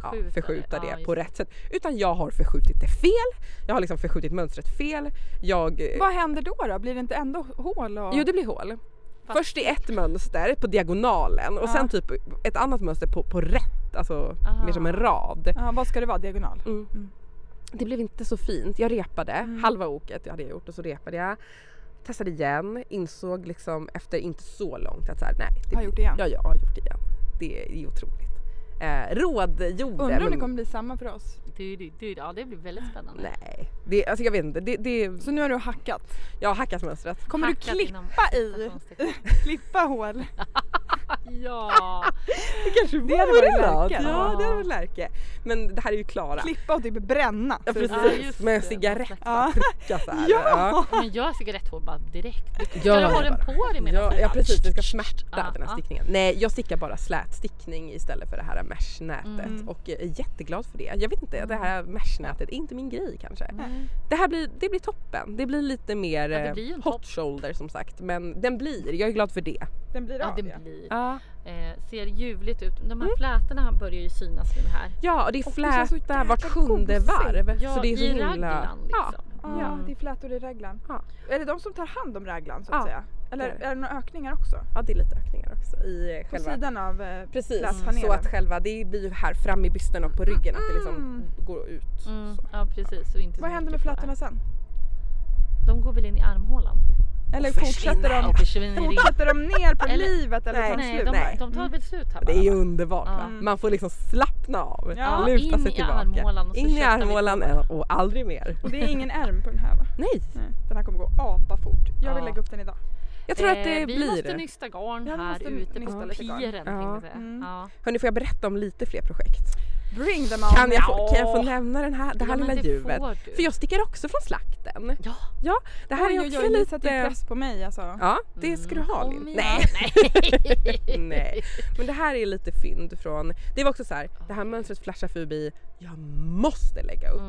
[SPEAKER 3] Förskjuta,
[SPEAKER 1] förskjuta
[SPEAKER 3] det.
[SPEAKER 1] det
[SPEAKER 3] Ja,
[SPEAKER 1] på
[SPEAKER 3] just
[SPEAKER 1] rätt sätt. Utan jag har förskjutit det fel. Jag har liksom förskjutit mönstret fel. Jag, eh,
[SPEAKER 2] Vad händer då då? Blir det inte ändå hål? Och...
[SPEAKER 1] Jo det blir hål.
[SPEAKER 3] Fast-
[SPEAKER 1] Först i ett mönster på diagonalen och
[SPEAKER 2] Ja.
[SPEAKER 1] sen typ ett annat mönster på, på rätt, alltså
[SPEAKER 3] Aha.
[SPEAKER 1] mer som en rad.
[SPEAKER 2] Ja, vad ska det vara? Diagonal?
[SPEAKER 1] Mm.
[SPEAKER 2] Mm.
[SPEAKER 1] Det blev inte så fint. Jag repade, halva oket hade jag gjort och så repade jag. Testade igen, insåg liksom efter inte så långt att så här, nej. Det
[SPEAKER 2] Har
[SPEAKER 1] blir-
[SPEAKER 2] gjort det igen?
[SPEAKER 1] Ja, jag har gjort det igen. Det är, det är otroligt. Eh, rådgjorde.
[SPEAKER 2] Undrar om det
[SPEAKER 1] men-
[SPEAKER 2] kommer bli samma för
[SPEAKER 1] (laughs)
[SPEAKER 2] oss.
[SPEAKER 3] Du, du, du, ja det blir väldigt spännande.
[SPEAKER 1] Nej, det, alltså jag vet inte. Det, det,
[SPEAKER 2] Så nu har du hackat.
[SPEAKER 1] jag har hackat mönstret.
[SPEAKER 2] Kommer
[SPEAKER 3] Hackat
[SPEAKER 2] du
[SPEAKER 3] inom
[SPEAKER 2] klippa i?
[SPEAKER 3] citationstecken.
[SPEAKER 2] Klippa hål?
[SPEAKER 3] Ja,
[SPEAKER 1] Det kanske
[SPEAKER 2] Det hade varit
[SPEAKER 1] något.
[SPEAKER 2] Lärke.
[SPEAKER 1] Ja, det
[SPEAKER 3] Ja.
[SPEAKER 1] hade varit Lärke. Men det här är ju Klara.
[SPEAKER 2] Klippa och typ bränna.
[SPEAKER 1] Ja,
[SPEAKER 2] Så det-
[SPEAKER 3] Ja,
[SPEAKER 1] precis.
[SPEAKER 3] just
[SPEAKER 1] Med en
[SPEAKER 3] det.
[SPEAKER 1] cigarett
[SPEAKER 2] Ja.
[SPEAKER 1] ja. så här.
[SPEAKER 2] Ja.
[SPEAKER 3] men gör cigaretthål bara direkt. Ska
[SPEAKER 1] Gör
[SPEAKER 3] du ha
[SPEAKER 1] det
[SPEAKER 3] den
[SPEAKER 1] bara.
[SPEAKER 3] på dig medan
[SPEAKER 1] Ja, ja precis, det ska smärta
[SPEAKER 3] Ja,
[SPEAKER 1] den här
[SPEAKER 3] ja.
[SPEAKER 1] stickningen. Nej jag stickar bara slätstickning istället för det här meshnätet
[SPEAKER 2] Mm.
[SPEAKER 1] och jag är jätteglad för det. Jag vet inte, det här meshnätet är inte min grej kanske.
[SPEAKER 3] Mm.
[SPEAKER 1] Det här blir, det blir toppen. Det blir lite mer
[SPEAKER 3] Ja, det
[SPEAKER 1] eh,
[SPEAKER 3] blir ju en
[SPEAKER 1] hot
[SPEAKER 3] topp.
[SPEAKER 1] shoulder som sagt men den blir, jag är glad för det.
[SPEAKER 2] Den blir
[SPEAKER 3] Ja,
[SPEAKER 2] av
[SPEAKER 3] det
[SPEAKER 2] ja.
[SPEAKER 3] blir.
[SPEAKER 1] Ja, Mm.
[SPEAKER 3] Eh, ser ljuvligt ut. De här flätorna börjar ju synas nu här.
[SPEAKER 1] och det är
[SPEAKER 2] Och det känns så
[SPEAKER 1] fläta
[SPEAKER 2] jäkla
[SPEAKER 1] vart sjunde
[SPEAKER 2] gosigt.
[SPEAKER 1] varv.
[SPEAKER 3] Ja,
[SPEAKER 1] så det är så
[SPEAKER 3] i
[SPEAKER 1] himla...
[SPEAKER 3] raglan
[SPEAKER 1] ja.
[SPEAKER 3] liksom.
[SPEAKER 2] Ja,
[SPEAKER 3] Mm.
[SPEAKER 2] det är flätor i raglan.
[SPEAKER 1] Ja.
[SPEAKER 2] Är det de som tar hand om raglan så att
[SPEAKER 1] Ja,
[SPEAKER 2] säga? Eller
[SPEAKER 1] det är
[SPEAKER 2] är
[SPEAKER 1] det.
[SPEAKER 2] det några ökningar också?
[SPEAKER 1] ja det är lite ökningar också i eh,
[SPEAKER 2] På
[SPEAKER 1] själva
[SPEAKER 2] sidan av eh,
[SPEAKER 1] Precis,
[SPEAKER 2] flätpanelen?
[SPEAKER 1] så att själva, det blir ju här fram i bysten och på ryggen att det liksom
[SPEAKER 2] Mm.
[SPEAKER 1] går ut.
[SPEAKER 3] Mm, ja precis. Och inte så
[SPEAKER 2] Vad händer med
[SPEAKER 3] mycket på
[SPEAKER 2] flätorna sen?
[SPEAKER 3] här. De går väl in i armhålan?
[SPEAKER 2] Eller
[SPEAKER 1] Och försvinner.
[SPEAKER 2] fortsätter de,
[SPEAKER 3] Och försvinner in.
[SPEAKER 2] fortsätter de ner på
[SPEAKER 3] Eller-
[SPEAKER 2] livet eller tar de
[SPEAKER 3] Nej,
[SPEAKER 2] slut?
[SPEAKER 3] de,
[SPEAKER 1] Nej.
[SPEAKER 3] de tar väl slut här
[SPEAKER 1] Mm. Det
[SPEAKER 3] bara.
[SPEAKER 1] är ju
[SPEAKER 3] va?
[SPEAKER 1] underbart va?
[SPEAKER 2] Ja.
[SPEAKER 1] Man får liksom slappna av,
[SPEAKER 2] Ja,
[SPEAKER 1] luta
[SPEAKER 3] Mm. in
[SPEAKER 1] sig
[SPEAKER 3] i
[SPEAKER 1] tillbaka.
[SPEAKER 3] armhålan och så
[SPEAKER 1] In i
[SPEAKER 3] köttar vi på.
[SPEAKER 1] armhålan och aldrig mer.
[SPEAKER 2] Och det är ingen ärm på den här va?
[SPEAKER 1] Nej,
[SPEAKER 2] Nej. Den här kommer gå apa fort. Jag vill
[SPEAKER 3] Ja.
[SPEAKER 2] lägga upp den idag.
[SPEAKER 1] jag tror att det
[SPEAKER 3] Eh, vi måste
[SPEAKER 1] blir...
[SPEAKER 3] nysta garn
[SPEAKER 2] Ja, vi
[SPEAKER 3] här
[SPEAKER 2] måste
[SPEAKER 3] ute
[SPEAKER 2] nysta
[SPEAKER 3] på
[SPEAKER 2] lite garn.
[SPEAKER 3] piren. tänkte
[SPEAKER 1] Ja.
[SPEAKER 3] jag säga.
[SPEAKER 2] Mm.
[SPEAKER 3] Ja.
[SPEAKER 1] Hörni, får jag berätta om lite fler projekt?
[SPEAKER 2] Bring them on!
[SPEAKER 1] Kan jag få,
[SPEAKER 3] Ja.
[SPEAKER 1] kan jag få nämna den här, det här
[SPEAKER 3] Ja, men
[SPEAKER 1] lilla
[SPEAKER 3] det
[SPEAKER 1] ljuvet?
[SPEAKER 3] får du.
[SPEAKER 1] För jag sticker också från slakten.
[SPEAKER 3] Ja.
[SPEAKER 1] Det här är
[SPEAKER 2] oj,
[SPEAKER 1] också
[SPEAKER 2] oj, oj, ni sätter ju
[SPEAKER 1] lite...
[SPEAKER 2] press på mig alltså.
[SPEAKER 1] Ja, det ska du ha
[SPEAKER 3] Mm,
[SPEAKER 1] Linn.
[SPEAKER 3] kom (laughs)
[SPEAKER 1] Nej,
[SPEAKER 3] igen. Nej.
[SPEAKER 1] nej. Men det här är lite fynd från... Det var också så här, det här mönstret flashar förbi. Jag måste lägga upp.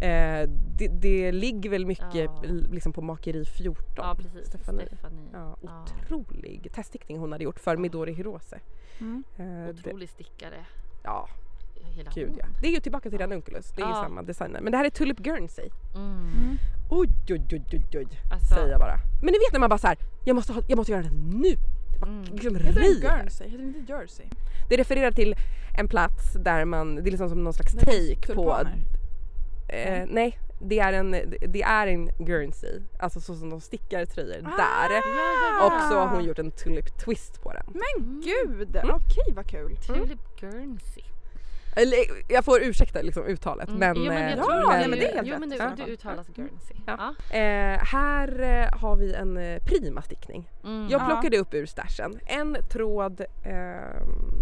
[SPEAKER 3] Mm.
[SPEAKER 1] Eh, det, det ligger väl mycket
[SPEAKER 3] Ja.
[SPEAKER 1] l- liksom på Makeri 14.
[SPEAKER 3] Ja precis,
[SPEAKER 1] Stefanie.
[SPEAKER 3] Stefanie.
[SPEAKER 1] Ja,
[SPEAKER 3] Ja.
[SPEAKER 1] otrolig teststickning hon hade gjort för Midori Hirose.
[SPEAKER 2] Mm.
[SPEAKER 1] Eh, det,
[SPEAKER 3] Otrolig stickare.
[SPEAKER 1] ja,
[SPEAKER 3] Jag gillar
[SPEAKER 1] gud
[SPEAKER 3] hon.
[SPEAKER 1] ja. Det är ju tillbaka till Ranunculus, det är ju
[SPEAKER 3] Ja.
[SPEAKER 1] samma designer. Men det här är Tulip Guernsey.
[SPEAKER 3] Mm.
[SPEAKER 2] Mm.
[SPEAKER 1] Oj, oj, oj, oj, oj.
[SPEAKER 3] Alltså,
[SPEAKER 1] säger jag bara. Men ni vet när man bara så här, jag måste, ha, jag måste göra det nu. Det bara
[SPEAKER 3] Mm.
[SPEAKER 1] liksom
[SPEAKER 2] Heter den
[SPEAKER 1] river.
[SPEAKER 2] Guernsey? Heter den inte Jersey?
[SPEAKER 1] Det refererar till en plats där man, det är liksom som någon slags
[SPEAKER 2] Där finns
[SPEAKER 1] take på...
[SPEAKER 2] tulpaner. Mm.
[SPEAKER 1] Eh, nej, det är, en, det är en Guernsey. Alltså så som de stickar tröjor
[SPEAKER 2] Ah!
[SPEAKER 1] där.
[SPEAKER 3] ja,
[SPEAKER 1] Och så har hon gjort en tulip twist på den.
[SPEAKER 2] Men
[SPEAKER 3] Mm.
[SPEAKER 2] gud!
[SPEAKER 1] Mm.
[SPEAKER 2] Okej vad kul!
[SPEAKER 3] Tulip Mm. Guernsey.
[SPEAKER 1] Eller, jag får ursäkta liksom uttalet
[SPEAKER 3] Mm.
[SPEAKER 1] men...
[SPEAKER 3] jo, men jag
[SPEAKER 1] eh,
[SPEAKER 3] tror
[SPEAKER 2] ja,
[SPEAKER 3] det
[SPEAKER 2] nej, men det är helt
[SPEAKER 3] jo,
[SPEAKER 2] rätt
[SPEAKER 3] men
[SPEAKER 2] i
[SPEAKER 3] du,
[SPEAKER 2] så
[SPEAKER 3] du
[SPEAKER 2] fall.
[SPEAKER 3] uttalas Guernsey.
[SPEAKER 1] Ja.
[SPEAKER 3] Ja.
[SPEAKER 1] eh, här eh, har vi en eh, prima stickning.
[SPEAKER 3] Mm.
[SPEAKER 1] Jag
[SPEAKER 2] Ja.
[SPEAKER 1] plockade upp ur stashen en tråd ehm,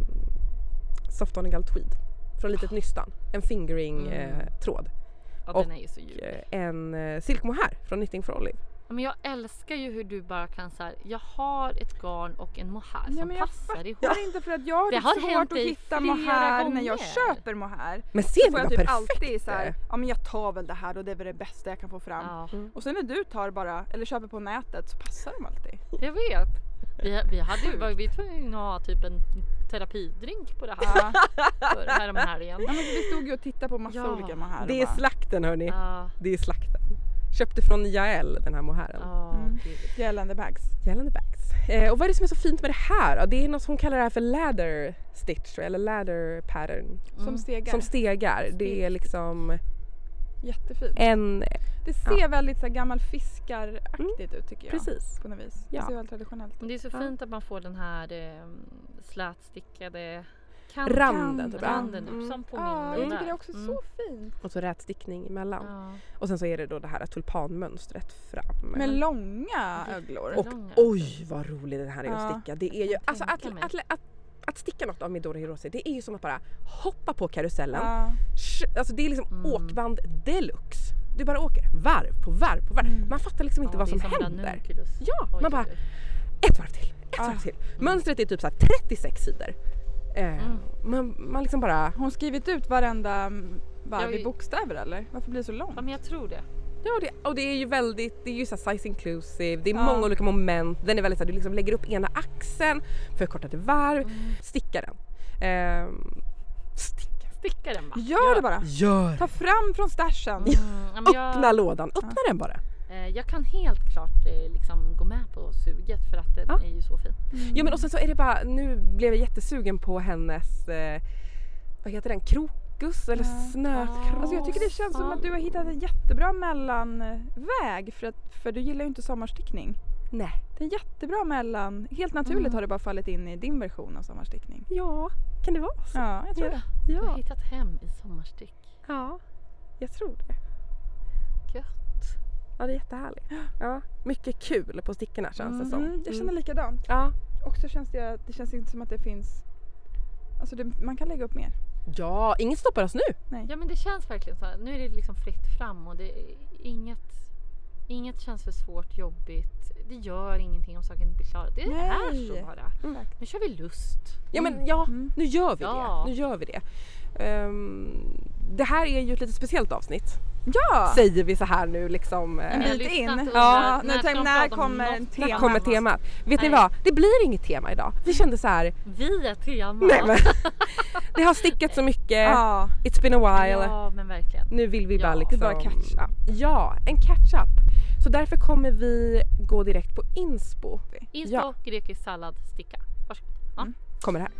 [SPEAKER 1] Soft Onigal Tweed från litet nystan. En fingering-tråd.
[SPEAKER 3] Mm.
[SPEAKER 1] Eh, tråd.
[SPEAKER 3] ja,
[SPEAKER 1] och-
[SPEAKER 3] den är ju så ljuvlig.
[SPEAKER 1] Eh, en eh, silkmohair från Knitting for Olive.
[SPEAKER 3] Ja, Men jag älskar ju hur du bara kan så här, jag har ett garn och en mohair
[SPEAKER 2] Ja,
[SPEAKER 3] som
[SPEAKER 2] men jag
[SPEAKER 3] passar ihop.
[SPEAKER 2] Jag har inte för att jag har
[SPEAKER 3] Det
[SPEAKER 2] typ
[SPEAKER 3] har hänt
[SPEAKER 2] svårt att
[SPEAKER 3] dig
[SPEAKER 2] hitta
[SPEAKER 3] flera
[SPEAKER 2] mohair när jag
[SPEAKER 3] gånger.
[SPEAKER 2] köper mohair.
[SPEAKER 1] Men
[SPEAKER 2] Då
[SPEAKER 1] ser ni
[SPEAKER 2] får jag
[SPEAKER 1] vad
[SPEAKER 2] typ
[SPEAKER 1] perfekt
[SPEAKER 2] alltid
[SPEAKER 1] det är?
[SPEAKER 2] såhär, ja men jag tar väl det här och det är väl det bästa jag kan få fram.
[SPEAKER 3] Ja,
[SPEAKER 2] Och sen när du tar bara, eller köper på nätet så passar de alltid.
[SPEAKER 3] jag vet. Vi, vi, hade, ju- var, vi var tvungna att ha typ en terapidrink på det
[SPEAKER 2] (laughs)
[SPEAKER 3] här
[SPEAKER 2] Ja.
[SPEAKER 3] för häromhelgen.
[SPEAKER 2] Ja, men vi stod ju och tittade på massa
[SPEAKER 3] Ja.
[SPEAKER 2] olika mohair. och
[SPEAKER 1] Det är
[SPEAKER 2] bara,
[SPEAKER 1] slakten hörni.
[SPEAKER 3] Ja,
[SPEAKER 1] Det är slakten. Köpte från Jael den här mohairen.
[SPEAKER 3] ja,
[SPEAKER 2] Mm.
[SPEAKER 3] gud.
[SPEAKER 2] gällande bags.
[SPEAKER 1] Gällande bags. Eh, och vad är det som är så fint med det här då? Det är något som hon kallar det här för läder stitch tror jag, eller läder pattern.
[SPEAKER 3] Mm.
[SPEAKER 2] Som stegar.
[SPEAKER 1] Som stegar. Det är liksom
[SPEAKER 2] Jättefint.
[SPEAKER 1] en...
[SPEAKER 2] Det ser väldigt så här, gammal fiskaraktigt ut tycker jag.
[SPEAKER 1] Precis.
[SPEAKER 2] På något vis.
[SPEAKER 1] Ja.
[SPEAKER 2] Det ser väldigt traditionellt
[SPEAKER 3] Men
[SPEAKER 2] ut.
[SPEAKER 3] det är så
[SPEAKER 1] Ja.
[SPEAKER 3] fint att man får den här eh, slätstickade kanten.
[SPEAKER 1] Randen typ. ja.
[SPEAKER 3] Randen upp,
[SPEAKER 1] Mm.
[SPEAKER 3] som på min
[SPEAKER 2] Ja, jag tycker det är
[SPEAKER 3] där.
[SPEAKER 2] också
[SPEAKER 3] Mm.
[SPEAKER 2] så fint.
[SPEAKER 1] Och så rätstickning emellan.
[SPEAKER 3] Ja.
[SPEAKER 1] Och sen så är det då det här tulpanmönstret fram.
[SPEAKER 2] Med långa öglor.
[SPEAKER 1] och
[SPEAKER 3] långa.
[SPEAKER 1] oj vad rolig den här är att
[SPEAKER 2] Ja.
[SPEAKER 1] sticka. Det är ju,
[SPEAKER 3] kan
[SPEAKER 1] alltså att,
[SPEAKER 3] tänka mig.
[SPEAKER 1] att, att, att sticka något av Midori Hirose det är ju som att bara hoppa på karusellen.
[SPEAKER 2] Ja.
[SPEAKER 1] Sh- Alltså det är liksom
[SPEAKER 3] Mm.
[SPEAKER 1] åkband deluxe. Du bara åker varv på varv på varv.
[SPEAKER 2] Mm.
[SPEAKER 1] Man fattar liksom inte
[SPEAKER 3] Ja,
[SPEAKER 1] vad
[SPEAKER 3] det är
[SPEAKER 1] som, händer.
[SPEAKER 3] ranunculus.
[SPEAKER 1] Ja,
[SPEAKER 3] Oj,
[SPEAKER 1] man bara
[SPEAKER 3] oj, oj.
[SPEAKER 1] ett varv till, ett
[SPEAKER 2] Ah.
[SPEAKER 1] varv till. Mönstret är typ så här 36 sidor. Eh,
[SPEAKER 3] Mm.
[SPEAKER 1] man, man liksom bara...
[SPEAKER 2] Har hon skrivit ut varenda mm, varv
[SPEAKER 3] Jag- Mm.
[SPEAKER 2] i bokstäver eller? Varför blir det så långt?
[SPEAKER 3] Ja, men jag tror det.
[SPEAKER 1] Ja, och det, och det är ju väldigt, det är ju så här size inclusive, det är
[SPEAKER 2] Ja.
[SPEAKER 1] många olika moment. Den är väldigt så här, du liksom lägger upp ena axeln, förkortar till varv,
[SPEAKER 3] Mm.
[SPEAKER 1] stickar den. Ehm, sticka.
[SPEAKER 3] Sticka den bara.
[SPEAKER 2] Gör det bara!
[SPEAKER 1] Gör!
[SPEAKER 2] Ta fram från stashen!
[SPEAKER 3] Mm, ja, men
[SPEAKER 1] Öppna
[SPEAKER 3] jag,
[SPEAKER 1] lådan, öppna den bara.
[SPEAKER 3] eh, jag kan helt klart eh, liksom gå med på suget för att den
[SPEAKER 1] Ja.
[SPEAKER 3] är ju så fin.
[SPEAKER 1] Ja men och sen så är det bara, nu blev jag jättesugen på hennes, eh, vad heter den, krokus eller
[SPEAKER 2] Ja.
[SPEAKER 1] snötkrokus?
[SPEAKER 2] Alltså jag tycker det känns som
[SPEAKER 3] Ja.
[SPEAKER 2] att du har hittat en jättebra mellanväg för, att, för du gillar ju inte sommarstickning.
[SPEAKER 1] Nej.
[SPEAKER 2] Det är jättebra mellan, helt naturligt
[SPEAKER 3] Mm.
[SPEAKER 2] har det bara fallit in i din version av sommarstickning.
[SPEAKER 1] Ja, kan det vara så?
[SPEAKER 2] Ja, jag tror det.
[SPEAKER 3] Jag har
[SPEAKER 1] Ja.
[SPEAKER 3] hittat hem i sommarstick.
[SPEAKER 1] ja, jag tror det.
[SPEAKER 3] Gött.
[SPEAKER 1] Ja det är jättehärligt. Ja. Mycket kul på stickorna känns det som.
[SPEAKER 2] Mm, jag känner likadant.
[SPEAKER 1] Ja.
[SPEAKER 2] Och så känns det, det känns inte som att det finns, alltså det, man kan lägga upp mer.
[SPEAKER 1] ja, inget stoppar oss nu.
[SPEAKER 3] Ja men det känns verkligen så. Här. Nu är det liksom fritt fram och det är inget, inget känns för svårt, jobbigt. Det gör ingenting om saken inte blir klar. Det är
[SPEAKER 2] Nej.
[SPEAKER 3] så bara.
[SPEAKER 2] Exakt.
[SPEAKER 3] Nu kör vi lust.
[SPEAKER 1] Ja men ja,
[SPEAKER 2] Mm.
[SPEAKER 1] nu gör vi
[SPEAKER 3] Ja.
[SPEAKER 1] det. Nu gör vi det. Ehm, det här är ju ett lite speciellt avsnitt.
[SPEAKER 2] Ja!
[SPEAKER 1] Säger vi så här nu liksom. eh,
[SPEAKER 3] Ni har
[SPEAKER 2] Lite
[SPEAKER 3] lyssnat
[SPEAKER 2] in.
[SPEAKER 3] och
[SPEAKER 1] Ja,
[SPEAKER 3] undrat,
[SPEAKER 2] nu tänk-
[SPEAKER 3] ska de
[SPEAKER 2] när
[SPEAKER 3] prata om
[SPEAKER 2] kommer
[SPEAKER 3] något?
[SPEAKER 1] När
[SPEAKER 2] tema?
[SPEAKER 1] kommer temat? Vet ni
[SPEAKER 3] Nej.
[SPEAKER 1] vad? Det blir inget tema idag. Vi kände så här.
[SPEAKER 3] Vi är tema.
[SPEAKER 1] Nej, men, (laughs) det har stickat så mycket.
[SPEAKER 2] Ja.
[SPEAKER 1] It's been a while.
[SPEAKER 3] Ja men verkligen.
[SPEAKER 1] Nu vill vi bara
[SPEAKER 3] Ja.
[SPEAKER 1] liksom...
[SPEAKER 2] Bara catch up.
[SPEAKER 1] Ja, en catch up. Så därför kommer vi gå direkt på inspo.
[SPEAKER 3] Insta,
[SPEAKER 1] Ja.
[SPEAKER 3] grekisk sallad, sticka. Varsågod. Ja.
[SPEAKER 1] Kommer det här.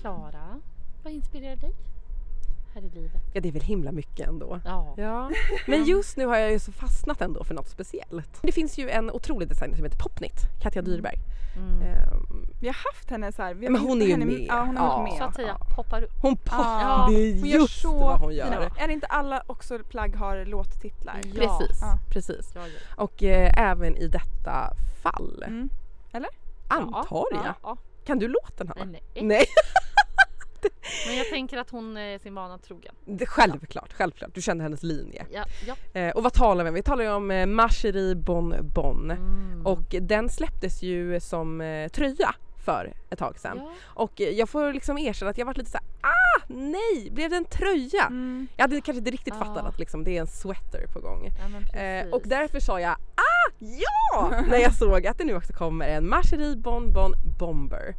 [SPEAKER 3] Klara, vad inspirerar dig? här i livet.
[SPEAKER 1] Ja, det är väl himla mycket ändå.
[SPEAKER 3] Ja.
[SPEAKER 2] (laughs)
[SPEAKER 1] Ja. Men just nu har jag ju så fastnat ändå för något speciellt. Det finns ju en otrolig designer som heter Popnit, Katja Dyrberg.
[SPEAKER 3] Mm.
[SPEAKER 1] Ehm,
[SPEAKER 2] Vi har haft henne så här. Vi har
[SPEAKER 1] Men hon är
[SPEAKER 2] haft
[SPEAKER 1] ju
[SPEAKER 2] henne,
[SPEAKER 1] med.
[SPEAKER 2] Ja, hon har varit
[SPEAKER 1] Ja.
[SPEAKER 2] med.
[SPEAKER 3] Så att säga, poppar upp.
[SPEAKER 1] Hon på...
[SPEAKER 2] Ja,
[SPEAKER 1] Det är
[SPEAKER 2] hon gör
[SPEAKER 1] just
[SPEAKER 2] så
[SPEAKER 1] vad hon gör.
[SPEAKER 2] fina. Är det inte alla också plagg har låttitlar?
[SPEAKER 3] Ja.
[SPEAKER 1] Precis,
[SPEAKER 2] Ja.
[SPEAKER 1] precis.
[SPEAKER 3] Ja, ja.
[SPEAKER 1] Och eh, även i detta fall,
[SPEAKER 2] Mm.
[SPEAKER 1] antar jag.
[SPEAKER 3] Ja, ja.
[SPEAKER 1] Kan du låten Hanna?
[SPEAKER 3] Nej, nej.
[SPEAKER 1] Nej,
[SPEAKER 3] Men jag tänker att hon är sin vana trogen.
[SPEAKER 1] det, självklart, självklart. Du kände hennes linje.
[SPEAKER 3] Ja, ja.
[SPEAKER 1] Eh, och vad talar vi om? Vi talar ju om eh, Marcherie Bon Bon.
[SPEAKER 3] Mm.
[SPEAKER 1] Och den släpptes ju som eh, tröja för ett tag sedan.
[SPEAKER 3] ja.
[SPEAKER 1] Och eh, jag får liksom erkänna att jag varit lite så här, ah nej, blev det en tröja?
[SPEAKER 2] Mm.
[SPEAKER 1] Jag hade kanske inte riktigt fattat
[SPEAKER 3] Ah.
[SPEAKER 1] att liksom, det är en sweater på gång.
[SPEAKER 3] ja men precis.
[SPEAKER 1] Eh, och därför sa jag ah ja när jag såg att det nu också kommer en Marcherie Bon Bon Bomber.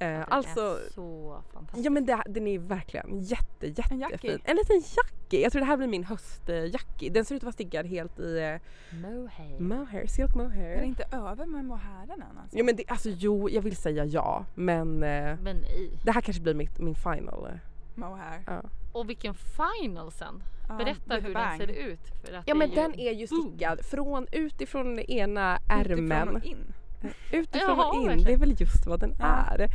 [SPEAKER 1] Eh,
[SPEAKER 3] Den
[SPEAKER 1] alltså,
[SPEAKER 3] är så fantastisk.
[SPEAKER 1] ja men det, den är verkligen jätte
[SPEAKER 2] En
[SPEAKER 1] jättefin.
[SPEAKER 2] jackie.
[SPEAKER 1] En liten jackie. Jag tror det här blir min höstjackie. Den ser ut att vara stickad helt i eh,
[SPEAKER 3] Mohair.
[SPEAKER 1] mohair, silk
[SPEAKER 2] Är det
[SPEAKER 1] mohair.
[SPEAKER 2] inte över med mohairen än alltså?
[SPEAKER 1] Ja men det, alltså jo, jag vill säga ja men eh,
[SPEAKER 3] Men i.
[SPEAKER 1] det här kanske blir mitt, min final. eh,
[SPEAKER 2] Mohair.
[SPEAKER 1] Ja.
[SPEAKER 3] Och vilken final sen!
[SPEAKER 2] Ja,
[SPEAKER 3] Berätta
[SPEAKER 2] with a
[SPEAKER 3] hur
[SPEAKER 2] bang.
[SPEAKER 3] den ser ut. För att
[SPEAKER 1] Ja
[SPEAKER 3] det
[SPEAKER 1] men
[SPEAKER 3] ju-
[SPEAKER 1] den är ju stickad från utifrån ena ärmen.
[SPEAKER 2] Utifrån och in.
[SPEAKER 1] Utifrån
[SPEAKER 3] Jaha,
[SPEAKER 1] och in,
[SPEAKER 3] verkligen.
[SPEAKER 1] det är väl just vad den
[SPEAKER 2] Ja.
[SPEAKER 1] är.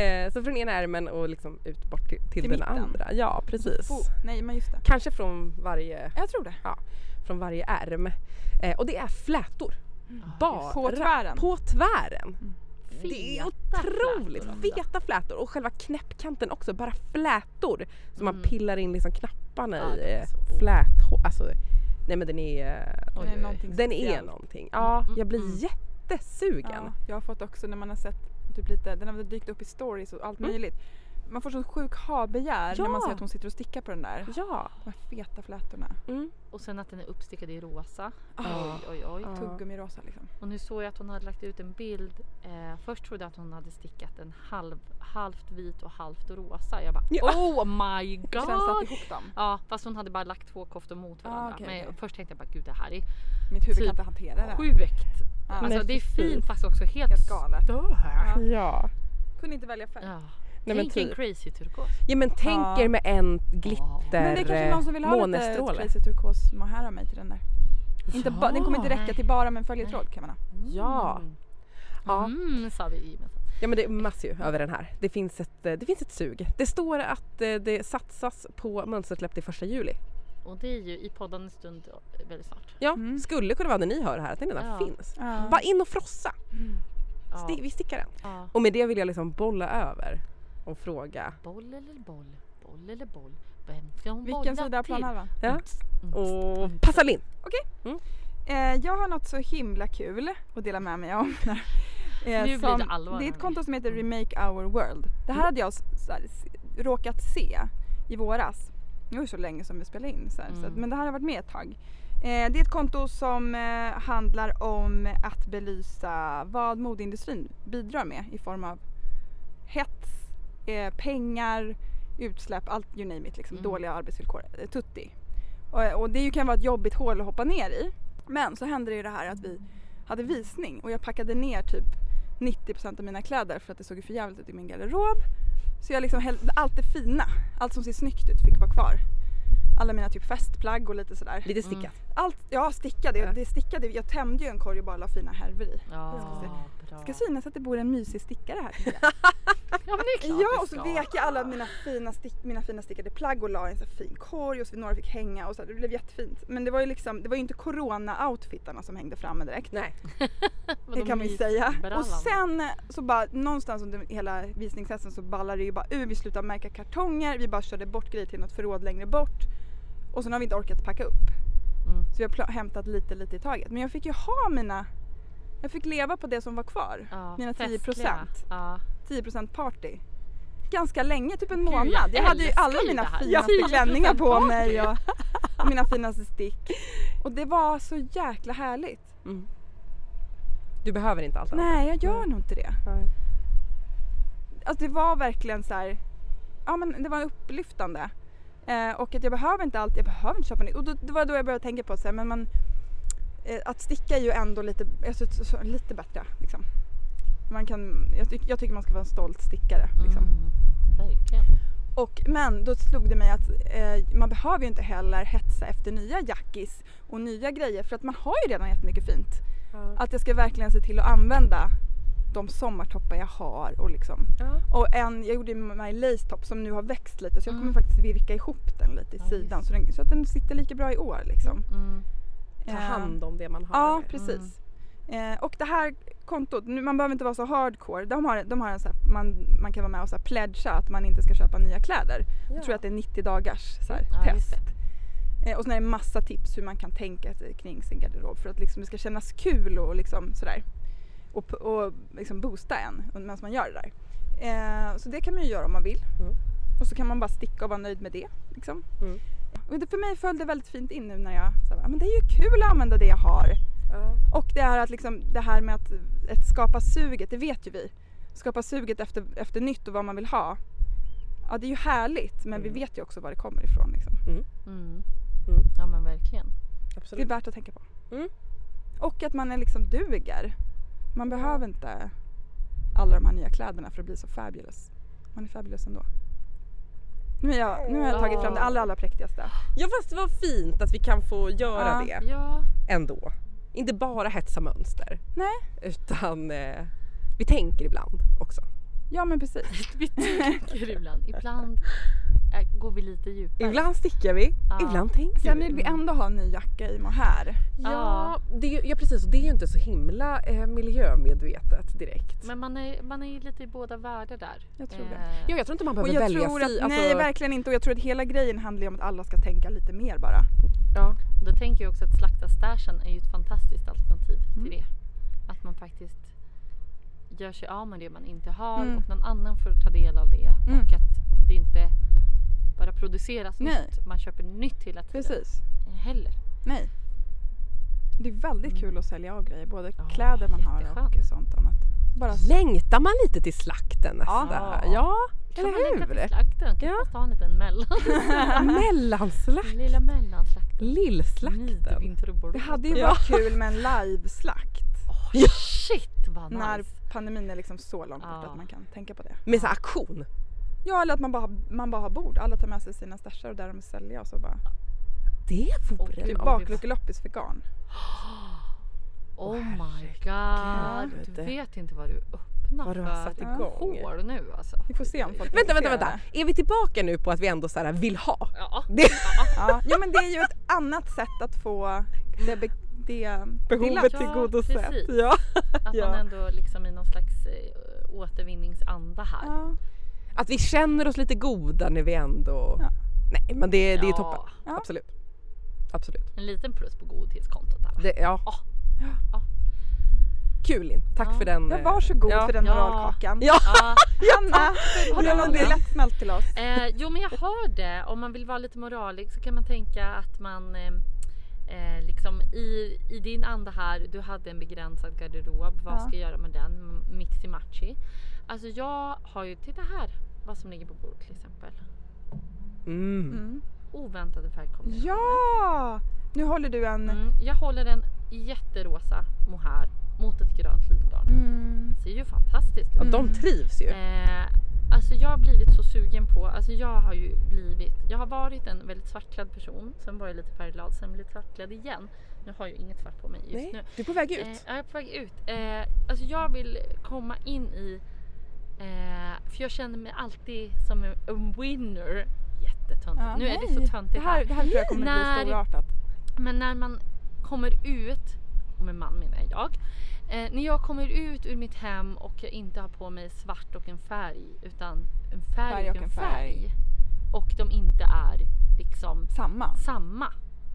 [SPEAKER 1] Eh, så från ena ärmen och liksom ut bort till, till,
[SPEAKER 2] Till
[SPEAKER 1] den
[SPEAKER 2] mitten.
[SPEAKER 1] andra. Ja precis.
[SPEAKER 2] Fo- Oh, Nej men just det.
[SPEAKER 1] Kanske från varje,
[SPEAKER 2] Jag tror det.
[SPEAKER 1] från varje ärm. Eh, och det är flätor.
[SPEAKER 3] Mm.
[SPEAKER 1] Bara
[SPEAKER 2] På tvären.
[SPEAKER 1] på tvären. Det är
[SPEAKER 3] Feta
[SPEAKER 1] otroligt
[SPEAKER 3] flätor också.
[SPEAKER 1] feta flätor och själva knäppkanten också, bara flätor som man
[SPEAKER 3] Mm.
[SPEAKER 1] pillar in liksom knapparna
[SPEAKER 3] Ja,
[SPEAKER 1] i.
[SPEAKER 3] det är
[SPEAKER 1] eh,
[SPEAKER 3] så-
[SPEAKER 1] Fläthår, alltså nej men den är, eh,
[SPEAKER 3] Oj, oj,
[SPEAKER 2] Den är
[SPEAKER 3] oj.
[SPEAKER 2] någonting
[SPEAKER 1] den är
[SPEAKER 2] speciellt.
[SPEAKER 1] någonting. Ja,
[SPEAKER 3] Mm,
[SPEAKER 1] jag blir
[SPEAKER 3] mm.
[SPEAKER 1] jättesugen.
[SPEAKER 2] Ja, jag har fått också när man har sett typ lite, den har dykt upp i stories och allt
[SPEAKER 1] Mm.
[SPEAKER 2] möjligt. Man får sån sjuk ha-begär när man
[SPEAKER 1] Ja.
[SPEAKER 2] ser att hon sitter och stickar på den där.
[SPEAKER 1] Ja.
[SPEAKER 2] De här feta flätorna.
[SPEAKER 1] Mm.
[SPEAKER 3] Och sen att den är uppstickad i rosa.
[SPEAKER 1] Ja.
[SPEAKER 3] Oj, oj, oj.
[SPEAKER 1] Ja.
[SPEAKER 2] Tuggummi-rosa liksom.
[SPEAKER 3] Och nu såg jag att hon hade lagt ut en bild. Eh, först trodde jag att hon hade stickat en halv, halvt vit och halvt rosa. Jag bara
[SPEAKER 1] Ja.
[SPEAKER 3] oh my
[SPEAKER 2] (laughs) Och sen satt
[SPEAKER 3] god!
[SPEAKER 2] ihop dem.
[SPEAKER 3] Ja fast hon hade bara lagt två koftor mot
[SPEAKER 2] Ah,
[SPEAKER 3] varandra.
[SPEAKER 2] okej,
[SPEAKER 3] men
[SPEAKER 2] okej.
[SPEAKER 3] först tänkte jag bara gud det här är
[SPEAKER 2] Mitt huvud
[SPEAKER 3] Typ
[SPEAKER 2] kan inte hantera det.
[SPEAKER 3] sjukt.
[SPEAKER 2] Ja.
[SPEAKER 3] Alltså
[SPEAKER 1] Nej,
[SPEAKER 3] det är
[SPEAKER 1] precis.
[SPEAKER 3] fint fast också helt,
[SPEAKER 2] Helt galet.
[SPEAKER 3] stört.
[SPEAKER 1] Ja.
[SPEAKER 2] Kunde inte välja färg.
[SPEAKER 3] Ja.
[SPEAKER 1] Nej, men
[SPEAKER 3] Tänk en
[SPEAKER 1] typ.
[SPEAKER 3] crazy turkos.
[SPEAKER 1] Ja men tänk
[SPEAKER 2] Ja.
[SPEAKER 1] er med en
[SPEAKER 3] Ja.
[SPEAKER 1] glitter
[SPEAKER 2] Men det är kanske någon som vill ha lite
[SPEAKER 1] månestråle.
[SPEAKER 2] crazy turkos mohair av mig till den där. Inte ba- den kommer inte räcka till bara med en följetråd kan man ha.
[SPEAKER 1] Ja.
[SPEAKER 3] Mm.
[SPEAKER 1] Ja.
[SPEAKER 3] Mm, sa vi gemensamt.
[SPEAKER 1] ja men det massas ju över den här. Det finns, ett, eh, det finns ett sug. Det står att eh, det satsas på mönstersläpp till första juli.
[SPEAKER 3] Och det är ju i podden en stund eh, väldigt snart.
[SPEAKER 1] Ja,
[SPEAKER 2] Mm.
[SPEAKER 1] skulle kunna vara när ni hör det här att den redan
[SPEAKER 3] Ja.
[SPEAKER 1] finns.
[SPEAKER 2] Ja.
[SPEAKER 1] Bara in och frossa!
[SPEAKER 3] Ja.
[SPEAKER 1] Sti- vi stickar den.
[SPEAKER 3] Ja.
[SPEAKER 1] Och med det vill jag liksom bolla över och fråga.
[SPEAKER 3] Boll eller boll, boll eller boll. Vem ska hon bolla
[SPEAKER 2] Vilken sida av
[SPEAKER 3] till?
[SPEAKER 2] planhalvan?
[SPEAKER 1] Ja.
[SPEAKER 3] Mm.
[SPEAKER 1] Och passa in!
[SPEAKER 2] Eh, jag har något så himla kul att dela med mig om. Eh,
[SPEAKER 3] blir det
[SPEAKER 2] som-
[SPEAKER 3] allvar Mm.
[SPEAKER 2] det är
[SPEAKER 3] här
[SPEAKER 2] ett
[SPEAKER 3] nu.
[SPEAKER 2] konto som heter Remake Our World. Det här hade jag s- så här, s- råkat se i våras. Nu är det så länge som vi spelade in så här, så att,
[SPEAKER 3] Mm.
[SPEAKER 2] men det här har varit med ett tag. Eh, det är ett konto som eh, handlar om att belysa vad modeindustrin bidrar med i form av hets, eh, pengar, utsläpp, allt you name it, liksom,
[SPEAKER 3] Mm.
[SPEAKER 2] dåliga arbetsvillkor, eh, tutti. Och, och det ju kan vara ett jobbigt hål att hoppa ner i. Men så hände det ju det här att vi hade visning och jag packade ner typ 90% av mina kläder för att det såg ju för jävligt ut i min garderob. Så jag liksom hällde, allt det fina, allt som ser snyggt ut fick vara kvar. Alla mina typ festplagg och lite sådär.
[SPEAKER 1] Lite stickat.
[SPEAKER 2] Allt, ja stickade,
[SPEAKER 1] Ja.
[SPEAKER 2] det stickade, jag tämjde ju en korg och bara la fina härvor i.
[SPEAKER 3] Ja, bra.
[SPEAKER 2] Ska synas att det bor en mysig stickare här. tycker jag.
[SPEAKER 3] Ja, men det är klart
[SPEAKER 2] Ja
[SPEAKER 3] det
[SPEAKER 2] och så
[SPEAKER 3] ska.
[SPEAKER 2] vek jag alla mina fina, stick, mina fina stickade plagg och la i en så här fin korg och så några fick hänga och så här, det blev jättefint. Men det var ju liksom, det var ju inte corona-outfitarna som hängde framme direkt.
[SPEAKER 1] Nej.
[SPEAKER 3] Men
[SPEAKER 2] Det
[SPEAKER 3] de
[SPEAKER 2] kan vi
[SPEAKER 3] mys-
[SPEAKER 2] säga.
[SPEAKER 3] brallan.
[SPEAKER 2] Och sen så bara någonstans under hela visningshetsen så ballade det ju bara ur. Vi slutade märka kartonger, vi bara körde bort grejer till något förråd längre bort. Och sen har vi inte orkat packa upp.
[SPEAKER 3] Mm.
[SPEAKER 2] Så vi har pla- hämtat lite, lite i taget. Men jag fick ju ha mina, jag fick leva på det som var kvar.
[SPEAKER 3] Ja,
[SPEAKER 2] mina 10
[SPEAKER 3] festliga.
[SPEAKER 2] procent.
[SPEAKER 3] Ja.
[SPEAKER 2] 10% party. Ganska länge, typ en
[SPEAKER 3] Gud, jag
[SPEAKER 2] månad. Jag, hade ju
[SPEAKER 3] älskar
[SPEAKER 2] alla
[SPEAKER 3] ju
[SPEAKER 2] mina
[SPEAKER 3] det här.
[SPEAKER 2] finaste
[SPEAKER 3] 10%
[SPEAKER 2] klänningar på
[SPEAKER 3] party.
[SPEAKER 2] mig och, och mina finaste
[SPEAKER 3] (laughs)
[SPEAKER 2] stick. Och det var så jäkla härligt.
[SPEAKER 1] Mm. Du behöver inte allt annat.
[SPEAKER 2] Nej, jag gör nog inte det.
[SPEAKER 1] Nej.
[SPEAKER 2] Alltså det var verkligen så här, ja men det var upplyftande. Eh, och att jag behöver inte allt, jag behöver inte köpa nytt. Och då, det var då jag började tänka på så här, men man, eh, att sticka är ju ändå lite, alltså, så- så- lite bättre. Liksom. Man kan, jag, tyck, jag tycker man ska vara en stolt stickare. Liksom.
[SPEAKER 3] Mm. Verkligen.
[SPEAKER 2] Och, men då slog det mig att eh, man behöver ju inte heller hetsa efter nya jackis och nya grejer för att man har ju redan jättemycket fint.
[SPEAKER 1] Ja.
[SPEAKER 2] Att jag ska verkligen se till att använda de sommartoppar jag har och liksom.
[SPEAKER 1] Ja.
[SPEAKER 2] Och en, jag gjorde ju My Lace Top som nu har växt lite så jag
[SPEAKER 3] Mm.
[SPEAKER 2] kommer faktiskt virka ihop den lite i
[SPEAKER 3] Ja,
[SPEAKER 2] sidan
[SPEAKER 3] just.
[SPEAKER 2] så, den, så att den sitter lika bra i år liksom.
[SPEAKER 3] Mm.
[SPEAKER 1] Ta
[SPEAKER 2] Eh,
[SPEAKER 1] hand om Mm. det man har.
[SPEAKER 2] Ja,
[SPEAKER 1] med.
[SPEAKER 2] precis. Eh, och det här kontot, nu, man behöver inte vara så hardcore. De har, de har en så här, man, man kan vara med och så här pledga att man inte ska köpa nya kläder. Jag tror att det är 90 dagars så här,
[SPEAKER 3] Ja, just
[SPEAKER 2] test. Eh, och sen är det massa tips hur man kan tänka sig kring sin garderob för att liksom, det ska kännas kul och liksom sådär. Och, p- och liksom boosta en medan man gör det där. Eh, så det kan man ju göra om man vill.
[SPEAKER 1] Mm.
[SPEAKER 2] Och så kan man bara sticka och vara nöjd med det. Liksom.
[SPEAKER 1] Mm.
[SPEAKER 2] Och det, för mig föll det väldigt fint in nu när jag så här, "Ah, men det är ju kul att använda det jag har.
[SPEAKER 1] Ja.
[SPEAKER 2] Och det är att liksom, det här med att, att skapa suget, det vet ju vi. Skapa suget efter, efter nytt och vad man vill ha. Ja, det är ju härligt men
[SPEAKER 1] Mm.
[SPEAKER 2] vi vet ju också var det kommer ifrån. Liksom.
[SPEAKER 3] Mm.
[SPEAKER 1] Mm.
[SPEAKER 3] Ja men verkligen.
[SPEAKER 2] Det är
[SPEAKER 1] Absolut.
[SPEAKER 2] värt att tänka på.
[SPEAKER 1] Mm.
[SPEAKER 2] Och att man är liksom duger. Man behöver inte alla de här nya kläderna för att bli så fabulous. Man är fabulous ändå. Nu, är jag, nu har jag tagit fram det allra, allra präktigaste.
[SPEAKER 1] Ja fast vad fint att vi kan få göra
[SPEAKER 2] Ja.
[SPEAKER 1] det
[SPEAKER 3] Ja,
[SPEAKER 1] ändå. Inte bara hetsa mönster.
[SPEAKER 2] Nej.
[SPEAKER 1] Utan eh, vi tänker ibland också.
[SPEAKER 2] Ja men
[SPEAKER 1] (laughs)
[SPEAKER 2] precis.
[SPEAKER 3] vi tänker ibland. Ibland eh, går vi lite djupare.
[SPEAKER 1] Ibland stickar vi,
[SPEAKER 3] Ja.
[SPEAKER 1] ibland tänker
[SPEAKER 2] Sen
[SPEAKER 1] vi.
[SPEAKER 2] vill vi ändå ha en ny jacka i mohair.
[SPEAKER 1] Ja, det är, ju- ja precis och det är ju inte så himla eh, miljömedvetet direkt.
[SPEAKER 3] Men man är, man är ju lite i båda världar där.
[SPEAKER 2] Jag tror det.
[SPEAKER 3] Eh,
[SPEAKER 1] ja, jag tror inte man
[SPEAKER 2] Och
[SPEAKER 1] behöver
[SPEAKER 2] jag
[SPEAKER 1] välja
[SPEAKER 2] tror att,
[SPEAKER 1] fri. alltså-
[SPEAKER 2] Nej verkligen inte och jag tror att hela grejen handlar ju om att alla ska tänka lite mer bara.
[SPEAKER 1] ja.
[SPEAKER 3] Och Då tänker jag också att slakta stashen är ju ett fantastiskt alternativ
[SPEAKER 2] Mm.
[SPEAKER 3] till det. Att man faktiskt gör sig av med det man inte har
[SPEAKER 2] Mm.
[SPEAKER 3] och någon annan får ta del av det.
[SPEAKER 2] Mm.
[SPEAKER 3] Och att det inte bara produceras
[SPEAKER 2] Nej.
[SPEAKER 3] nytt. Man köper nytt hela tiden.
[SPEAKER 2] Precis.
[SPEAKER 3] Heller.
[SPEAKER 2] Nej. Det är väldigt
[SPEAKER 3] Mm.
[SPEAKER 2] kul att sälja av grejer, både
[SPEAKER 3] Ja,
[SPEAKER 2] kläder man har och
[SPEAKER 3] jätteskönt.
[SPEAKER 2] sånt annat. Bara
[SPEAKER 1] Längtar man lite till slakten nästa?
[SPEAKER 3] Ja.
[SPEAKER 1] ja
[SPEAKER 3] Kan man
[SPEAKER 1] eller
[SPEAKER 3] längta till
[SPEAKER 1] hur?
[SPEAKER 3] slakten? Kan
[SPEAKER 1] Ja.
[SPEAKER 3] man ta en liten
[SPEAKER 2] (laughs)
[SPEAKER 3] mellan?
[SPEAKER 1] Mellanslakt,
[SPEAKER 3] Lilla mellanslakten.
[SPEAKER 1] lillslakten.
[SPEAKER 3] Midvinterbord.
[SPEAKER 2] Det hade ju
[SPEAKER 1] Ja.
[SPEAKER 2] varit kul med en liveslakt.
[SPEAKER 1] (laughs)
[SPEAKER 3] Oh, shit vad nice!
[SPEAKER 2] När pandemin är liksom så långt bort
[SPEAKER 3] Ja.
[SPEAKER 2] att man kan tänka på det.
[SPEAKER 1] Med så här auktion.
[SPEAKER 2] Ja eller att man bara, har- man bara har bord, alla tar med sig sina stashar och där de vill sälja och så bara.
[SPEAKER 1] Det vore
[SPEAKER 3] Åh,
[SPEAKER 1] något.
[SPEAKER 2] Typ
[SPEAKER 3] Ja.
[SPEAKER 2] bakluckeloppis för garn.
[SPEAKER 3] Oh my god!
[SPEAKER 1] herregud.
[SPEAKER 3] Du vet inte vad du öppnar
[SPEAKER 1] Vad du har
[SPEAKER 3] för
[SPEAKER 1] satt igång.
[SPEAKER 3] hål nu alltså.
[SPEAKER 2] Vi får se om folk
[SPEAKER 1] Vänta, vänta,
[SPEAKER 2] intresserade.
[SPEAKER 1] vänta. Är vi tillbaka nu på att vi ändå så här vill ha?
[SPEAKER 3] Ja.
[SPEAKER 1] Det,
[SPEAKER 2] Ja. ja men det är ju ett annat sätt att
[SPEAKER 1] (laughs)
[SPEAKER 2] få det, be- det
[SPEAKER 1] behovet
[SPEAKER 3] Ja,
[SPEAKER 1] tillgodosett.
[SPEAKER 3] precis.
[SPEAKER 1] Ja. (laughs)
[SPEAKER 3] Att
[SPEAKER 1] Ja.
[SPEAKER 3] man ändå liksom i någon slags eh, återvinningsanda här.
[SPEAKER 2] Ja.
[SPEAKER 1] Att vi känner oss lite goda när vi ändå...
[SPEAKER 2] Ja.
[SPEAKER 1] Nej men det, det är
[SPEAKER 3] Ja,
[SPEAKER 1] toppen.
[SPEAKER 2] Ja.
[SPEAKER 1] Absolut. Absolut.
[SPEAKER 3] En liten plus på godhetskontot
[SPEAKER 1] (laughs)
[SPEAKER 3] här va?
[SPEAKER 1] Det, ja.
[SPEAKER 3] Ja.
[SPEAKER 1] Ja.
[SPEAKER 3] Ja.
[SPEAKER 1] Kul Linn, tack
[SPEAKER 3] Ja.
[SPEAKER 1] för den.
[SPEAKER 2] Ja,
[SPEAKER 1] eh,
[SPEAKER 2] varsågod
[SPEAKER 1] ja.
[SPEAKER 2] för den
[SPEAKER 3] Ja.
[SPEAKER 2] moralkakan.
[SPEAKER 1] Ja.
[SPEAKER 3] Ja.
[SPEAKER 2] Anna, har du någon
[SPEAKER 3] Ja.
[SPEAKER 2] lättsmält till oss?
[SPEAKER 3] Eh, jo men jag har det. Om man vill vara lite moralig så kan man tänka att man eh, eh, liksom i, i din anda här, du hade en begränsad garderob. Vad
[SPEAKER 2] Ja.
[SPEAKER 3] ska jag göra med den? M- Mixi matchi. Alltså jag har ju, titta här vad som ligger på bordet till exempel.
[SPEAKER 1] Mm.
[SPEAKER 2] Mm.
[SPEAKER 3] Oväntade färgkombinationer.
[SPEAKER 2] Ja! Nu håller du en...
[SPEAKER 3] Mm, jag håller en jätterosa mohair mot ett grönt lingarn.
[SPEAKER 2] Mm.
[SPEAKER 3] ser ju fantastiskt ut.
[SPEAKER 1] Ja, de trivs ju.
[SPEAKER 3] Mm. Eh, alltså jag har blivit så sugen på, alltså jag har ju blivit, jag har varit en väldigt svartklädd person, sen var jag lite färgglad, sen blev jag svartklädd igen. Nu har jag ju inget svart på mig just
[SPEAKER 1] Nej,
[SPEAKER 3] nu.
[SPEAKER 1] du är på väg
[SPEAKER 3] Eh,
[SPEAKER 1] ut.
[SPEAKER 3] jag är på väg ut. Eh, alltså jag vill komma in i, eh, för jag känner mig alltid som en- en winner. Jättetöntigt.
[SPEAKER 2] Ja,
[SPEAKER 3] nu är det
[SPEAKER 2] nej.
[SPEAKER 3] så töntigt
[SPEAKER 2] Det här, det här tror jag kommer
[SPEAKER 3] När-
[SPEAKER 2] bli storartat.
[SPEAKER 3] men när man kommer ut, och med man menar jag, eh, när jag kommer ut ur mitt hem och jag inte har på mig svart och en färg utan en färg, och en färg. Och de inte är liksom
[SPEAKER 2] Samma.
[SPEAKER 3] samma.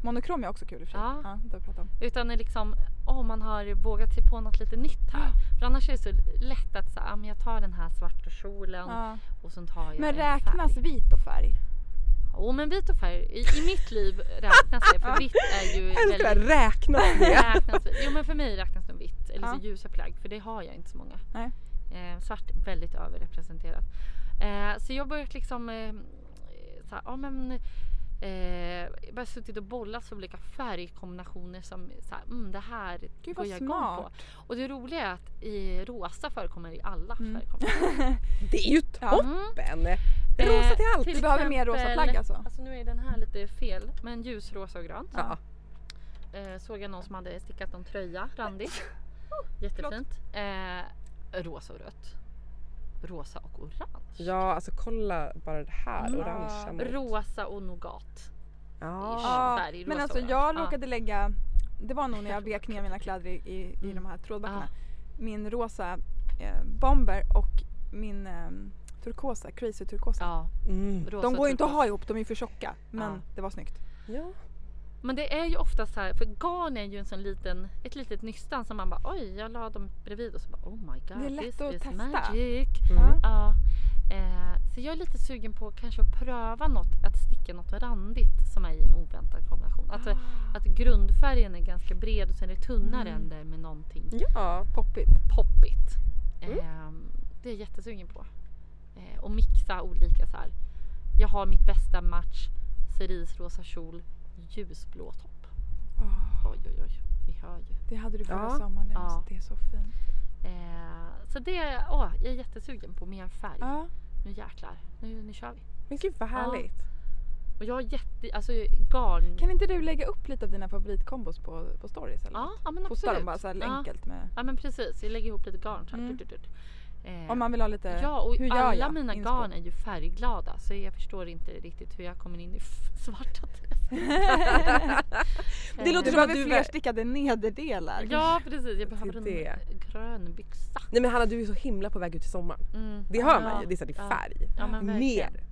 [SPEAKER 2] Monokrom är också kul i och för sig.
[SPEAKER 3] Ja.
[SPEAKER 2] Ja, det har vi pratat om.
[SPEAKER 3] Utan är liksom, åh man har vågat sig på något lite nytt här. För annars är det så lätt att säga, ah, men jag tar den här svarta kjolen
[SPEAKER 2] Ja.
[SPEAKER 3] och sen tar jag
[SPEAKER 2] Men
[SPEAKER 3] en
[SPEAKER 2] räknas
[SPEAKER 3] färg.
[SPEAKER 2] vit och färg?
[SPEAKER 3] Jo men vit och färg, i, i mitt liv räknas det för vitt är ju
[SPEAKER 1] Jag älskar
[SPEAKER 3] väldigt
[SPEAKER 1] att räkna det.
[SPEAKER 3] räknas vitt. Jo men för mig räknas de vitt, eller så
[SPEAKER 2] Ja.
[SPEAKER 3] ljusa plagg för det har jag inte så många.
[SPEAKER 2] Nej.
[SPEAKER 3] Eh, svart är väldigt överrepresenterat. Eh, så jag har börjat liksom eh, så här, ja men eh, jag har suttit och bollat för olika färgkombinationer som så här, mm, det här
[SPEAKER 2] Gud,
[SPEAKER 3] går
[SPEAKER 2] vad
[SPEAKER 3] jag igång på.
[SPEAKER 2] smart.
[SPEAKER 3] Och det roliga är att i rosa förekommer i alla
[SPEAKER 2] Mm.
[SPEAKER 3] färgkombinationer.
[SPEAKER 1] Det är ju
[SPEAKER 2] Ja.
[SPEAKER 1] toppen! Rosa till allt!
[SPEAKER 3] Eh, till
[SPEAKER 2] Du behöver mer
[SPEAKER 3] exempel-
[SPEAKER 2] rosa plagg alltså?
[SPEAKER 3] Alltså nu är den här lite fel, men ljusrosa och grönt.
[SPEAKER 1] Ja.
[SPEAKER 3] Eh, såg jag någon som hade stickat en tröja,
[SPEAKER 2] (laughs)
[SPEAKER 3] randigt. Jättefint. Eh, rosa och rött. Rosa och orange.
[SPEAKER 1] ja, alltså kolla bara det här
[SPEAKER 3] Mm.
[SPEAKER 1] orangea mot-
[SPEAKER 3] Rosa och nougat.
[SPEAKER 1] Ja.
[SPEAKER 2] Ja,
[SPEAKER 3] färg,
[SPEAKER 2] men
[SPEAKER 3] rosa
[SPEAKER 2] alltså
[SPEAKER 3] orange.
[SPEAKER 2] jag
[SPEAKER 3] Ja.
[SPEAKER 2] råkade lägga, det var nog när jag vek ner mina kläder i, i, i
[SPEAKER 3] Mm.
[SPEAKER 2] de här trådbackarna,
[SPEAKER 3] Ah.
[SPEAKER 2] min rosa eh, bomber och min eh, turkosa, crazy turkosa.
[SPEAKER 3] Ja,
[SPEAKER 1] Mm.
[SPEAKER 3] rosa
[SPEAKER 2] De
[SPEAKER 3] och
[SPEAKER 2] går ju inte att
[SPEAKER 3] turkos.
[SPEAKER 2] ha ihop, de är ju för tjocka. Men
[SPEAKER 3] typ Ja.
[SPEAKER 2] det var snyggt.
[SPEAKER 1] ja.
[SPEAKER 3] Men det är ju ofta så här, för garn är ju en sån liten, ett litet nystan som man bara oj, jag la dem bredvid och så bara oh my god,
[SPEAKER 2] Det är lätt
[SPEAKER 3] this
[SPEAKER 2] att
[SPEAKER 3] is
[SPEAKER 2] testa.
[SPEAKER 3] magic.
[SPEAKER 1] Mm.
[SPEAKER 3] Ja. Eh, så jag är lite sugen på kanske att pröva något, att sticka något randigt som är i en oväntad kombination. Att, att grundfärgen är ganska bred och sen är det tunnare
[SPEAKER 2] Ah. Mm.
[SPEAKER 3] änder med någonting
[SPEAKER 1] Ja.
[SPEAKER 3] (laughs)
[SPEAKER 2] Poppigt.
[SPEAKER 3] poppigt.
[SPEAKER 1] Mm.
[SPEAKER 3] Eh, det är jag jättesugen på. Eh, och mixa olika så här. Jag har mitt bästa match, cerise rosa kjol, ljusblå topp.
[SPEAKER 2] Åh,
[SPEAKER 3] Oj oj oj, vi hör ju.
[SPEAKER 2] Ah, det hade du förra
[SPEAKER 1] Ja.
[SPEAKER 2] sommaren, det är-
[SPEAKER 3] Ja.
[SPEAKER 2] det är så fint.
[SPEAKER 3] Eh, så det, åh, jag är jättesugen på mer färg.
[SPEAKER 2] Ja.
[SPEAKER 3] Nu jäklar, nu, nu kör vi.
[SPEAKER 1] Men gud vad härligt.
[SPEAKER 3] Och jag har jätte, alltså garn.
[SPEAKER 2] Kan inte du lägga upp lite av dina favoritkombos på, på stories? Eller?
[SPEAKER 3] Ja, ja men
[SPEAKER 2] Fota
[SPEAKER 3] absolut.
[SPEAKER 2] dem bara så här
[SPEAKER 3] Ja.
[SPEAKER 2] enkelt med,
[SPEAKER 3] Ja men precis, jag lägger ihop lite garn så här.
[SPEAKER 2] Mm.
[SPEAKER 3] Tut, tut, tut. Eh,
[SPEAKER 2] om man vill ha lite,
[SPEAKER 3] Ja och
[SPEAKER 2] hur gör
[SPEAKER 3] alla
[SPEAKER 2] jag?
[SPEAKER 3] mina
[SPEAKER 2] Inspo.
[SPEAKER 3] garn är ju färgglada så jag förstår inte riktigt hur jag kommer in i f- (laughs) svarta
[SPEAKER 2] (laughs)
[SPEAKER 1] Det låter
[SPEAKER 2] Du
[SPEAKER 1] som att
[SPEAKER 2] behöver
[SPEAKER 1] du
[SPEAKER 2] fler
[SPEAKER 1] är-
[SPEAKER 2] stickade nederdelar.
[SPEAKER 3] Eh, Ja precis, jag behöver en
[SPEAKER 1] det.
[SPEAKER 3] grön byxa.
[SPEAKER 1] Nej men Hanna du är så himla på väg ut i sommaren.
[SPEAKER 3] Mm,
[SPEAKER 1] Det hör
[SPEAKER 3] ja,
[SPEAKER 1] man ju, det är så här, det är
[SPEAKER 3] ja.
[SPEAKER 1] färg.
[SPEAKER 3] Ja, men verkligen.
[SPEAKER 1] Mer!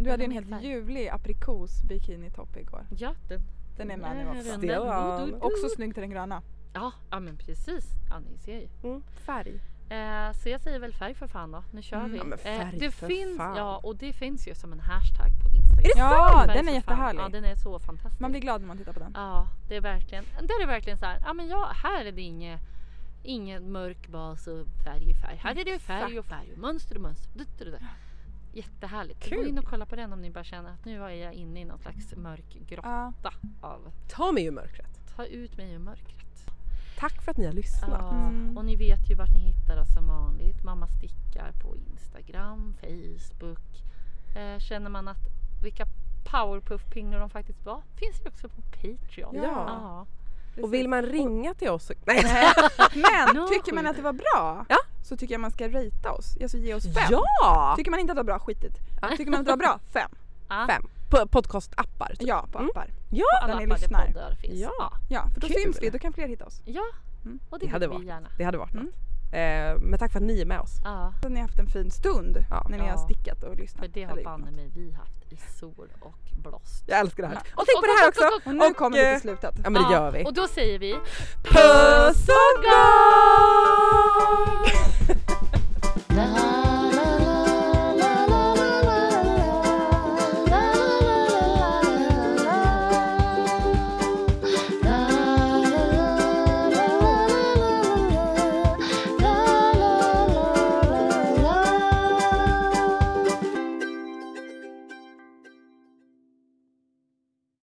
[SPEAKER 2] Du hade ju en
[SPEAKER 3] Ja, men
[SPEAKER 2] helt
[SPEAKER 3] exakt.
[SPEAKER 2] ljuvlig aprikos bikinitopp igår.
[SPEAKER 3] Ja, den,
[SPEAKER 2] Den är med
[SPEAKER 3] där
[SPEAKER 2] nu
[SPEAKER 3] är
[SPEAKER 2] också.
[SPEAKER 3] den.
[SPEAKER 1] Still on.
[SPEAKER 3] Du, du, du.
[SPEAKER 2] Också snygg till den gröna.
[SPEAKER 3] Ja, ja men precis. Ja ni ser ju.
[SPEAKER 1] Mm. Färg.
[SPEAKER 3] Eh, så jag säger väl färg för fan då. Nu kör
[SPEAKER 2] Mm.
[SPEAKER 3] vi.
[SPEAKER 1] Ja, men
[SPEAKER 3] Eh,
[SPEAKER 1] färg
[SPEAKER 3] det
[SPEAKER 1] för
[SPEAKER 3] finns,
[SPEAKER 1] fan.
[SPEAKER 3] Ja och det finns ju som en hashtag på Instagram.
[SPEAKER 1] Är det
[SPEAKER 2] Ja,
[SPEAKER 3] Färg
[SPEAKER 2] den
[SPEAKER 3] för
[SPEAKER 2] är
[SPEAKER 3] fan.
[SPEAKER 2] jättehärlig.
[SPEAKER 3] Ja den är så fantastisk.
[SPEAKER 2] Man blir glad när man tittar på den.
[SPEAKER 3] Ja, det är verkligen. Där är det verkligen så här, ja men ja, här är det inget ingen mörk bas och färg i färg. Här är det färg och färg och mönster och mönster. Du, du, du. Jättehärligt. Gå
[SPEAKER 1] Kul.
[SPEAKER 3] in och kolla på den om ni bara känner att nu är jag inne i någon slags mörk grotta
[SPEAKER 2] Ja.
[SPEAKER 3] av
[SPEAKER 1] Ta mig ur mörkret.
[SPEAKER 3] ta ut mig ur mörkret.
[SPEAKER 1] Tack för att ni har lyssnat.
[SPEAKER 3] Ja,
[SPEAKER 2] Mm.
[SPEAKER 3] och ni vet ju vart ni hittar oss som vanligt. Mamma stickar på Instagram, Facebook. Eh, känner man att vilka powerpuff-pingor de faktiskt var finns ju också på Patreon.
[SPEAKER 1] Ja.
[SPEAKER 3] ja.
[SPEAKER 1] Och vill man ringa till oss så... Nej!
[SPEAKER 2] Men
[SPEAKER 3] No
[SPEAKER 2] tycker man
[SPEAKER 3] skit.
[SPEAKER 2] att det var bra
[SPEAKER 1] Ja.
[SPEAKER 2] så tycker jag man ska ratea oss. Alltså ge oss fem.
[SPEAKER 1] Ja!
[SPEAKER 2] Tycker man inte att det var bra, skitigt. Tycker man att det
[SPEAKER 1] (laughs)
[SPEAKER 2] var bra, fem.
[SPEAKER 3] Ja.
[SPEAKER 1] Fem. På podcastappar. typ.
[SPEAKER 2] Ja, på
[SPEAKER 1] Mm.
[SPEAKER 2] appar.
[SPEAKER 1] Ja!
[SPEAKER 3] alla
[SPEAKER 2] där ni
[SPEAKER 3] appar
[SPEAKER 2] lyssnar.
[SPEAKER 3] där poddar finns.
[SPEAKER 1] Ja.
[SPEAKER 2] Ja, för då
[SPEAKER 1] Kul.
[SPEAKER 2] syns vi, då kan fler hitta oss.
[SPEAKER 3] ja.
[SPEAKER 2] Mm.
[SPEAKER 3] och
[SPEAKER 1] Det
[SPEAKER 3] det,
[SPEAKER 1] hade
[SPEAKER 3] vill vi
[SPEAKER 1] varit
[SPEAKER 3] gärna.
[SPEAKER 1] Det hade varit
[SPEAKER 2] Mm.
[SPEAKER 1] något. Eh, men tack för att ni är med oss.
[SPEAKER 3] Ja,
[SPEAKER 2] Så ni har haft en fin stund
[SPEAKER 1] Ja.
[SPEAKER 2] när ni har
[SPEAKER 3] Ja.
[SPEAKER 2] stickat och lyssnat.
[SPEAKER 3] för det har
[SPEAKER 2] Eller gjort
[SPEAKER 3] banne
[SPEAKER 2] något.
[SPEAKER 3] mig vi haft i sol och blåst.
[SPEAKER 1] Jag älskar det här.
[SPEAKER 2] Ja.
[SPEAKER 1] Och tänk på det här också!
[SPEAKER 2] Och nu
[SPEAKER 1] Och,
[SPEAKER 2] kommer vi
[SPEAKER 1] eh,
[SPEAKER 2] till slutet.
[SPEAKER 1] Ja men det
[SPEAKER 3] Ja,
[SPEAKER 1] gör vi.
[SPEAKER 3] Och då säger vi
[SPEAKER 1] Puss och kram!